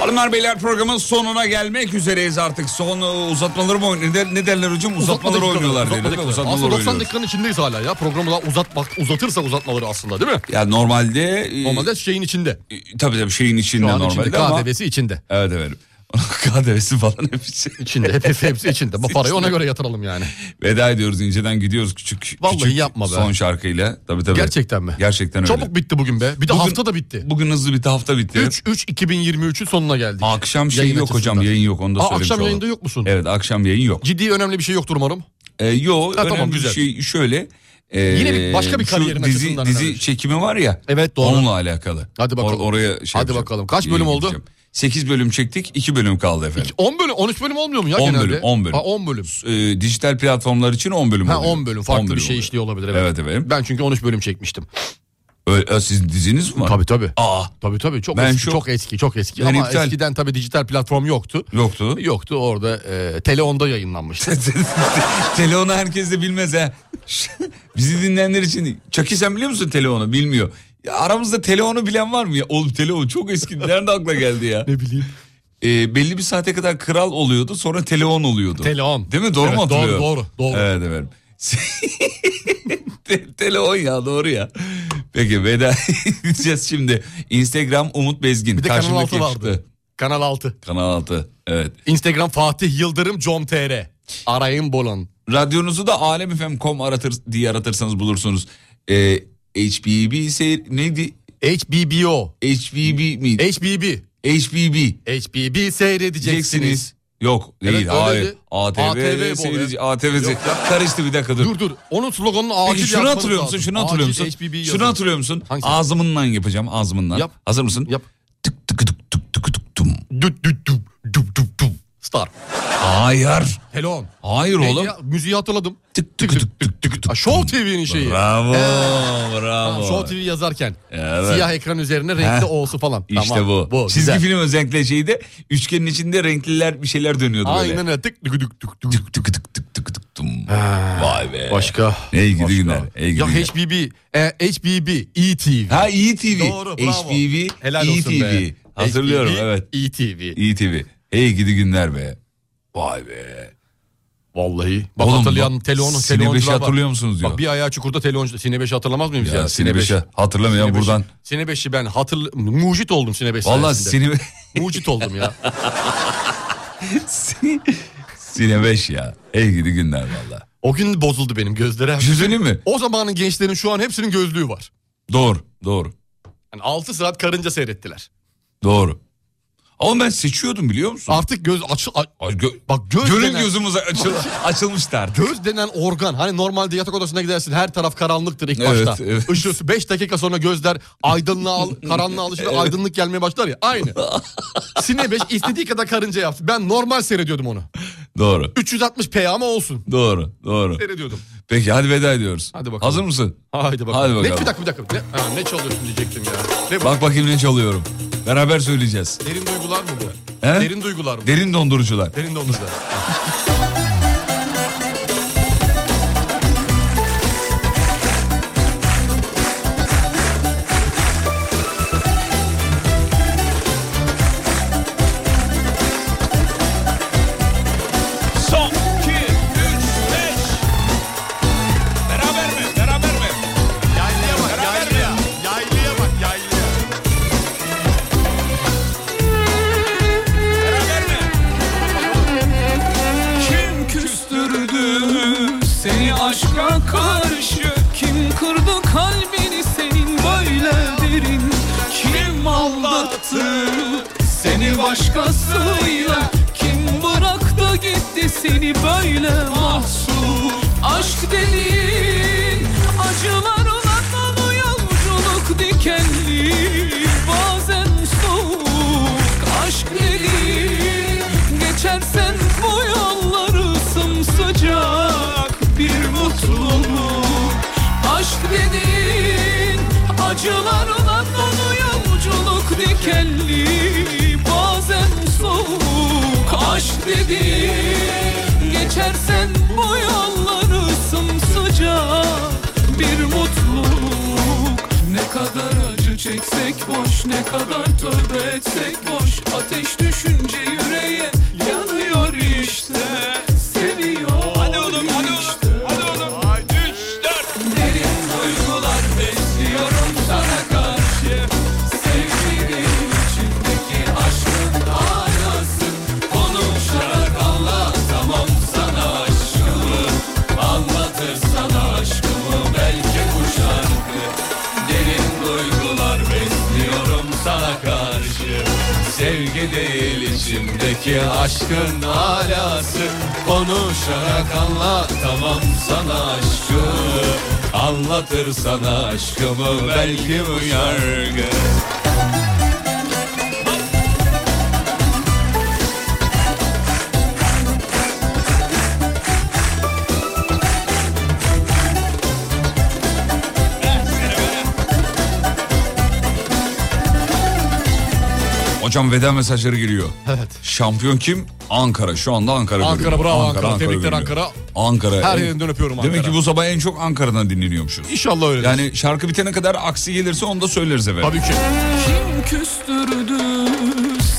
Hanımlar beyler programın sonuna gelmek üzereyiz artık. Son e, uzatmaları mı oynuyor? Ne, ne derler hocam? Uzatmaları oynuyorlar Uzatma derler. dakikaları. Uzatmaları Aslında 90 oynuyorlar. dakikanın içindeyiz hala ya. Programı daha uzat, bak, uzatırsak uzatmaları aslında değil mi? Ya normalde... e, Normalde şeyin içinde. Tabii tabii şeyin içinde Şu an normalde içinde, ama... KDV'si içinde. Evet evet. KDV'si falan hepsi. İçinde hepsi, hepsi içinde. Bu parayı ona göre yatıralım yani. Veda ediyoruz inceden gidiyoruz küçük. Vallahi küçük yapma be. Son şarkıyla. Tabii tabii. Gerçekten mi? Gerçekten öyle. Çabuk bitti bugün be. Bir de hafta da bitti. Bugün hızlı bitti hafta bitti. 3-3-2023'ün sonuna geldik. Akşam şey Yayın yok açısından. hocam yayın yok onu da Aa, söylemiş akşam olalım. yayında yok musun? Evet akşam yayın yok. Ciddi önemli bir şey yoktur umarım. Ee, yok Ha, önemli tamam, bir güzel. şey şöyle. e, Yine bir- başka bir şu kariyerin dizi, açısından önemli Dizi çekimi var ya. Evet, doğru. Onunla alakalı. Hadi bakalım. oraya şey Hadi yapacağım. bakalım. Kaç bölüm oldu? 8 bölüm çektik 2 bölüm kaldı efendim. 10 bölüm, 13 bölüm olmuyor mu ya 10 genelde? bölüm, 10 bölüm. Ha, 10 bölüm. Ee, dijital platformlar için 10 bölüm Ha, oluyor. 10 bölüm. Farklı 10 bir şey oluyor. işliyor olabilir. Evet efendim. Ben çünkü 13 bölüm çekmiştim. Öyle, e, sizin diziniz mi var? Tabii tabii. Aa. Tabii tabii çok Ben eski, şok. çok eski, çok eski. Ben Ama iptal. eskiden tabii dijital platform yoktu. Yoktu. Yoktu orada e, Teleon'da yayınlanmıştı. Teleonu herkes de bilmez ha. Bizi dinleyenler için. Çaki sen biliyor musun Teleon'u? Bilmiyor. Ya aramızda Teleon'u bilen var mı ya? Oğlum Teleon çok eski. Nerede akla geldi ya? ne bileyim. Ee, belli bir saate kadar kral oluyordu. Sonra Teleon oluyordu. Teleon. Değil mi? Doğru Evet, mu doğru, hatırlıyorum? doğru, doğru. Evet efendim. Te- Teleon ya doğru ya. Peki veda edeceğiz şimdi. Instagram Umut Bezgin. Bir de Kanal Karşımdaki 6 vardı. yakışıklı. Kanal 6. Kanal 6 evet. Instagram Fatih Yıldırım com.tr. Arayın bulun. Radyonuzu da alemfm.com aratır, diye aratırsanız bulursunuz. Ee, HBB seyir neydi? HBO. HBB miydi? HBB. HBB. HBB seyredeceksiniz. Yok değil Evet, öyle hayır. dedi. ATV, ATV ATV bu seyirci be. ATV Yok ya. karıştı bir dakika dur. Dur dur. Onun sloganını acil Peki şunu yazmanız hatırlıyor musun? lazım. Şunu hatırlıyor Acil musun? HBB Şunu yazın. hatırlıyor musun? Hangisi? Ağzımından yapacağım ağzımından. Yap. Hazır mısın? Yap. Tık tık tık tık tık tık tık tık tık. Star. Hayır. Telon. Hayır Neydi oğlum. ya? müziği hatırladım. Tık tık tık tık tık tık. Ha, Show TV'nin şeyi. Bravo Evet. Tamam, bravo. Show TV yazarken. Evet. Siyah ekran üzerine renkli Heh. olsun falan. İşte Tamam, bu. bu Çizgi güzel. film özellikle şeyde üçgenin içinde renkliler bir şeyler dönüyordu böyle. Aynen öyle. Tık tık tık tık tık. Tık tık tık tık tık tum. Vay be. Başka. Ne ilgili Başka. günler. Ne ilgili Ya günler. HBB, e, HBB, ETV. Ha E ETV. E Doğru, bravo. HBB, Helal olsun ETV. be. Hatırlıyorum HBB, evet. ETV. ETV. Hey gidi günler be. Vay be. Vallahi. Bak Oğlum, hatırlayan bak, telon, Sine Beş'i hatırlıyor musunuz diyor. Bak bir ayağı çukurda teloncu. Sine 5'i hatırlamaz mıyım biz Ya ya? Sine Beş'i hatırlamıyor Sine Beş'i- buradan. Sine 5'i ben hatırl... Mucit oldum Sine 5 Valla sayesinde. Sine, Mucit oldum ya. Sine 5 ya. Hey gidi günler valla. O gün bozuldu benim gözlerim. Yüzünü mü? O zamanın gençlerin şu an hepsinin gözlüğü var. Doğru. Doğru. Yani 6 saat karınca seyrettiler. Doğru. Ama ben seçiyordum biliyor musun? Artık göz açı... a- Ay, gö- Bak göz Gönül denen- gözümüz açıl, açılmıştı artık. Göz denen organ hani normalde yatak odasına gidersin her taraf karanlıktır ilk Evet, başta. evet. Işığı 5 dakika sonra gözler aydınlığa al, karanlığa alışır aydınlık gelmeye başlar ya aynı. Sine 5 istediği kadar karınca yaptı. Ben normal seyrediyordum onu. Doğru. 360p ama olsun Doğru. Doğru. seyrediyordum. Peki hadi veda ediyoruz. Hadi bakalım. Hazır mısın? Haydi bakalım. Hadi bakalım. Ne, bir dakika bir dakika. Ne, ha, ne çalıyorsun diyecektim ya. Ne bu? Bak bakayım ne çalıyorum. Beraber söyleyeceğiz. Derin duygular mı bu? He? Derin duygular mı? Derin dondurucular. Derin duygular. Son 2, 3, 5. Beraber mi? Beraber mi? Yaylıya bak yaylıya. Yaylıya bak yaylıya. Beraber mi? Kim küstürdü seni aşka karşı? Kim kırdı kalbini senin böyle derin? Kim aldattı seni başkasıyla? Kim bıraktı gitti seni böyle mahsur? Aşk dediğin acılarla dolu yolculuk dikenli Bazen soğuk aşk dediğin Geçersen bu yolları sımsıcak bir mutluluk Aşk dediğin acılarla dolu yolculuk dikenli Bazen soğuk aşk dediğin Geçersen bu yolları sımsıcak bir mutluluk Ne kadar acı çeksen etsek boş Ne kadar tövbe etsek boş Ateş düşünce yüreğe yanıyor işte Seviyor Hadi oğlum hadi oğlum hadi oğlum Üç dört Derin duygular besliyorum sana karşı Sevginin içindeki aşkın aynası Konuşarak anlatamam sana aşkımı Anlatır sana aşkımı belki bu şarkı Derin duygular besliyorum sana karşı Sevgi değil içimdeki aşkın alası Konuşarak anlatamam sana aşkımı Anlatır sana aşkımı belki bu yargı Hocam veda mesajları giriyor. Evet. Şampiyon kim? Ankara. Şu anda Ankara. Ankara görünüyor. bravo Ankara. Tebrikler görünüyor. Ankara. Ankara. Her En- yerinden öpüyorum Ankara. Demek ki bu sabah en çok Ankara'dan dinleniyormuşuz. İnşallah öyle. Yani şarkı bitene kadar aksi gelirse onu da söyleriz efendim. Tabii ki. Kim küstürdü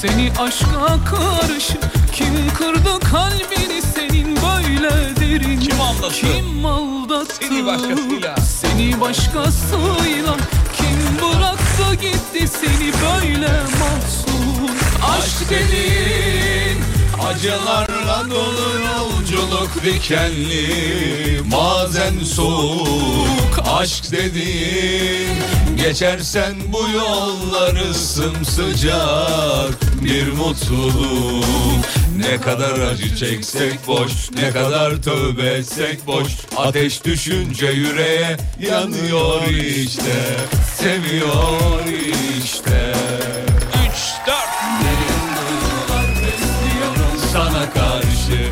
seni aşka karşı Kim kırdı kalbini senin böyle derin Kim aldattı, Kim aldattı seni başkasıyla Seni başkasıyla Kim bıraktı gitti seni böyle mahzun Aşk dediğin Acılarla dolu yolculuk dikenli Mazen soğuk aşk dediğin Geçersen bu yolları sımsıcak Bir mutluluk Ne kadar acı çeksek boş Ne kadar tövbe etsek boş Ateş düşünce yüreğe yanıyor işte Seviyor işte Üç dört Diyorum sana karşı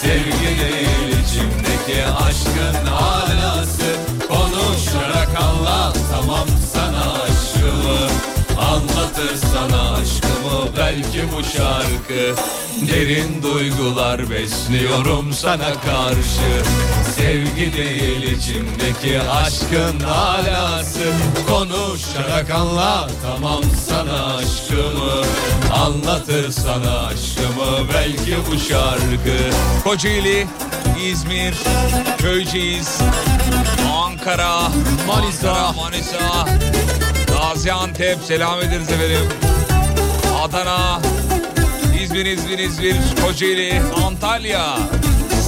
Sevgi değil içimdeki aşkın alası Konuşarak anlatamam sana aşkımı Anlatır sana aşkımı belki bu şarkı Derin duygular besliyorum sana karşı Sevgi değil içimdeki aşkın alası Konuşarak anlatamam sana aşkımı Anlatır sana aşkımı belki bu şarkı Kocaeli, İzmir, Köyceğiz, Ankara, Manisa, Manisa, Gaziantep selam ederiz efendim. Adana, İzmir, İzmir, İzmir, Kocaeli, Antalya.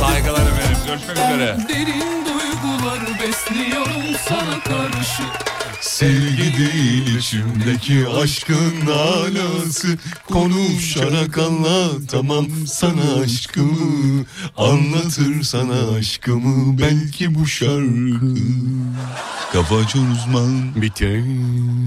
Saygılar efendim. Görüşmek üzere. Derin duygular besliyorum sana karşı Sevgi değil içimdeki aşkın alası Konuşarak anlatamam sana aşkımı Anlatır sana aşkımı belki bu şarkı Kafa açan uzman biter